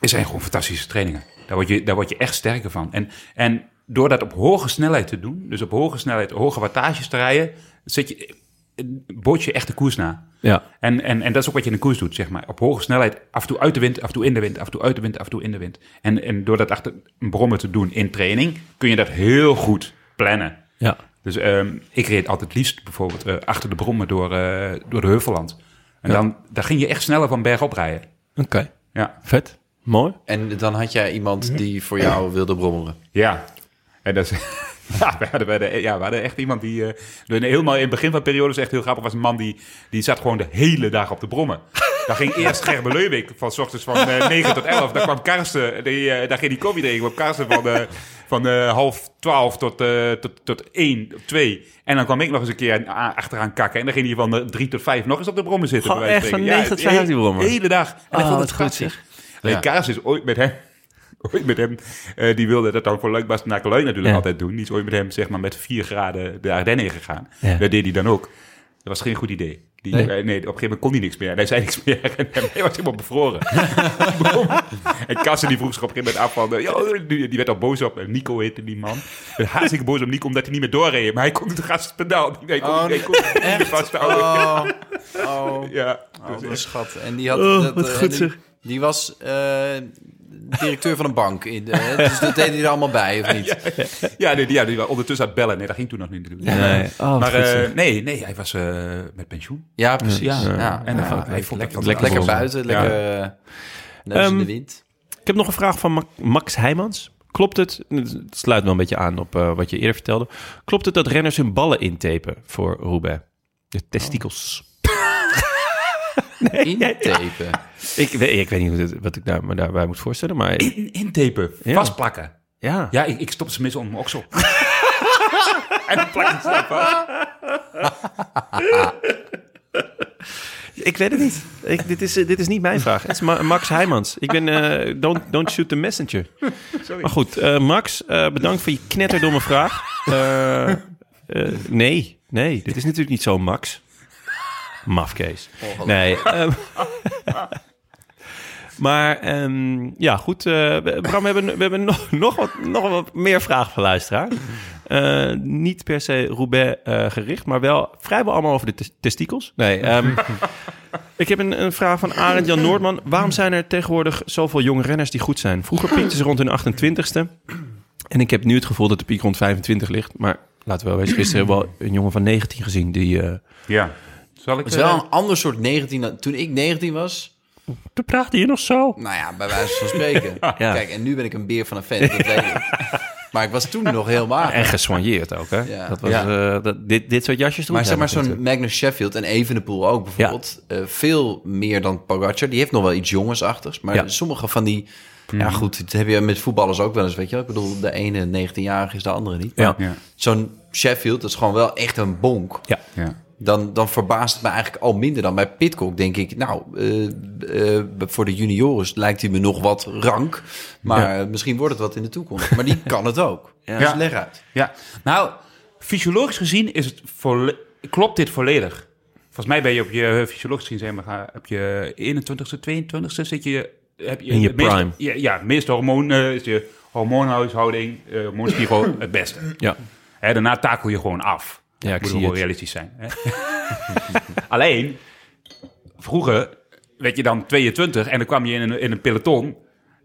Speaker 4: is zijn gewoon fantastische trainingen. Daar word je, daar word je echt sterker van. En, en door dat op hoge snelheid te doen, dus op hoge snelheid, hoge wattages te rijden, zit je, eh, bood je echt de koers na.
Speaker 1: Ja.
Speaker 4: En, en, en dat is ook wat je in de koers doet, zeg maar. Op hoge snelheid, af en toe uit de wind, af en toe in de wind, af en toe uit de wind, af en toe in de wind. En, en door dat achter een brommen te doen in training, kun je dat heel goed plannen.
Speaker 1: Ja.
Speaker 4: Dus ehm, ik reed altijd liefst bijvoorbeeld eh, achter de brommen door, eh, door de Heuvelland. En dan daar ging je echt sneller van berg op rijden.
Speaker 1: Oké.
Speaker 4: Ja.
Speaker 1: Vet. Mooi.
Speaker 2: En dan had jij
Speaker 1: Mhm.
Speaker 2: iemand die voor jou wilde brommeren.
Speaker 4: Ja. En dat is... (laughs) Ja, we hadden, we hadden- ja, we hadden echt iemand die... eh, door- helemaal in het begin van de periode is echt heel grappig. was een man die, die zat gewoon de hele dag op de brommen. Daar
Speaker 1: (laughs)
Speaker 4: ging eerst Gerben Leuwik van s ochtends van eh, 9 tot 11. Daar kwam Karsten, die, eh, daar ging die koffie drinken. Kwam Karsten van, eh, van eh, half 12 tot, eh, tot, tot 1, 2. En dan kwam ik nog eens een keer a- achteraan kakken. En dan ging hij van eh, 3 tot 5 nog eens op de brommen zitten.
Speaker 1: Gewoon
Speaker 4: bij wijze
Speaker 1: echt van
Speaker 4: spreken.
Speaker 1: 9 tot
Speaker 4: de he-
Speaker 1: 5 die brommen.
Speaker 4: hele dag. En hij
Speaker 1: Oh,
Speaker 4: vond
Speaker 1: wat
Speaker 4: het
Speaker 1: goed,
Speaker 4: prachtig.
Speaker 1: zeg.
Speaker 4: Nee,
Speaker 2: Ja.
Speaker 4: Kaas is ooit met hem. (laughs) Ooit met hem. eh, die wilde dat dan voor Leukbaas naar Kalui natuurlijk
Speaker 1: Ja.
Speaker 4: altijd doen. Die is ooit met hem, zeg maar, met vier graden de Ardennen ingegaan.
Speaker 1: Ja.
Speaker 4: Dat deed hij dan ook. Dat was geen goed idee. Die,
Speaker 1: Nee.
Speaker 4: eh, nee. op een gegeven moment kon hij niks meer. En hij zei niks (laughs) meer. En hij was helemaal bevroren. (laughs) en Kassen die vroeg zich op een gegeven moment af van... eh, "Yo," die, die werd al boos op. En Nico heette die man. En Hartstikke boos op Nico omdat hij niet meer doorreed. Maar hij kon het gaspedaal. niet- Hij kon,
Speaker 2: Oh,
Speaker 4: hij kon het niet meer vasthouden.
Speaker 2: Oh, oh,
Speaker 4: (laughs) Ja.
Speaker 2: oh, wat een schat. En die had...
Speaker 1: Oh,
Speaker 2: dat, eh, die, die was eh, directeur van een bank. In,
Speaker 1: (laughs)
Speaker 2: eh, dus dat deed hij er allemaal bij, of niet?
Speaker 4: Ja, nee, die, ja, die waren ondertussen aan het bellen. Nee, dat ging toen nog niet. natuurlijk.
Speaker 1: Nee. Oh, wat
Speaker 4: maar
Speaker 1: goed,
Speaker 4: eh,
Speaker 1: zeg.
Speaker 4: nee, nee, hij was eh, met pensioen.
Speaker 2: Ja, precies.
Speaker 4: Ja.
Speaker 2: Ja,
Speaker 4: En
Speaker 2: ja,
Speaker 4: dan vond ik-
Speaker 2: hij
Speaker 4: ik
Speaker 2: vond
Speaker 4: vond
Speaker 2: lekker,
Speaker 4: dat
Speaker 2: lekker,
Speaker 1: lekker
Speaker 4: zonde.
Speaker 2: buiten, lekker eh, neus in
Speaker 1: Ehm,
Speaker 2: de
Speaker 1: (laughs)
Speaker 2: wind.
Speaker 1: Ik heb nog een vraag van Ma- Max Heijmans. Klopt het, het sluit wel een beetje aan op eh, wat je eerder vertelde. Klopt het dat renners hun ballen intapen voor Roubaix? De testikels.
Speaker 2: Intepen.
Speaker 1: Ik, weet, ik weet niet hoe dit- wat ik daar, me daarbij moet voorstellen, maar
Speaker 4: In, intapen,
Speaker 1: Ja.
Speaker 4: vastplakken.
Speaker 1: ja.
Speaker 4: Ja, ik, ik stop ze mis onder mijn
Speaker 1: (laughs)
Speaker 4: oksel. en dan plak ik ze vast.
Speaker 1: Ik weet het niet. Ik, dit, is, eh, dit is niet mijn vraag. Het is Ma- Max Heijmans. Ik ben eh, don't, don't shoot the messenger. Maar goed, eh, Max, eh, bedankt voor je knetterdomme vraag. Eh, eh, nee, nee, dit is natuurlijk niet zo, Max. Mafkees. Nee. ehm, maar ehm, ja, goed. eh, we- Bram, we hebben, we hebben nog, nog, wat, nog wat meer vragen van luisteraar. Eh, niet per se Roubaix eh, gericht, maar wel vrijwel allemaal over de tes- testikels. Nee, ehm, ik heb een, een vraag van Arend Jan Noordman. Waarom zijn er tegenwoordig zoveel jonge renners die goed zijn? Vroeger piekten ze rond hun 28ste. En ik heb nu het gevoel dat de piek rond 25 ligt. Maar laten we wel wezen, gisteren hebben we al een jongen van 19 gezien. Die, eh,
Speaker 4: Ja. Zal ik eh,
Speaker 2: Het is wel een ander soort 19. dan- Toen ik 19 was,
Speaker 1: Toen praatte je nog zo.
Speaker 2: nou ja, bij wijze
Speaker 1: (laughs)
Speaker 2: van spreken. Kijk, en nu ben ik een beer van een vent, dat weet ik. Maar ik was toen nog heel mager.
Speaker 1: En gesoigneerd ook, hè?
Speaker 2: Ja.
Speaker 1: Dat was, eh, dat, dit, dit soort jasjes doen
Speaker 2: Maar
Speaker 1: zij
Speaker 2: zeg maar
Speaker 1: nog
Speaker 2: zo'n
Speaker 1: niet.
Speaker 2: Magnus Sheffield en Evenepoel ook bijvoorbeeld. eh, veel meer dan Pogacar. Die heeft nog wel iets jongensachtigs. Maar
Speaker 1: Ja. Mhm.
Speaker 2: sommige van die... Ja goed, dat heb je met voetballers ook wel eens, weet je wel. Ik bedoel, de ene 19-jarige is de andere niet.
Speaker 1: Ja.
Speaker 4: Ja.
Speaker 2: Zo'n Sheffield, dat is gewoon wel echt een bonk.
Speaker 1: Ja.
Speaker 4: Ja.
Speaker 2: Dan, dan verbaast het me eigenlijk al minder dan bij Pitcock. Denk ik, nou, eh, eh, voor de juniors lijkt hij me nog wat rank. Maar eh, misschien wordt het wat in de toekomst. Maar die kan het ook. Dus
Speaker 4: Ja.
Speaker 2: leg uit.
Speaker 4: ja. Nou, fysiologisch gezien is het volle- klopt dit volledig. Volgens mij ben je op je eh, fysiologisch gezien, zeg maar, ga- op je 21ste, 22ste zit je... Heb je
Speaker 1: In je
Speaker 4: het meeste-
Speaker 1: prime.
Speaker 4: ja, ja, het meeste hormoon eh, is je hormoonhuishouding, eh,
Speaker 1: (coughs)
Speaker 4: hormoonspiegel het beste.
Speaker 1: Ja.
Speaker 4: Hè, daarna takel je gewoon af.
Speaker 1: Ja, ik
Speaker 4: Moet
Speaker 1: zie
Speaker 4: wel
Speaker 1: het.
Speaker 4: realistisch zijn. Hè? (laughs) Alleen, vroeger werd je dan 22 en dan kwam je in een, in een peloton...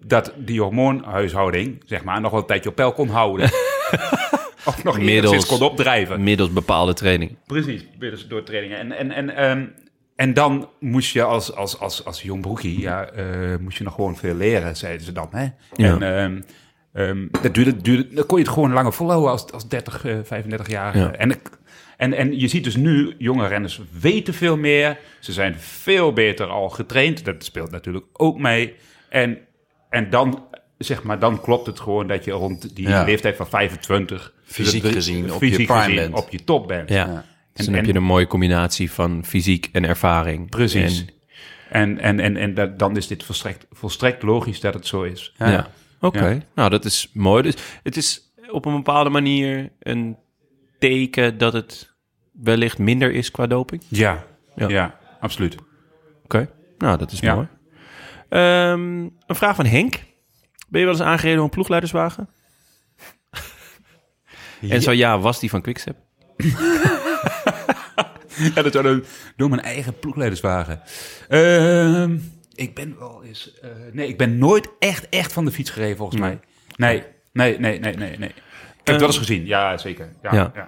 Speaker 4: dat die hormoonhuishouding, zeg maar, nog wel een tijdje op peil kon
Speaker 1: (laughs)
Speaker 4: houden. of nog
Speaker 1: Middels-
Speaker 4: enigszins kon opdrijven.
Speaker 1: Middels bepaalde training.
Speaker 4: Precies, middels door trainingen. En, en, en, ehm, en dan moest je als, als, als, als jong broekie, ja, eh, moest je nog gewoon veel leren, zeiden ze dan. Hè?
Speaker 1: Ja.
Speaker 4: En ehm, ehm, dat duurde, duurde, dan kon je het gewoon langer volhouden als, als 30, eh, 35 jaar.
Speaker 1: Ja.
Speaker 4: En ik, En, en je ziet dus nu, jonge renners weten veel meer. Ze zijn veel beter al getraind. Dat speelt natuurlijk ook mee. En, en dan, zeg maar, dan klopt het gewoon dat je rond die
Speaker 2: Ja.
Speaker 4: leeftijd van 25...
Speaker 2: Fysiek
Speaker 4: dus-
Speaker 2: gezien op
Speaker 4: fysiek
Speaker 2: je prime
Speaker 4: gezien
Speaker 2: bent.
Speaker 4: op je top bent.
Speaker 1: Ja.
Speaker 4: En-
Speaker 1: Dus dan heb
Speaker 4: en-
Speaker 1: je een mooie combinatie van fysiek en ervaring.
Speaker 4: Precies.
Speaker 1: En-
Speaker 4: En, en, en, en dat, dan is dit volstrekt, volstrekt logisch dat het zo is.
Speaker 1: ja. Oké,
Speaker 4: Ja.
Speaker 1: nou dat is mooi. Dus het is op een bepaalde manier een teken dat het wellicht minder is qua doping.
Speaker 4: Ja,
Speaker 1: Ja.
Speaker 4: ja. absoluut.
Speaker 1: Oké, nou dat is
Speaker 4: Ja.
Speaker 1: mooi. Ehm, een vraag van Henk. Ben je wel eens aangereden door een (laughs) ploegleiderswagen? En zo ja, was die van Quickstep?
Speaker 4: Ja, dat zou dan door mijn eigen ploegleiderswagen. Ehm, ik ben wel eens... eh, nee, ik ben nooit echt, echt van de fiets gereden volgens mij. Nee, nee, nee, nee, nee, nee. Ik heb het wel eens gezien. Ja, zeker. Ja,
Speaker 1: Ehm, Ja.
Speaker 4: ja.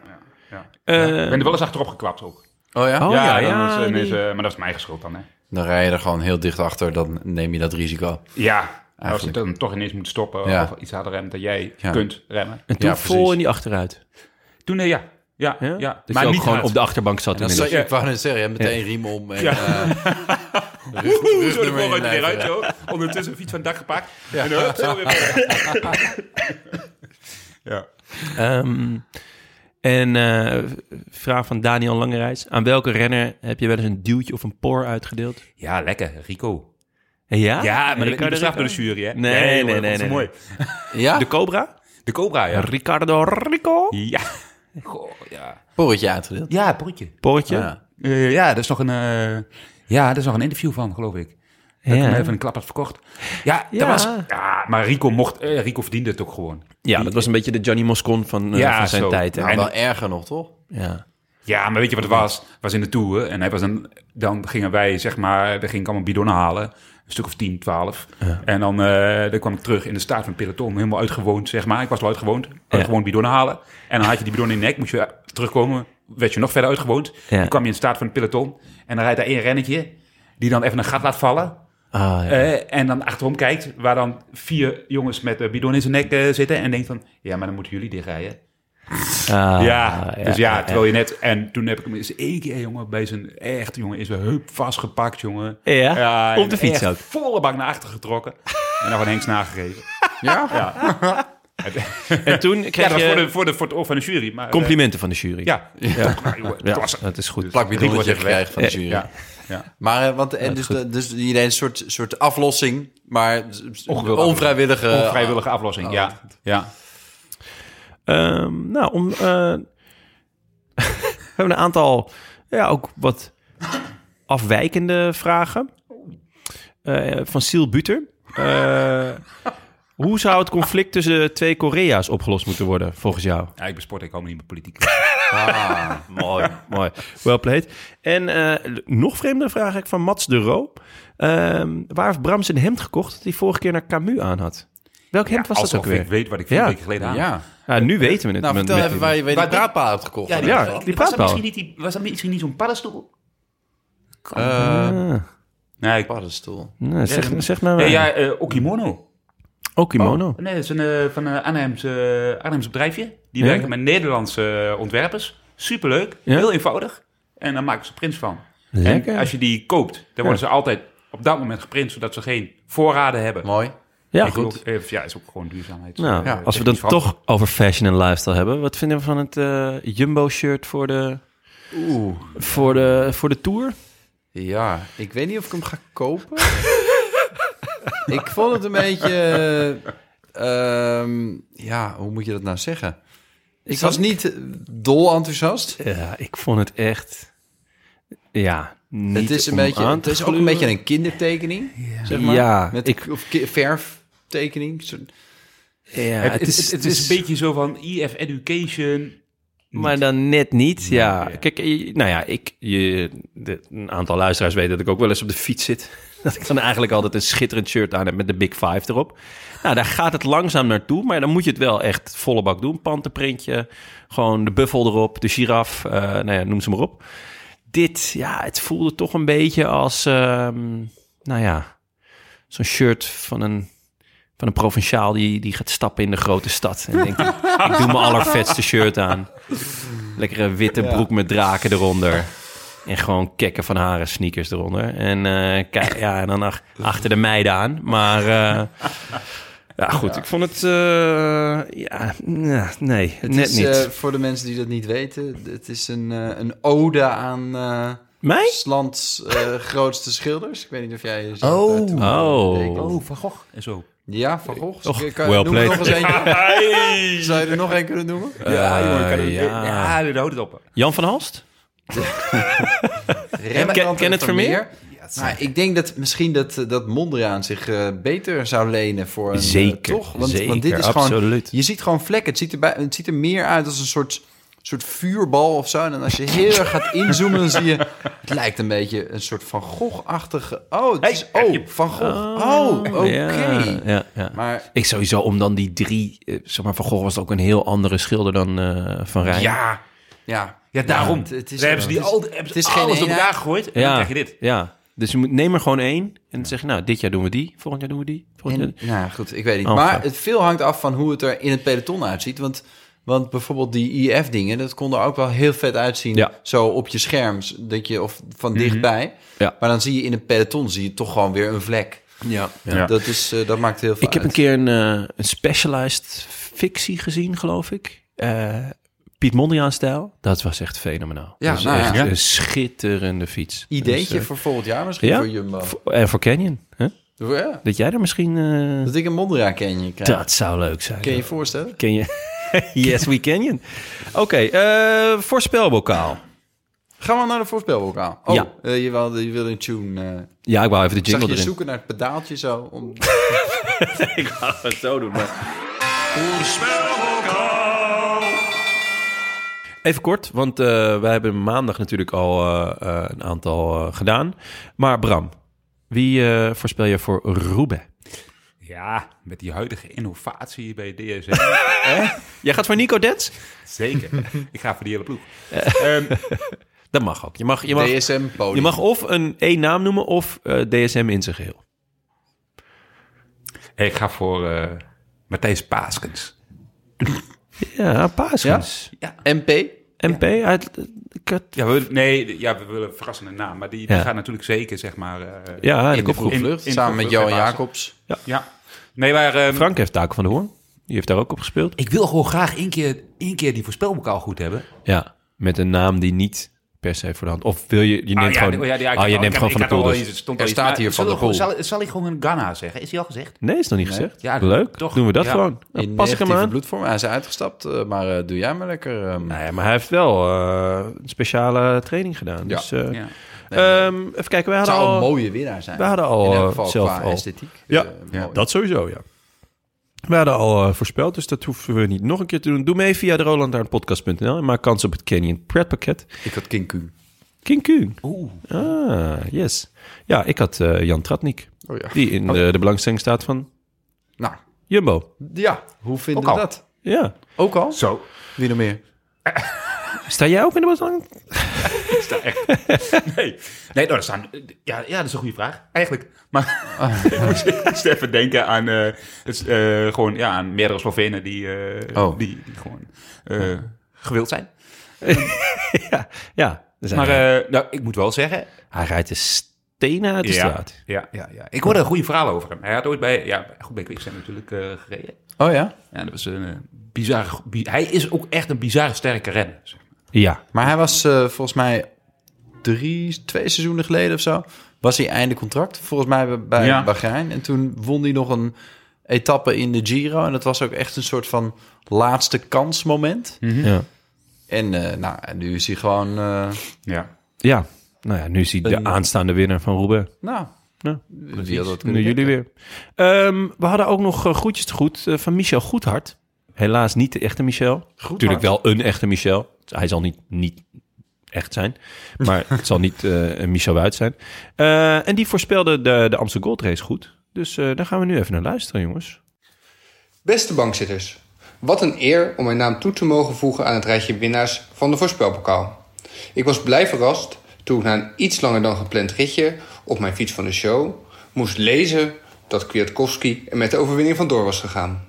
Speaker 4: ja, ja,
Speaker 1: Eh,
Speaker 4: Ja. Ik ben er wel eens achterop gekwapt ook.
Speaker 2: Oh ja?
Speaker 1: Oh ja, ja,
Speaker 4: dan is- dan is,
Speaker 1: die-
Speaker 4: eh, maar dat is mijn eigen schuld dan, hè.
Speaker 2: Dan rij je er gewoon heel dicht achter, dan neem je dat risico.
Speaker 4: Ja, als ik
Speaker 2: Eigenlijk.
Speaker 4: dan toch ineens moet stoppen
Speaker 2: Ja.
Speaker 4: of iets harder remmen dan jij
Speaker 2: Ja.
Speaker 4: kunt remmen.
Speaker 1: en toen
Speaker 2: ja,
Speaker 1: vol
Speaker 2: precies.
Speaker 1: in die achteruit.
Speaker 4: Toen, nee, ja. Ja,
Speaker 1: Ja?
Speaker 4: ja.
Speaker 1: Dat maar je ook gewoon
Speaker 4: hard.
Speaker 1: op
Speaker 4: (laughs)
Speaker 1: de achterbank zat.
Speaker 2: Dan
Speaker 1: inmiddels.
Speaker 2: zat je, ik wou net zeggen, je hebt meteen riem om. En, eh, rug-
Speaker 4: Zo de
Speaker 2: rugnummer
Speaker 4: vooruit
Speaker 2: inlijven,
Speaker 4: weer uit,
Speaker 2: ja.
Speaker 4: joh. Ondertussen fiets van het dak gepakt. En hup, zo weer verder. (laughs) ja.
Speaker 1: Ehm, en eh, vraag van Daniel Langerijs. Aan welke renner heb je wel eens een duwtje of een por uitgedeeld?
Speaker 4: ja, lekker. Rico.
Speaker 1: Ah. Ja? Eh,
Speaker 4: Ja, maar dat
Speaker 1: Ricardo
Speaker 4: werd niet bestraft door de
Speaker 1: Rico?
Speaker 4: jury, hè?
Speaker 1: Nee, nee,
Speaker 4: joh,
Speaker 1: nee,
Speaker 4: dat
Speaker 1: nee,
Speaker 4: is
Speaker 1: nee.
Speaker 4: mooi.
Speaker 2: Ja,
Speaker 1: De Cobra?
Speaker 4: De Cobra, ja.
Speaker 1: Ricardo Rico?
Speaker 4: Ja. Goh, ja.
Speaker 2: porretje uitgedeeld.
Speaker 4: Ja, broodje.
Speaker 1: Portje?
Speaker 2: Ja.
Speaker 4: Eh, ja, er is nog een... eh, ja, er is nog een interview van, geloof ik.
Speaker 1: Ja.
Speaker 4: Dat ik hem even een klap had verkocht. Ja,
Speaker 1: Ja.
Speaker 4: Dat was, ja maar Rico, mocht, eh, Rico verdiende het ook gewoon.
Speaker 1: Ja, dat was een beetje de Johnny Moscon van, eh,
Speaker 4: Ja,
Speaker 1: van zijn
Speaker 4: zo.
Speaker 1: tijd. Hè?
Speaker 2: Nou,
Speaker 4: En-
Speaker 2: wel erger nog, toch?
Speaker 1: Ja.
Speaker 4: Ja, maar weet je wat het was? Het was in de Tour en hij was een, dan gingen wij, zeg maar, dan ging ik allemaal bidonnen halen. Een stuk of 10, 12. En dan, eh, dan kwam ik terug in de staat van het peloton, helemaal uitgewoond, zeg maar. Ik was al uitgewoond, uitgewoond bidonnen halen. En dan had je die bidon in je nek, moest je terugkomen, werd je nog verder uitgewoond.
Speaker 1: Ja.
Speaker 4: Dan kwam je in de staat van het peloton en dan rijdt daar één rennetje, die dan even een gat laat vallen.
Speaker 1: Ah, ja.
Speaker 4: Eh, en dan achterom kijkt, waar dan vier jongens met eh, bidon in zijn nek eh, zitten. En denkt van, ja, maar dan moeten jullie dichtrijden.
Speaker 1: Ah,
Speaker 4: Ja, dus ja, terwijl je net... En toen heb ik hem eens één keer, jongen, bij zijn echt, jongen, is zijn heup vastgepakt, jongen.
Speaker 1: Ja?
Speaker 4: en
Speaker 1: Op de fiets
Speaker 4: echt
Speaker 1: ook?
Speaker 4: volle bank naar achter getrokken. en dan van Henks nagegeven. (laughs) Ja? Ja,
Speaker 1: En toen
Speaker 4: ja
Speaker 1: kreeg
Speaker 4: dat was
Speaker 1: je
Speaker 4: voor, de, voor, de, voor het oor van de jury. Maar, eh,
Speaker 1: complimenten van de jury.
Speaker 4: ja. Ja. (laughs) Maar, jongen,
Speaker 1: Ja,
Speaker 4: het Dus- was-
Speaker 1: dat is goed.
Speaker 2: Plak
Speaker 4: Rico
Speaker 2: bidonnetje
Speaker 4: wordt even
Speaker 2: gekregen van de jury.
Speaker 4: ja. ja.
Speaker 2: Maar eh, want, en dus, de, dus iedereen een soort, soort aflossing, maar s- s-
Speaker 4: Ongewild
Speaker 2: onvrijwillige.
Speaker 4: Onvrijwillige aflossing, ja. Eh, oh. ja.
Speaker 1: Ehm, nou, om, eh, (laughs) we hebben een aantal, ja, ook wat afwijkende vragen. Eh, van Siel Buter. Eh, hoe zou het conflict tussen de twee Korea's opgelost moeten worden, volgens jou?
Speaker 4: Ja, ik ben sport, ik hou me niet
Speaker 1: (laughs)
Speaker 4: met politiek.
Speaker 2: Ah,
Speaker 1: Mooi, (laughs) mooi. Well played. En eh, nog vreemder vraag ik van Mats de Roo. Ehm, waar heeft Bram zijn hemd gekocht dat hij vorige keer naar Camus aan had? Welk hemd was dat
Speaker 4: Alsof
Speaker 1: ook weer?
Speaker 4: ik weet wat ik vier
Speaker 1: Ja.
Speaker 4: weken geleden aan. had.
Speaker 2: Ja.
Speaker 1: Nou, nu weten we het.
Speaker 2: Nou,
Speaker 1: met-
Speaker 2: vertel
Speaker 1: met-
Speaker 2: even waar je, waar je die braadpaal hebt gekocht.
Speaker 4: Ja, die,
Speaker 1: Ja,
Speaker 4: die-
Speaker 1: die
Speaker 4: was dat
Speaker 1: praat wel.
Speaker 4: misschien niet die- Was dat misschien niet zo'n paddenstoel?
Speaker 2: Eh,
Speaker 1: Ah.
Speaker 4: Nee, ik-
Speaker 2: paddenstoel.
Speaker 1: Nou, zeg, zeg maar
Speaker 4: nee
Speaker 1: waar.
Speaker 4: ja, eh, Okimono.
Speaker 2: Oh,
Speaker 1: Okimono.
Speaker 4: Nee, dat is een, eh, van een Arnhemse, eh, Arnhemse bedrijfje. Die
Speaker 1: Ja?
Speaker 4: werken met Nederlandse eh, ontwerpers. Superleuk,
Speaker 1: Ja?
Speaker 4: heel eenvoudig. En dan maken ze prins van.
Speaker 1: Lekker.
Speaker 4: En als je die koopt, dan worden ze altijd op dat moment geprint, zodat ze geen voorraden hebben.
Speaker 2: Mooi.
Speaker 1: Ja,
Speaker 4: Ik bedoel,
Speaker 1: goed.
Speaker 4: eh, ja, is ook gewoon duurzaamheid.
Speaker 1: Nou,
Speaker 4: Eh,
Speaker 1: als we
Speaker 4: technisch
Speaker 1: dat
Speaker 4: verantwoord.
Speaker 1: toch over fashion en lifestyle hebben, wat vinden we van het eh, Jumbo-shirt voor de, voor, de, voor de tour?
Speaker 2: Ja, ik weet niet of ik hem ga kopen. (laughs) ik vond het een beetje... eh, ehm, ja, hoe moet je dat nou zeggen? Ik was niet eh, dol enthousiast.
Speaker 1: Ja, ik vond het echt... Ja, niet
Speaker 2: Het is, een
Speaker 1: om
Speaker 2: beetje,
Speaker 1: aan
Speaker 2: het
Speaker 1: te
Speaker 2: is ook een
Speaker 1: gluren.
Speaker 2: beetje een kindertekening, zeg maar.
Speaker 1: Ja,
Speaker 2: Met
Speaker 1: ik-
Speaker 2: of ki- verftekening. Zo-
Speaker 1: Ja,
Speaker 4: Het, is, het, is een beetje zo van IF Education.
Speaker 1: Maar dan net niet, ja. Kijk, je- nou ja, ik, je, de- een aantal luisteraars weten dat ik ook wel eens op de fiets zit. (laughs) Dat ik dan eigenlijk altijd een schitterend shirt aan heb met de Big Five erop. Nou, daar gaat het langzaam naartoe, maar dan moet je het wel echt volle bak doen. Pantenprintje, gewoon de buffel erop, de giraf, eh, nou ja, noem ze maar op. Dit, ja, het voelde toch een beetje als, ehm, nou ja, zo'n shirt van een... Van een provinciaal die, die gaat stappen in de grote stad. En denkt, ik doe mijn allervetste shirt aan. Lekkere witte broek met draken eronder. En gewoon kekken van haren sneakers eronder. En, eh, kijk, ja, en dan ach- achter de meiden aan. Maar eh, ja, goed, ik vond het... eh, ja, ja, nee,
Speaker 2: Het
Speaker 1: net
Speaker 2: is,
Speaker 1: niet.
Speaker 2: eh, voor de mensen die dat niet weten, het is een, eh, een ode aan eh
Speaker 1: Mij?
Speaker 2: s lands eh, grootste schilders. Ik weet niet of jij je zelf
Speaker 4: Oh.
Speaker 2: daartoe
Speaker 1: Oh.
Speaker 2: rekent.
Speaker 4: Oh, Van Gogh en zo.
Speaker 2: Ja, Van Gogh.
Speaker 1: Och,
Speaker 2: Ik kan,
Speaker 1: well
Speaker 2: noem er nog
Speaker 1: played.
Speaker 2: eens eentje.
Speaker 1: (laughs)
Speaker 2: Zou je er nog één kunnen noemen?
Speaker 4: ja, jongen, kan
Speaker 1: Eh,
Speaker 4: het-
Speaker 1: ja.
Speaker 4: ja, daar houdt het op.
Speaker 1: Jan van Halst? Ken-
Speaker 2: Rembrandt
Speaker 1: Ken het Vermeer?
Speaker 2: Maar ik denk dat misschien dat, eh, dat Mondriaan zich eh, beter zou lenen voor een... eh,
Speaker 1: Zeker,
Speaker 2: toch? Want, want dit
Speaker 1: zeker,
Speaker 2: is gewoon...
Speaker 1: absoluut.
Speaker 2: Je ziet gewoon vlekken. Het ziet er, bij, het ziet er meer uit als een soort, soort vuurbal of zo. En dan als je heel erg gaat inzoomen, dan zie je... Het lijkt een beetje een soort Van Gogh-achtige... Oh, het is, oh Van Gogh. Oh, oké.
Speaker 1: Ja, ja, ja.
Speaker 2: Maar
Speaker 1: Ik sowieso, om dan die drie... eh, zeg maar, Van Gogh was ook een heel andere schilder dan eh, Van Rijn.
Speaker 4: Ja,
Speaker 2: ja...
Speaker 4: ja daarom.
Speaker 2: het- het is-
Speaker 4: daar hebben ze die
Speaker 2: het is-
Speaker 4: al, hebben ze
Speaker 2: het is geen
Speaker 4: alles op
Speaker 2: eenheid.
Speaker 4: elkaar gegooid. En dan
Speaker 1: Ja,
Speaker 4: krijg je dit.
Speaker 1: ja. Dus je moet, neem er gewoon één. En dan zeg je, nou, dit jaar doen we die. Volgend jaar doen we die. Volgend
Speaker 2: En,
Speaker 1: jaar...
Speaker 2: nou ja, goed, ik weet niet.
Speaker 1: Oh,
Speaker 2: maar
Speaker 1: fuck.
Speaker 2: het veel hangt af van hoe het er in het peloton uitziet. Want, want bijvoorbeeld die IF-dingen, dat kon er ook wel heel vet uitzien.
Speaker 1: Ja. Mhm.
Speaker 2: Zo op je scherm, dat je, of van dichtbij.
Speaker 1: Ja.
Speaker 2: Maar dan zie je in het peloton zie je toch gewoon weer een vlek.
Speaker 1: Ja.
Speaker 2: Dat, is, eh, dat maakt heel veel
Speaker 1: Ik heb een
Speaker 2: uit.
Speaker 1: keer een, eh, een specialized fictie gezien, geloof ik. Eh, Piet Mondriaan-stijl. Dat was echt fenomenaal.
Speaker 2: Ja,
Speaker 1: Dat is
Speaker 2: nou
Speaker 1: echt
Speaker 2: ja.
Speaker 1: een schitterende fiets.
Speaker 2: Ideetje
Speaker 1: Dus, eh,
Speaker 2: voor volgend jaar misschien
Speaker 1: ja?
Speaker 2: voor Jumbo.
Speaker 1: voor- En voor Canyon. Hè?
Speaker 2: Ja,
Speaker 1: Dat jij er misschien... eh,
Speaker 2: dat ik een Mondriaan ken je krijg.
Speaker 1: dat zou leuk zijn.
Speaker 2: Kun je je voorstellen?
Speaker 1: Ken je? (laughs) yes, we Canyon. Oké, eh, voorspelbokaal.
Speaker 2: Gaan we naar de voorspelbokaal. Oh,
Speaker 1: Ja.
Speaker 2: eh, je, wilde, je wilde een tune. eh
Speaker 1: Ja, ik wou even de
Speaker 2: zag
Speaker 1: jingle
Speaker 2: je
Speaker 1: erin.
Speaker 2: zoeken naar het pedaaltje zo? Om...
Speaker 1: Ik wou het zo doen, maar... Even kort, want eh wij hebben maandag natuurlijk al eh, eh, een aantal eh, gedaan. Maar Bram, wie eh, voorspel je voor Roubaix?
Speaker 4: Ja, met die huidige innovatie bij DSM.
Speaker 1: Jij gaat voor Nico Dets?
Speaker 4: Zeker.
Speaker 1: (laughs)
Speaker 4: ik ga voor die hele ploeg. Ehm,
Speaker 1: Dat mag ook. Je mag, je mag,
Speaker 2: DSM-podium.
Speaker 1: je mag of een één naam noemen of eh, DSM in zijn geheel.
Speaker 4: ik ga voor eh, Matthijs Paaskens.
Speaker 1: Ja, Paaschens.
Speaker 2: MP?
Speaker 1: MP uit... eh, Ik had-
Speaker 4: Ja, we, nee, ja, we willen verrassende naam. Maar die, die
Speaker 1: Ja.
Speaker 4: gaat natuurlijk zeker, zeg maar... eh,
Speaker 1: ja, ik
Speaker 2: Op
Speaker 1: opgroep.
Speaker 2: vlucht,
Speaker 4: in-
Speaker 2: samen met
Speaker 4: met
Speaker 2: Johan
Speaker 4: Basis.
Speaker 2: Jacobs.
Speaker 4: Ja. Nee, maar... ehm,
Speaker 1: Frank heeft Taak van de Hoorn. Die heeft daar ook op gespeeld.
Speaker 4: Ik wil gewoon graag één keer, één keer die voorspelbokaal goed hebben.
Speaker 1: Ja, met een naam die niet per se voor de hand. Of wil je, je neemt
Speaker 4: Ah, ja,
Speaker 1: gewoon,
Speaker 4: oh, ja, die- ja, ik-
Speaker 1: oh, je
Speaker 4: ik
Speaker 1: neemt
Speaker 4: had-
Speaker 1: gewoon van de
Speaker 4: ik
Speaker 1: dus
Speaker 4: had al
Speaker 1: pool.
Speaker 4: iets- stond
Speaker 2: Er
Speaker 4: al iets,
Speaker 2: staat
Speaker 4: maar
Speaker 2: hier
Speaker 4: zullen
Speaker 2: Van
Speaker 4: we
Speaker 2: de
Speaker 4: gewoon- Zal, zal ik gewoon een Ghana zeggen? Is die al gezegd?
Speaker 1: Nee, is nog niet gezegd.
Speaker 4: Ja,
Speaker 1: Leuk,
Speaker 4: toch.
Speaker 1: doen we dat
Speaker 4: Ja.
Speaker 1: gewoon. Dan
Speaker 2: In
Speaker 1: pas ik hem
Speaker 2: negatieve
Speaker 1: aan.
Speaker 2: bloedvorm. Hij is uitgestapt, eh, maar eh, doe jij maar lekker. ehm.
Speaker 1: Nou ja, maar hij heeft wel eh, een speciale training gedaan.
Speaker 2: Ja.
Speaker 1: Dus, eh,
Speaker 4: Ja.
Speaker 1: ehm, even kijken, wij
Speaker 2: het
Speaker 1: hadden
Speaker 2: zou een
Speaker 1: al...
Speaker 2: mooie winnaar zijn.
Speaker 1: We hadden al,
Speaker 2: In elk
Speaker 1: eh,
Speaker 2: geval
Speaker 1: zelf
Speaker 2: qua
Speaker 1: al.
Speaker 2: esthetiek.
Speaker 1: Ja,
Speaker 2: eh,
Speaker 4: ja,
Speaker 2: mooi.
Speaker 1: Dat sowieso, ja. We hadden al eh, voorspeld, dus dat hoeven we niet nog een keer te doen. Doe mee via de rolandaarnpodcast.nl en maak kans op het Canyon pretpakket.
Speaker 2: Ik had King Kuhn.
Speaker 1: King Kuhn. Ah, yes. Ja, ik had eh, Jan Tratnik,
Speaker 2: Oh ja.
Speaker 1: die in eh, de, de belangstelling staat van
Speaker 2: Nou,
Speaker 1: Jumbo.
Speaker 2: ja. Hoe vinden
Speaker 4: Ook
Speaker 2: we
Speaker 4: al.
Speaker 2: dat?
Speaker 1: Ja.
Speaker 2: Ook al?
Speaker 4: Zo.
Speaker 2: Wie nog meer?
Speaker 1: Sta jij ook in de belang?
Speaker 4: (laughs) Nee, nee nou, er staan, ja, ja, dat is een goede vraag, eigenlijk. Maar (laughs) ik moest- ik moest even denken aan, eh, het, is, eh, gewoon, ja, aan meerdere Slovenen die, eh,
Speaker 2: Oh.
Speaker 4: die, die gewoon eh, gewild zijn.
Speaker 1: Ja. er zijn
Speaker 4: Maar
Speaker 1: er.
Speaker 4: eh, nou, ik moet wel zeggen...
Speaker 1: Hij rijdt de stenen uit de
Speaker 4: ja,
Speaker 1: straat.
Speaker 4: ja, ja, ja. Ik hoorde een goede verhaal over hem. Hij had ooit bij, ja, goed bij Quickstep natuurlijk eh, gereden.
Speaker 2: Oh ja.
Speaker 4: Ja, dat was een eh, bizarre... go- bi- hij is ook echt een bizarre sterke renner. zeg maar.
Speaker 1: Ja.
Speaker 2: Maar hij was eh, volgens mij drie, twee seizoenen geleden of zo. Was hij einde contract. Volgens mij bij- bij
Speaker 4: Ja.
Speaker 2: Bahrein. En toen won hij nog een etappe in de Giro. En dat was ook echt een soort van laatste kansmoment.
Speaker 1: ja.
Speaker 2: En eh, nou, en nu is hij gewoon. eh,
Speaker 4: Ja.
Speaker 1: Ja. Nou ja, nu is hij de aanstaande winnaar van Roubaix.
Speaker 2: Nou,
Speaker 1: Ja.
Speaker 2: wie had dat
Speaker 1: Nu
Speaker 2: kunnen
Speaker 1: jullie
Speaker 2: denken?
Speaker 1: weer. Ehm, we hadden ook nog eh, groetjes te goed eh, van Michel Goedhart. Helaas niet de echte Michel. Natuurlijk wel een echte Michel. Hij zal niet, niet echt zijn. (laughs) Maar het zal niet eh, een Michel Wuit zijn. Eh, en die voorspelde de, de Amsterdam Gold Race goed. Dus eh, daar gaan we nu even naar luisteren, jongens.
Speaker 7: Beste bankzitters, wat een eer om mijn naam toe te mogen voegen aan het rijtje winnaars van de voorspelbokaal. Ik was blij verrast toen ik na een iets langer dan gepland ritje op mijn fiets van de show moest lezen dat Kwiatkowski er met de overwinning vandoor was gegaan.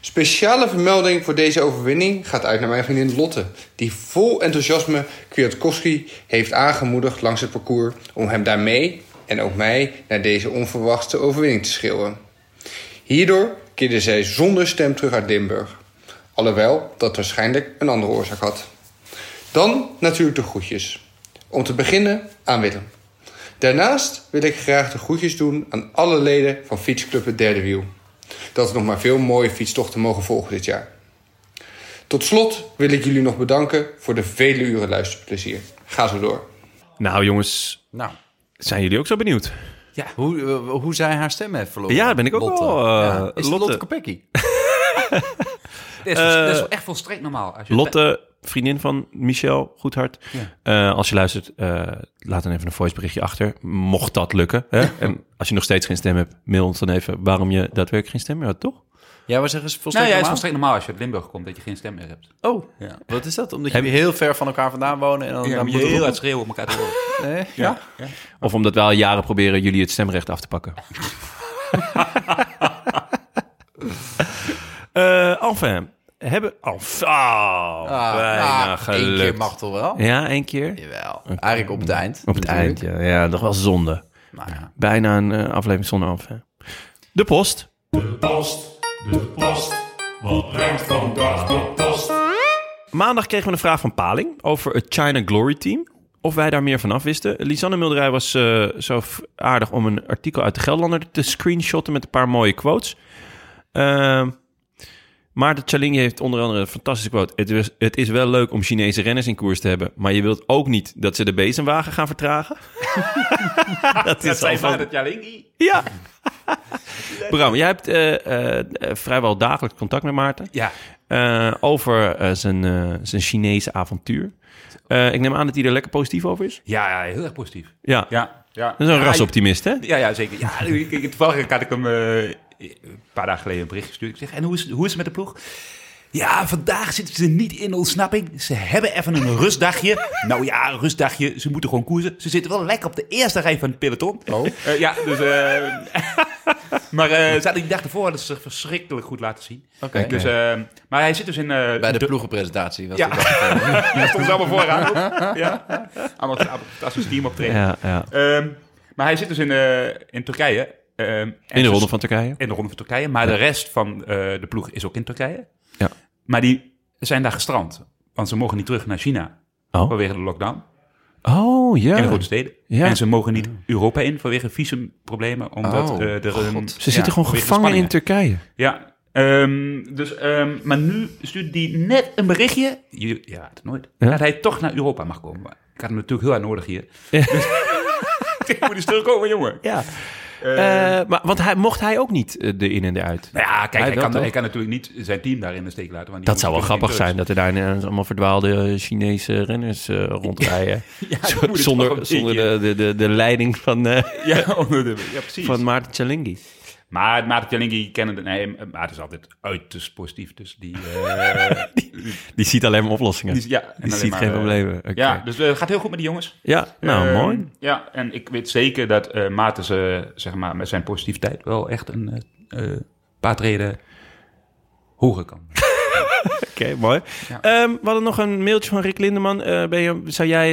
Speaker 7: Speciale vermelding voor deze overwinning gaat uit naar mijn vriendin Lotte, die vol enthousiasme Kwiatkowski heeft aangemoedigd langs het parcours om hem daarmee en ook mij naar deze onverwachte overwinning te schreeuwen. Hierdoor keerde zij zonder stem terug uit Limburg, alhoewel dat waarschijnlijk een andere oorzaak had. Dan natuurlijk de groetjes. Om te beginnen aan Willem. Daarnaast wil ik graag de groetjes doen aan alle leden van Fietsclub Het Derde Wiel. Dat we nog maar veel mooie fietstochten mogen volgen dit jaar. Tot slot wil ik jullie nog bedanken voor de vele uren luisterplezier. Ga zo door.
Speaker 1: Nou jongens,
Speaker 2: Nou,
Speaker 1: zijn jullie ook zo benieuwd?
Speaker 2: hoe, eh, hoe zij haar stem heeft verloren.
Speaker 1: Ja, ben ik ook
Speaker 2: Lotte.
Speaker 1: wel, eh,
Speaker 2: Ja. Is het
Speaker 1: Lotte.
Speaker 2: Lotte Kopecky?
Speaker 4: Dat is, dat is wel echt volstrekt normaal. Als je
Speaker 1: Lotte, vriendin van Michel Goedhart. Eh, als je luistert, eh, laat dan even een voiceberichtje achter. Mocht dat lukken.
Speaker 2: (laughs)
Speaker 1: Hè? En als je nog steeds geen stem hebt, mail ons dan even waarom je daadwerkelijk geen stem meer had, toch?
Speaker 2: Ja, was er eens volstrekt
Speaker 4: Nou ja, het is
Speaker 2: normaal?
Speaker 4: volstrekt normaal als je uit Limburg komt dat je geen stem meer hebt.
Speaker 2: Oh,
Speaker 4: Ja.
Speaker 2: wat is dat? Omdat jullie heel ver van elkaar vandaan wonen en dan, dan
Speaker 4: moet
Speaker 2: moet
Speaker 4: je heel
Speaker 2: roepen.
Speaker 4: hard schreeuwen om elkaar te (laughs) horen.
Speaker 2: Nee? Ja.
Speaker 1: Of omdat we al jaren proberen jullie het stemrecht af te
Speaker 2: (laughs)
Speaker 1: pakken. Eh enfin, hebben... Enfin,
Speaker 2: Ah,
Speaker 1: bijna
Speaker 2: ah, één
Speaker 1: gelukt.
Speaker 2: keer mag toch wel?
Speaker 1: Ja, één keer.
Speaker 2: Jawel. Eigenlijk op het eind.
Speaker 1: Op het eind, ja. Ja, toch wel zonde.
Speaker 2: Nou ja.
Speaker 1: Bijna een eh, aflevering zonder af. hè. De post.
Speaker 6: Post, de post. Wat brengt vandaag de post?
Speaker 1: Maandag kregen we een vraag van Paling over het China Glory Team. Of wij daar meer van af wisten. Lisanne Mulderij was eh, zo f- aardig om een artikel uit de Gelderlander te screenshotten met een paar mooie quotes. Ehm Maarten Chalingi heeft onder andere een fantastische quote. Het is, het is wel leuk om Chinese renners in koers te hebben, maar je wilt ook niet dat ze de bezemwagen gaan vertragen. (laughs) dat is al van- Ja. (laughs) Bram, jij hebt eh, eh, eh, vrijwel dagelijks contact met Maarten.
Speaker 4: Ja.
Speaker 1: Eh, over eh, zijn, eh, zijn Chinese avontuur. Eh, ik neem aan dat hij er lekker positief over is.
Speaker 4: Ja, ja, heel erg positief.
Speaker 1: Ja,
Speaker 4: Ja. ja.
Speaker 1: dat is een
Speaker 4: ja,
Speaker 1: rasoptimist, hè?
Speaker 4: Ja, ja, zeker. Ja, ik- ik- toevallig had ik hem eh, een paar dagen geleden een bericht gestuurd. Ik zeg, en hoe is, hoe is het met de ploeg? Ja, vandaag zitten ze niet in ontsnapping. Ze hebben even een rustdagje. (laughs) Nou ja, een rustdagje. Ze moeten gewoon koersen. Ze zitten wel lekker op de eerste rij van het peloton. Oh. ja, dus... eh, (laughs) maar eh, ze hadden die dag ervoor hadden ze zich verschrikkelijk goed laten zien.
Speaker 2: Oké.
Speaker 4: Dus, eh, maar hij zit dus in... eh,
Speaker 2: Bij de
Speaker 4: de-
Speaker 2: ploegenpresentatie. Was
Speaker 4: Ja.
Speaker 2: het dat.
Speaker 4: Hij stond ze allemaal vooraan. ook. Ja. Allemaal een fantastisch team optreden.
Speaker 1: Ja, ja.
Speaker 4: Ehm, maar hij zit dus in, eh, in Turkije. ehm, en
Speaker 1: In de
Speaker 4: ze-
Speaker 1: ronde van Turkije.
Speaker 4: in de Ronde van Turkije. Maar de rest van eh, de ploeg is ook in Turkije.
Speaker 1: Ja.
Speaker 4: Maar die zijn daar gestrand. Want ze mogen niet terug naar China
Speaker 1: Oh,
Speaker 4: vanwege de lockdown
Speaker 1: oh
Speaker 4: in de
Speaker 1: ja.
Speaker 4: grote steden.
Speaker 1: Ja.
Speaker 4: En ze mogen niet Europa in vanwege visumproblemen. Omdat
Speaker 2: Oh,
Speaker 4: eh, er, een-
Speaker 1: Ze
Speaker 4: ja,
Speaker 1: zitten gewoon
Speaker 4: vanwege de
Speaker 1: gevangen in
Speaker 4: spanningen.
Speaker 1: Turkije.
Speaker 4: Ja. Ehm, dus, ehm, maar nu stuurt die net een berichtje. Je, ja, het nooit.
Speaker 1: Ja.
Speaker 4: Dat hij toch naar Europa mag komen. Maar Ik had hem natuurlijk heel hard nodig hier. (laughs) Dus- ik moet eens terugkomen, jongen.
Speaker 1: Ja.
Speaker 4: Eh,
Speaker 1: maar, want hij, mocht hij ook niet eh, de in en de uit?
Speaker 4: Nou ja,
Speaker 1: Hij
Speaker 4: kijk, hij,
Speaker 1: wel,
Speaker 4: kan,
Speaker 1: toch?
Speaker 4: hij kan natuurlijk niet zijn team daar in de steek laten. Want die
Speaker 1: Dat zou wel
Speaker 4: moeten
Speaker 1: grappig zijn,
Speaker 4: natuurlijk
Speaker 1: dat er daar ineens allemaal verdwaalde eh, Chinese renners (laughs) eh, rondrijden.
Speaker 4: in rust. Ja, die
Speaker 1: Zo-
Speaker 4: moeten toch
Speaker 1: zonder
Speaker 4: een
Speaker 1: zonder
Speaker 4: beetje-
Speaker 1: de, de, de, de leiding van, eh,
Speaker 4: Ja, (laughs) onder de- ja, precies.
Speaker 1: van Maarten Chalingi.
Speaker 4: Maar Maarten Tjallingi kennen de... Nee, Maarten is altijd uiterst positief. Dus die... eh, (laughs)
Speaker 1: Die ziet alleen maar oplossingen.
Speaker 4: die
Speaker 1: Die,
Speaker 4: ja, en alleen
Speaker 1: ziet
Speaker 4: maar,
Speaker 1: geen
Speaker 4: eh,
Speaker 1: problemen. Oké.
Speaker 4: Ja, dus eh, het gaat heel goed met die jongens.
Speaker 1: ja, nou
Speaker 4: Eh,
Speaker 1: mooi.
Speaker 4: Ja, en ik weet zeker dat eh Maarten ze, zeg maar, met zijn positiviteit wel echt een eh, eh, paar treden hoger kan.
Speaker 1: Oké, mooi.
Speaker 4: Ja.
Speaker 1: Ehm, we hadden nog een mailtje van Rick Lindeman. Eh, ben je, zou jij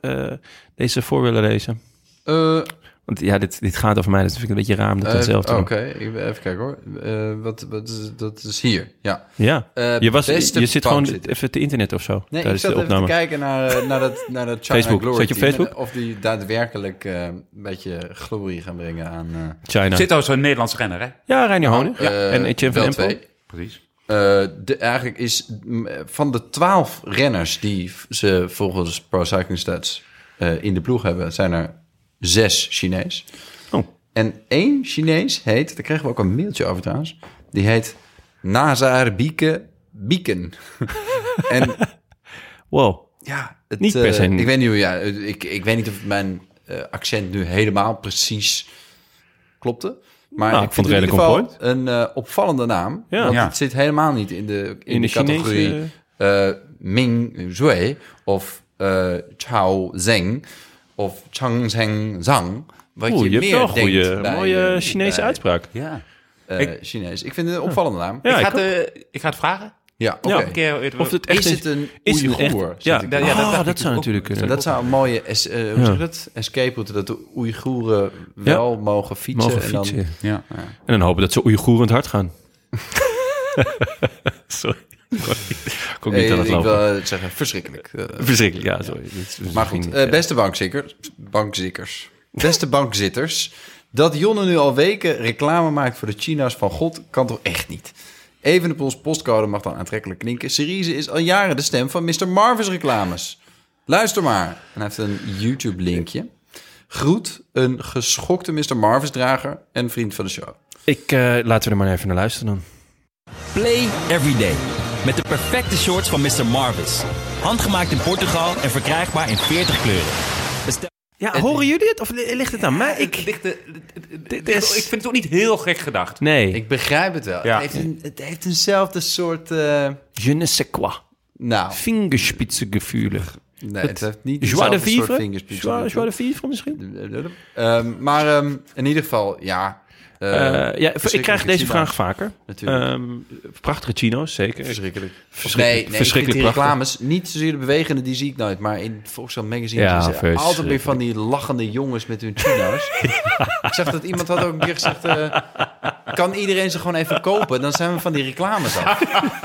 Speaker 1: eh, eh, deze voor willen lezen?
Speaker 2: Eh,
Speaker 1: Want ja, dit, dit gaat over mij, dus vind ik het een beetje raar om (laughs) dat
Speaker 2: Eh,
Speaker 1: dan zelf te
Speaker 2: Oké,
Speaker 1: doen.
Speaker 2: ik- even kijken hoor. Eh, wat, wat is, dat is hier, ja.
Speaker 1: Ja,
Speaker 2: Eh,
Speaker 1: je, was,
Speaker 2: beste
Speaker 1: je zit gewoon
Speaker 2: bankzitter.
Speaker 1: even te internet of zo
Speaker 2: Nee, ik
Speaker 1: tijdens
Speaker 2: zat
Speaker 1: de
Speaker 2: even te
Speaker 1: opname.
Speaker 2: kijken naar, eh, naar dat, naar dat China
Speaker 1: Facebook.
Speaker 2: Glory
Speaker 1: Zat je op
Speaker 2: team en
Speaker 1: Facebook?
Speaker 2: Of die daadwerkelijk eh, een beetje glorie gaan brengen aan... eh,
Speaker 1: China.
Speaker 4: Zit al zo'n Nederlands renner, hè?
Speaker 1: Ja, Reinier Honig.
Speaker 2: eh,
Speaker 1: en Etienne van
Speaker 2: wel
Speaker 1: Empel.
Speaker 2: twee.
Speaker 4: Precies.
Speaker 2: Eh, de, eigenlijk is mm, eh, van de twaalf renners die v- ze volgens Pro Cycling Stats eh, in de ploeg hebben, zijn er zes Chinees.
Speaker 1: Oh.
Speaker 2: En één Chinees heet, daar kregen we ook een mailtje over trouwens, die heet Nazar Bieke Bieken. (laughs) en
Speaker 1: Wow.
Speaker 2: ja, het,
Speaker 1: Niet per
Speaker 2: eh,
Speaker 1: se.
Speaker 2: ik weet niet hoe, ja, ik, ik weet niet of mijn eh, accent nu helemaal precies klopte. Maar
Speaker 1: Nou, ik
Speaker 2: vind
Speaker 1: vond het
Speaker 2: in ieder
Speaker 1: redelijk
Speaker 2: geval een eh, opvallende naam.
Speaker 1: Ja.
Speaker 2: want
Speaker 4: Ja.
Speaker 2: het zit helemaal niet in de, in
Speaker 1: In
Speaker 2: de,
Speaker 1: de Chinese-
Speaker 2: categorie eh, Ming Zhui of eh Chao Zeng of Chang Zeng Zang. Wat
Speaker 1: Oeh, je
Speaker 2: je,
Speaker 1: hebt
Speaker 2: meer
Speaker 1: wel een
Speaker 2: denkt
Speaker 1: goede,
Speaker 2: bij,
Speaker 1: mooie
Speaker 2: eh,
Speaker 1: Chinese
Speaker 2: bij-
Speaker 1: uitspraak.
Speaker 4: Ja.
Speaker 2: eh, eh,
Speaker 4: Ik-
Speaker 2: Chinees. Ik vind het een opvallende naam.
Speaker 1: Ja,
Speaker 4: ik,
Speaker 1: ik
Speaker 4: ga het, eh, ik ga het vragen.
Speaker 2: Ja, oké.
Speaker 1: Ja.
Speaker 4: Een keer,
Speaker 1: Of het echt
Speaker 2: Is het een
Speaker 1: is het echt-
Speaker 2: Oeigoer?
Speaker 1: Ja,
Speaker 2: Zit ik
Speaker 1: ja,
Speaker 2: te-
Speaker 1: ja, dat,
Speaker 4: Oh,
Speaker 1: dacht
Speaker 4: dat
Speaker 1: ik
Speaker 4: zou
Speaker 2: (laughs)
Speaker 1: ook.
Speaker 4: natuurlijk kunnen.
Speaker 2: dat zou een mooie es, eh, hoe
Speaker 1: Ja.
Speaker 2: zeg je dat? escape route, dat de Oeigoeren wel mogen fietsen.
Speaker 1: Mogen
Speaker 2: en dan-
Speaker 1: fietsen. En
Speaker 4: Ja.
Speaker 1: dan, hopen dat ze Oeigoerend hard
Speaker 2: (laughs)
Speaker 1: gaan. sorry. Ik kon niet aan
Speaker 2: Eh,
Speaker 1: het
Speaker 2: ik
Speaker 1: lopen.
Speaker 2: wil het zeggen, verschrikkelijk. Eh,
Speaker 1: Verschrikkelijk, ja, sorry. Dit is-
Speaker 2: Maar goed,
Speaker 1: ging
Speaker 2: eh,
Speaker 1: niet,
Speaker 2: beste bankzikkers, bankzikkers,
Speaker 1: (laughs)
Speaker 2: beste bankzitters, dat Jonne nu al weken reclame maakt voor de China's van God kan toch echt niet. Evenepoels postcode mag dan aantrekkelijk klinken. Cerise is al jaren de stem van Mr. Marvis reclames. Luister maar. En hij heeft een YouTube linkje. Groet een geschokte Mr. Marvis drager en vriend van de show.
Speaker 1: eh. Ik, eh, laten we er maar even naar luisteren dan.
Speaker 8: Play every day. Met de perfecte shorts van Mr. Marvis. Handgemaakt in Portugal en verkrijgbaar in 40 kleuren. Bestel...
Speaker 1: Ja, horen jullie het? Of li- ligt het aan mij? Ik, dit
Speaker 4: Ik
Speaker 1: is...
Speaker 4: vind eh, het ook niet heel gek gedacht.
Speaker 1: Nee.
Speaker 2: Ik begrijp het wel.
Speaker 4: Ja.
Speaker 2: Het, heeft een, het heeft eenzelfde soort... eh,
Speaker 1: Je ne sais quoi.
Speaker 2: nou,
Speaker 1: Fingerspitzengevoel.
Speaker 2: nee, Eh, het heeft niet
Speaker 1: Joie de
Speaker 2: eenzelfde soort
Speaker 1: vivre?
Speaker 2: vingerspitsen.
Speaker 1: Joie joie de vivre misschien?
Speaker 2: Ehm, maar ehm, in ieder geval, ja. eh,
Speaker 1: Eh, ja, ik
Speaker 2: verschrikkelijk
Speaker 1: krijg deze
Speaker 2: China.
Speaker 1: vraag vaker.
Speaker 2: Natuurlijk.
Speaker 1: Ehm, prachtige chino's, zeker.
Speaker 2: Verschrikkelijk. Of Nee, nee
Speaker 1: Verschrikkelijk-
Speaker 2: ik vind
Speaker 1: verschrikkelijk
Speaker 2: die
Speaker 1: prachtig.
Speaker 2: reclames, niet zozeer de bewegende, die zie ik nooit. Maar in Volkswagen magazines
Speaker 1: Ja,
Speaker 2: is er altijd weer
Speaker 1: verschrikkelijk.
Speaker 2: van die lachende jongens met hun chino's.
Speaker 1: (laughs)
Speaker 2: Ik zag dat iemand had ook een keer gezegd, eh, kan iedereen ze gewoon even kopen? Dan zijn we van die reclames af.
Speaker 1: (laughs)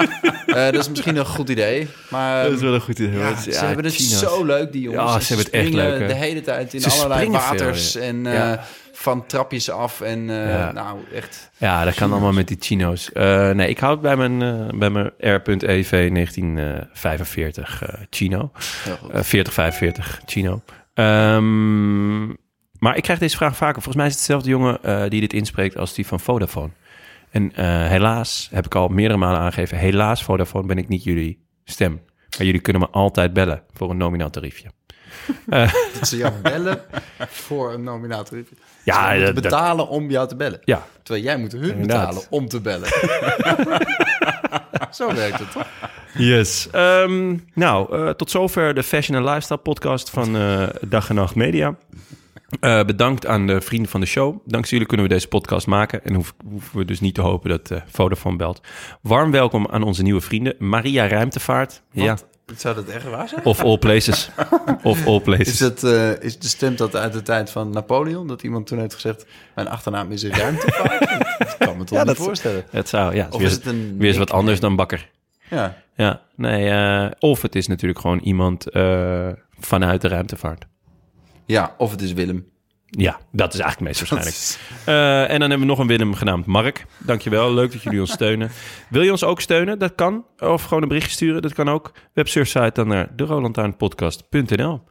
Speaker 2: Eh, dat is misschien een goed idee. Maar ehm,
Speaker 1: wel een goed idee.
Speaker 2: ja,
Speaker 1: want,
Speaker 2: ze
Speaker 1: ja,
Speaker 2: hebben het
Speaker 1: chino's.
Speaker 2: zo leuk, die jongens.
Speaker 1: Ja,
Speaker 2: En
Speaker 1: ze hebben het echt
Speaker 2: springen
Speaker 1: leuk, hè?
Speaker 2: De hele tijd in
Speaker 1: Ze
Speaker 2: allerlei
Speaker 1: springen veel,
Speaker 2: waters en eh,
Speaker 1: Ja.
Speaker 2: van trapjes af. En eh,
Speaker 1: Ja.
Speaker 2: nou, echt...
Speaker 1: Ja, dat kan allemaal met die chino's. Eh, nee, ik houd bij mijn, eh, bij mijn R.EV 1945 eh, chino.
Speaker 2: heel goed.
Speaker 1: Eh, 4045 chino. Ehm, maar ik krijg deze vraag vaker. Volgens mij is het dezelfde jongen eh, die dit inspreekt als die van Vodafone. En eh, helaas, heb ik al meerdere malen aangegeven... helaas, Vodafone, ben ik niet jullie stem. Maar jullie kunnen me altijd bellen voor een nominaal tariefje.
Speaker 2: dat ze jou bellen (laughs) voor een nominator.
Speaker 1: Ja,
Speaker 2: ze
Speaker 1: dat-
Speaker 2: moeten
Speaker 1: dat-
Speaker 2: betalen om jou te bellen.
Speaker 1: Ja,
Speaker 2: Terwijl jij moet hun
Speaker 1: Inderdaad.
Speaker 2: betalen om te bellen. (laughs) Zo werkt het toch?
Speaker 1: Yes. Ehm, nou, eh, tot zover de Fashion and Lifestyle podcast van eh, Dag en Nacht Media. Eh, bedankt aan de vrienden van de show. Dankzij jullie kunnen we deze podcast maken. En hoef- hoeven we dus niet te hopen dat eh Vodafone belt. Warm welkom aan onze nieuwe vrienden. Maria Ruimtevaart. Ja.
Speaker 2: Zou dat echt waar zijn?
Speaker 1: Of All
Speaker 2: (laughs)
Speaker 1: Places. of All Places.
Speaker 2: Is, dat, eh, is de stem dat uit de tijd van Napoleon? Dat iemand toen heeft gezegd, mijn achternaam is een (laughs) ruimtevaart? dat kan me toch niet voorstellen.
Speaker 1: Het zou, ja. het
Speaker 2: Of
Speaker 1: weer,
Speaker 2: is het een
Speaker 1: weer eens wat anders dan bakker.
Speaker 2: Ja,
Speaker 1: Ja, nee. eh, of het is natuurlijk gewoon iemand eh, vanuit de ruimtevaart.
Speaker 2: ja of het is Willem.
Speaker 1: Ja, dat is eigenlijk het meest waarschijnlijk. Eh, en dan hebben we nog een Willem genaamd Mark. Dankjewel, leuk dat jullie ons steunen. Wil je ons ook steunen? Dat kan. Of gewoon een berichtje sturen, dat kan ook. Websurfsite dan naar derolantaarnpodcast.nl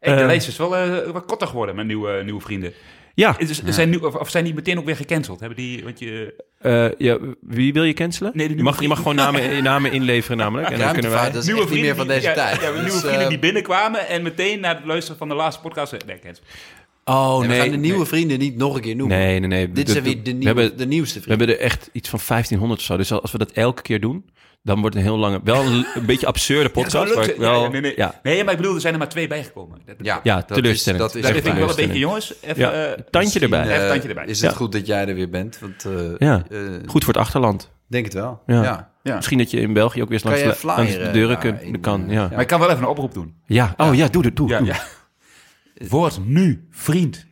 Speaker 4: Hey, de
Speaker 1: Eh,
Speaker 4: lijst is wel eh, wat korter geworden met nieuwe, eh, nieuwe vrienden.
Speaker 1: Ah, Ja,
Speaker 4: Is, is- zijn nu, of, of zijn die meteen ook weer gecanceld? Hebben die, want je,
Speaker 1: eh, ja, wie wil je cancelen?
Speaker 4: Nee, de
Speaker 1: je, mag, je
Speaker 4: nieuwe
Speaker 1: mag gewoon namen, namen inleveren namelijk. En dan kunnen wij...
Speaker 2: Ruimtevaart, dat is echt niet meer van deze
Speaker 4: ja,
Speaker 2: tijd.
Speaker 4: Ja, nieuwe
Speaker 2: Dus,
Speaker 4: vrienden
Speaker 2: eh,
Speaker 4: die binnenkwamen en meteen na het luisteren van de laatste podcast... eh, Nee, cancel.
Speaker 1: Oh,
Speaker 2: en
Speaker 1: nee.
Speaker 2: we gaan de nieuwe
Speaker 1: nee.
Speaker 2: vrienden niet nog een keer noemen.
Speaker 1: Nee, nee, nee.
Speaker 2: Dit
Speaker 1: Dat-
Speaker 2: zijn weer de,
Speaker 1: we
Speaker 2: nieuwe,
Speaker 1: hebben,
Speaker 2: de nieuwste
Speaker 1: we
Speaker 2: vrienden.
Speaker 1: hebben er echt iets van 1500 of zo. Dus als we dat elke keer doen, dan wordt het een heel lange... Wel een, een beetje absurde podcast.
Speaker 4: Ja, zo
Speaker 1: maar
Speaker 4: lukt het.
Speaker 1: wel-
Speaker 4: Ja, ja, nee, nee.
Speaker 1: ja.
Speaker 4: nee, maar ik bedoel, er zijn er maar twee bijgekomen. Dat,
Speaker 2: Ja,
Speaker 1: Ja,
Speaker 2: dat is-
Speaker 1: teleurstellend.
Speaker 2: dat is
Speaker 4: daar
Speaker 2: echt
Speaker 4: vind ik wel een
Speaker 2: waar.
Speaker 4: beetje, jongens, even...
Speaker 1: Ja,
Speaker 4: eh,
Speaker 1: tandje erbij.
Speaker 4: Even
Speaker 2: Eh,
Speaker 4: tandje erbij.
Speaker 2: Is het
Speaker 1: Ja.
Speaker 2: goed dat jij er weer bent? Want eh,
Speaker 1: Ja.
Speaker 2: eh,
Speaker 1: Goed voor het achterland.
Speaker 2: denk het wel.
Speaker 1: Ja.
Speaker 2: Ja. Ja.
Speaker 1: Misschien dat je in België ook weer eens
Speaker 2: Kan
Speaker 1: langs,
Speaker 2: jij
Speaker 1: de-
Speaker 2: flyeren
Speaker 1: langs de deuren
Speaker 2: daar
Speaker 1: kun-
Speaker 2: in,
Speaker 1: kan.
Speaker 2: eh,
Speaker 1: Ja.
Speaker 4: Maar ik kan wel even een oproep doen.
Speaker 1: ja, oh ja, doe het, doe,
Speaker 4: Ja,
Speaker 1: doe.
Speaker 4: ja.
Speaker 2: Eh,
Speaker 4: Word nu vriend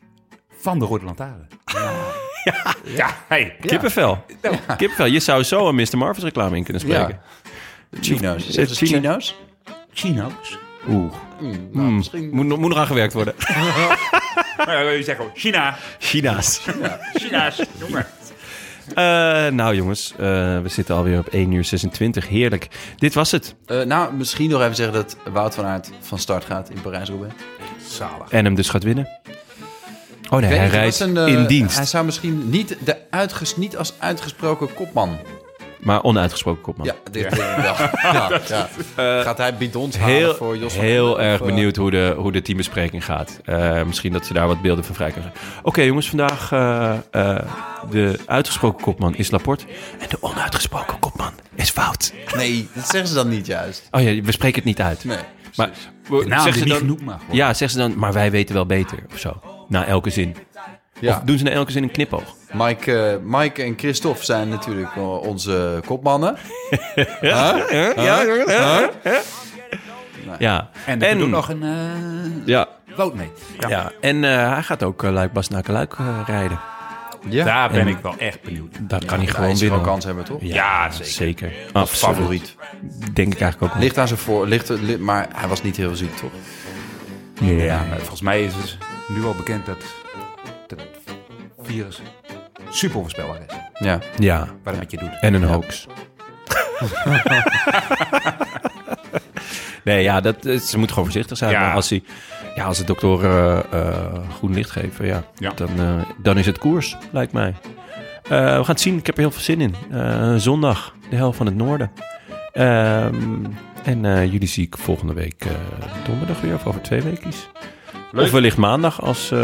Speaker 4: van de Rode Lantaarn. (laughs) Ja, ja hey.
Speaker 1: Kippenvel. Kippenvel. Je zou zo een Mr. Marvis reclame in kunnen spreken.
Speaker 2: Ja. Chino's.
Speaker 1: Eh,
Speaker 2: Zeggen ze
Speaker 1: Chino-
Speaker 2: Chino's?
Speaker 4: Chino's.
Speaker 1: Oeh.
Speaker 2: Nou, misschien.
Speaker 1: Moet, nog- moet nog aan gewerkt worden.
Speaker 4: Maar we zeggen gewoon China.
Speaker 1: (laughs) China's.
Speaker 4: China's. Jongen.
Speaker 1: Eh, nou jongens, eh, we zitten alweer op 1 uur 26. Heerlijk. Dit was het.
Speaker 2: Eh, nou, misschien nog even zeggen dat Wout van Aert van start gaat in Parijs-Roubaix.
Speaker 1: En hem dus gaat winnen. Oh nee,
Speaker 2: Ik weet
Speaker 1: hij
Speaker 2: niet,
Speaker 1: rijdt
Speaker 2: dat is een, eh,
Speaker 1: in dienst.
Speaker 2: Hij zou misschien niet, de uitges, niet als uitgesproken kopman.
Speaker 1: Maar onuitgesproken kopman.
Speaker 2: Ja, dit denk ik
Speaker 4: (laughs)
Speaker 2: wel. Ja, ja.
Speaker 4: eh,
Speaker 2: Gaat hij bidons halen
Speaker 1: Heel,
Speaker 2: voor Jos van
Speaker 1: heel
Speaker 2: Emden,
Speaker 1: erg
Speaker 2: of, eh,
Speaker 1: benieuwd hoe de, hoe de teambespreking gaat. Eh, misschien dat ze daar wat beelden van vrij kunnen zijn. Oké jongens, vandaag eh, eh, de uitgesproken kopman is Laporte. En de onuitgesproken kopman is Wout.
Speaker 2: Nee, dat zeggen ze dan niet juist.
Speaker 1: Oh ja, we spreken het niet uit.
Speaker 2: Nee.
Speaker 1: Maar
Speaker 4: Nou,
Speaker 1: zeg ze
Speaker 4: niet
Speaker 1: dan,
Speaker 4: genoeg maar. gewoon.
Speaker 1: ja, zeg ze dan, maar wij weten wel beter of zo. Na elke zin.
Speaker 2: Ja.
Speaker 1: Of doen ze nou elke zin een knipoog?
Speaker 2: Mike, eh, Mike en Christophe zijn natuurlijk eh, onze kopmannen.
Speaker 1: Ja, ja, ja. En-
Speaker 4: En er doet nog een eh
Speaker 1: ja.
Speaker 4: boot mee. Ja.
Speaker 1: Ja, en eh, hij gaat ook eh, Luik Bas naar Luik eh, rijden.
Speaker 2: Ja,
Speaker 4: Daar ben
Speaker 1: En-
Speaker 4: ik wel echt benieuwd.
Speaker 1: Dat kan hij
Speaker 2: hij
Speaker 1: gewoon
Speaker 2: is wel
Speaker 1: winnen.
Speaker 2: kans hebben, toch?
Speaker 4: Ja, zeker.
Speaker 1: Absoluut.
Speaker 2: Favoriet.
Speaker 1: Denk ik eigenlijk ook wel.
Speaker 2: Ligt aan zijn voor, ligt, li- maar hij was niet heel ziek, toch?
Speaker 4: Ja, maar volgens mij is het nu al bekend dat dat virus super onvoorspelbaar is.
Speaker 2: Ja.
Speaker 1: Ja,
Speaker 4: Wat het met je doet.
Speaker 1: en een hoax. (laughs) nee, ja, dat, eh, ze moet gewoon voorzichtig zijn.
Speaker 4: Ja.
Speaker 1: Maar als, hij, ja, als de doktoren eh, eh, groen licht geven, ja,
Speaker 4: Ja.
Speaker 1: Dan, eh, dan is het koers, lijkt mij. Eh, we gaan het zien. Ik heb er heel veel zin in. Eh, zondag, de hel van het noorden. Ehm, en eh, jullie zie ik volgende week eh, donderdag weer, of over twee weekjes. Of wellicht maandag, als eh,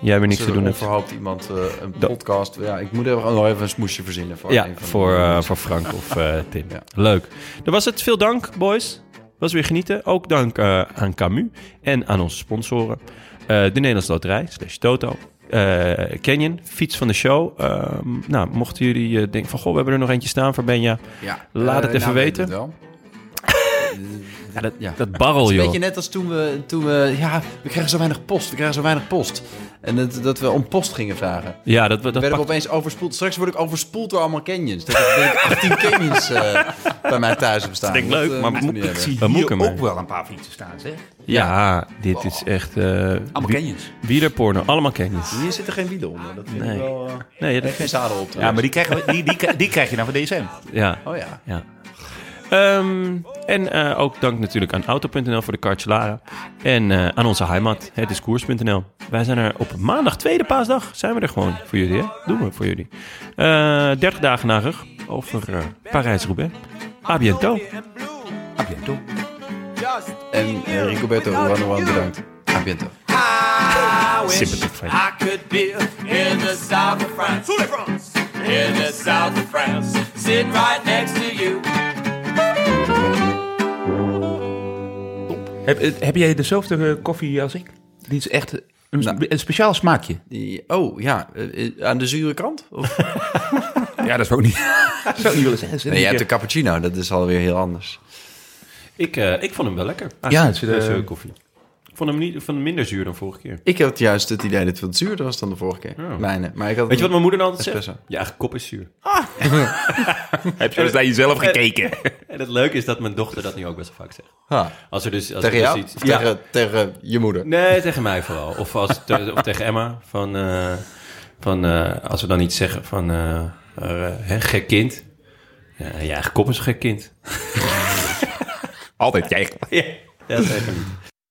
Speaker 1: jij weer niks te
Speaker 2: Zullen
Speaker 1: doen
Speaker 2: we
Speaker 1: hebt.
Speaker 2: onverhoopt iemand eh, een
Speaker 1: Dat-
Speaker 2: podcast... Ja, ik moet er gewoon nog even een smoesje verzinnen. Voor
Speaker 1: Ja,
Speaker 2: een van
Speaker 1: voor,
Speaker 2: de-
Speaker 1: eh, voor Frank of eh, Tim.
Speaker 2: (laughs) Ja.
Speaker 1: Leuk. Dat was het. Veel dank, boys. Was weer genieten. Ook dank eh, aan Camus en aan onze sponsoren. Eh, de Nederlandse Loterij, slash Toto. Eh, Canyon, fiets van de show. Ehm, nou, mochten jullie eh, denken van... Goh, we hebben er nog eentje staan voor Benja.
Speaker 2: Ja.
Speaker 1: Laat
Speaker 2: Eh,
Speaker 1: het even
Speaker 2: nou, weet ik
Speaker 1: weten.
Speaker 2: het wel.
Speaker 1: Ja, dat,
Speaker 2: Ja.
Speaker 1: dat barrel,
Speaker 2: (laughs) Het is
Speaker 1: joh.
Speaker 2: een beetje net als toen we, toen we... Ja, we krijgen zo weinig post, we krijgen zo weinig post. En dat, dat we om post gingen vragen.
Speaker 1: Ja, dat, dat
Speaker 2: Dan werden
Speaker 1: pakt-
Speaker 2: we opeens overspoeld. Straks word ik overspoeld door allemaal canyons. Dan ben ik 18 canyons eh, bij mij thuis op staan.
Speaker 1: Dat denk ik leuk,
Speaker 2: eh,
Speaker 1: maar
Speaker 2: moeten
Speaker 1: moet
Speaker 2: we
Speaker 1: ik
Speaker 2: niet
Speaker 1: we moeten
Speaker 4: Hier
Speaker 1: maar.
Speaker 4: ook wel een paar fietsen staan, zeg.
Speaker 1: Ja, dit
Speaker 2: Oh.
Speaker 1: is echt... eh
Speaker 4: Allemaal canyons.
Speaker 1: wielerporno. Allemaal Canyons.
Speaker 2: hebben. Hier zitten geen wielen onder. Dat vind
Speaker 1: Nee.
Speaker 2: ik wel... eh,
Speaker 1: Nee,
Speaker 2: er is
Speaker 1: dat,
Speaker 2: geen zadel op.
Speaker 4: Ja, maar die, krijgen we, die, die, die krijg je nou van DSM.
Speaker 1: ja.
Speaker 2: Oh ja.
Speaker 1: Ja. Ehm, en eh, ook dank natuurlijk aan Auto.nl voor de kartjelaren. En eh, aan onze heimat, het is koers.nl. Wij zijn er op maandag, tweede paasdag, zijn we er gewoon voor jullie. Hè? Doen we voor jullie. Eh 30 dagen na rug over eh, Parijs-Roubaix. A bientôt.
Speaker 2: En eh, Ricoberto Uranoan bedankt. A biento.
Speaker 3: I wish
Speaker 1: Sympathiek van je.
Speaker 3: I could be in the south of France. In the south of France. Sitting right next to you.
Speaker 4: Heb, heb jij dezelfde eh, koffie als ik? Die is echt een, een speciaal smaakje.
Speaker 2: Die- Oh ja, eh, eh, aan de zure kant? Of?
Speaker 4: (laughs) Ja, dat is
Speaker 2: (laughs)
Speaker 4: ook niet. dat zou ik niet willen zeggen.
Speaker 2: Nee, jij hebt de cappuccino. Dat is alweer heel anders.
Speaker 1: Ik, eh, ik vond hem wel lekker.
Speaker 4: Ja, het zit, eh,
Speaker 1: Deze koffie. Ik vond hem, niet, ik vond hem minder zuur dan vorige keer.
Speaker 2: Ik had juist het idee dat het wat zuurder was dan de vorige keer.
Speaker 4: Oh.
Speaker 2: Mijne. Maar ik had
Speaker 1: Weet je wat mijn moeder dan altijd zegt?
Speaker 2: Espresso.
Speaker 1: Je eigen kop is zuur.
Speaker 4: Heb je eens naar jezelf gekeken?
Speaker 1: En het leuke is dat mijn dochter dat nu ook best wel vaak zegt.
Speaker 2: Ha,
Speaker 1: Als er dus, als
Speaker 2: tegen
Speaker 1: er dus
Speaker 2: jou?
Speaker 1: iets-
Speaker 2: Of
Speaker 1: Ja.
Speaker 2: tegen, tegen je moeder?
Speaker 1: Nee, tegen mij vooral. Of, als, te- of tegen Emma. Van, eh, van, eh, als we dan iets zeggen van... eh, eh, hè, gek kind. Ja, je eigen kop is een gek kind.
Speaker 4: Altijd jij.
Speaker 1: Ja, dat is even niet.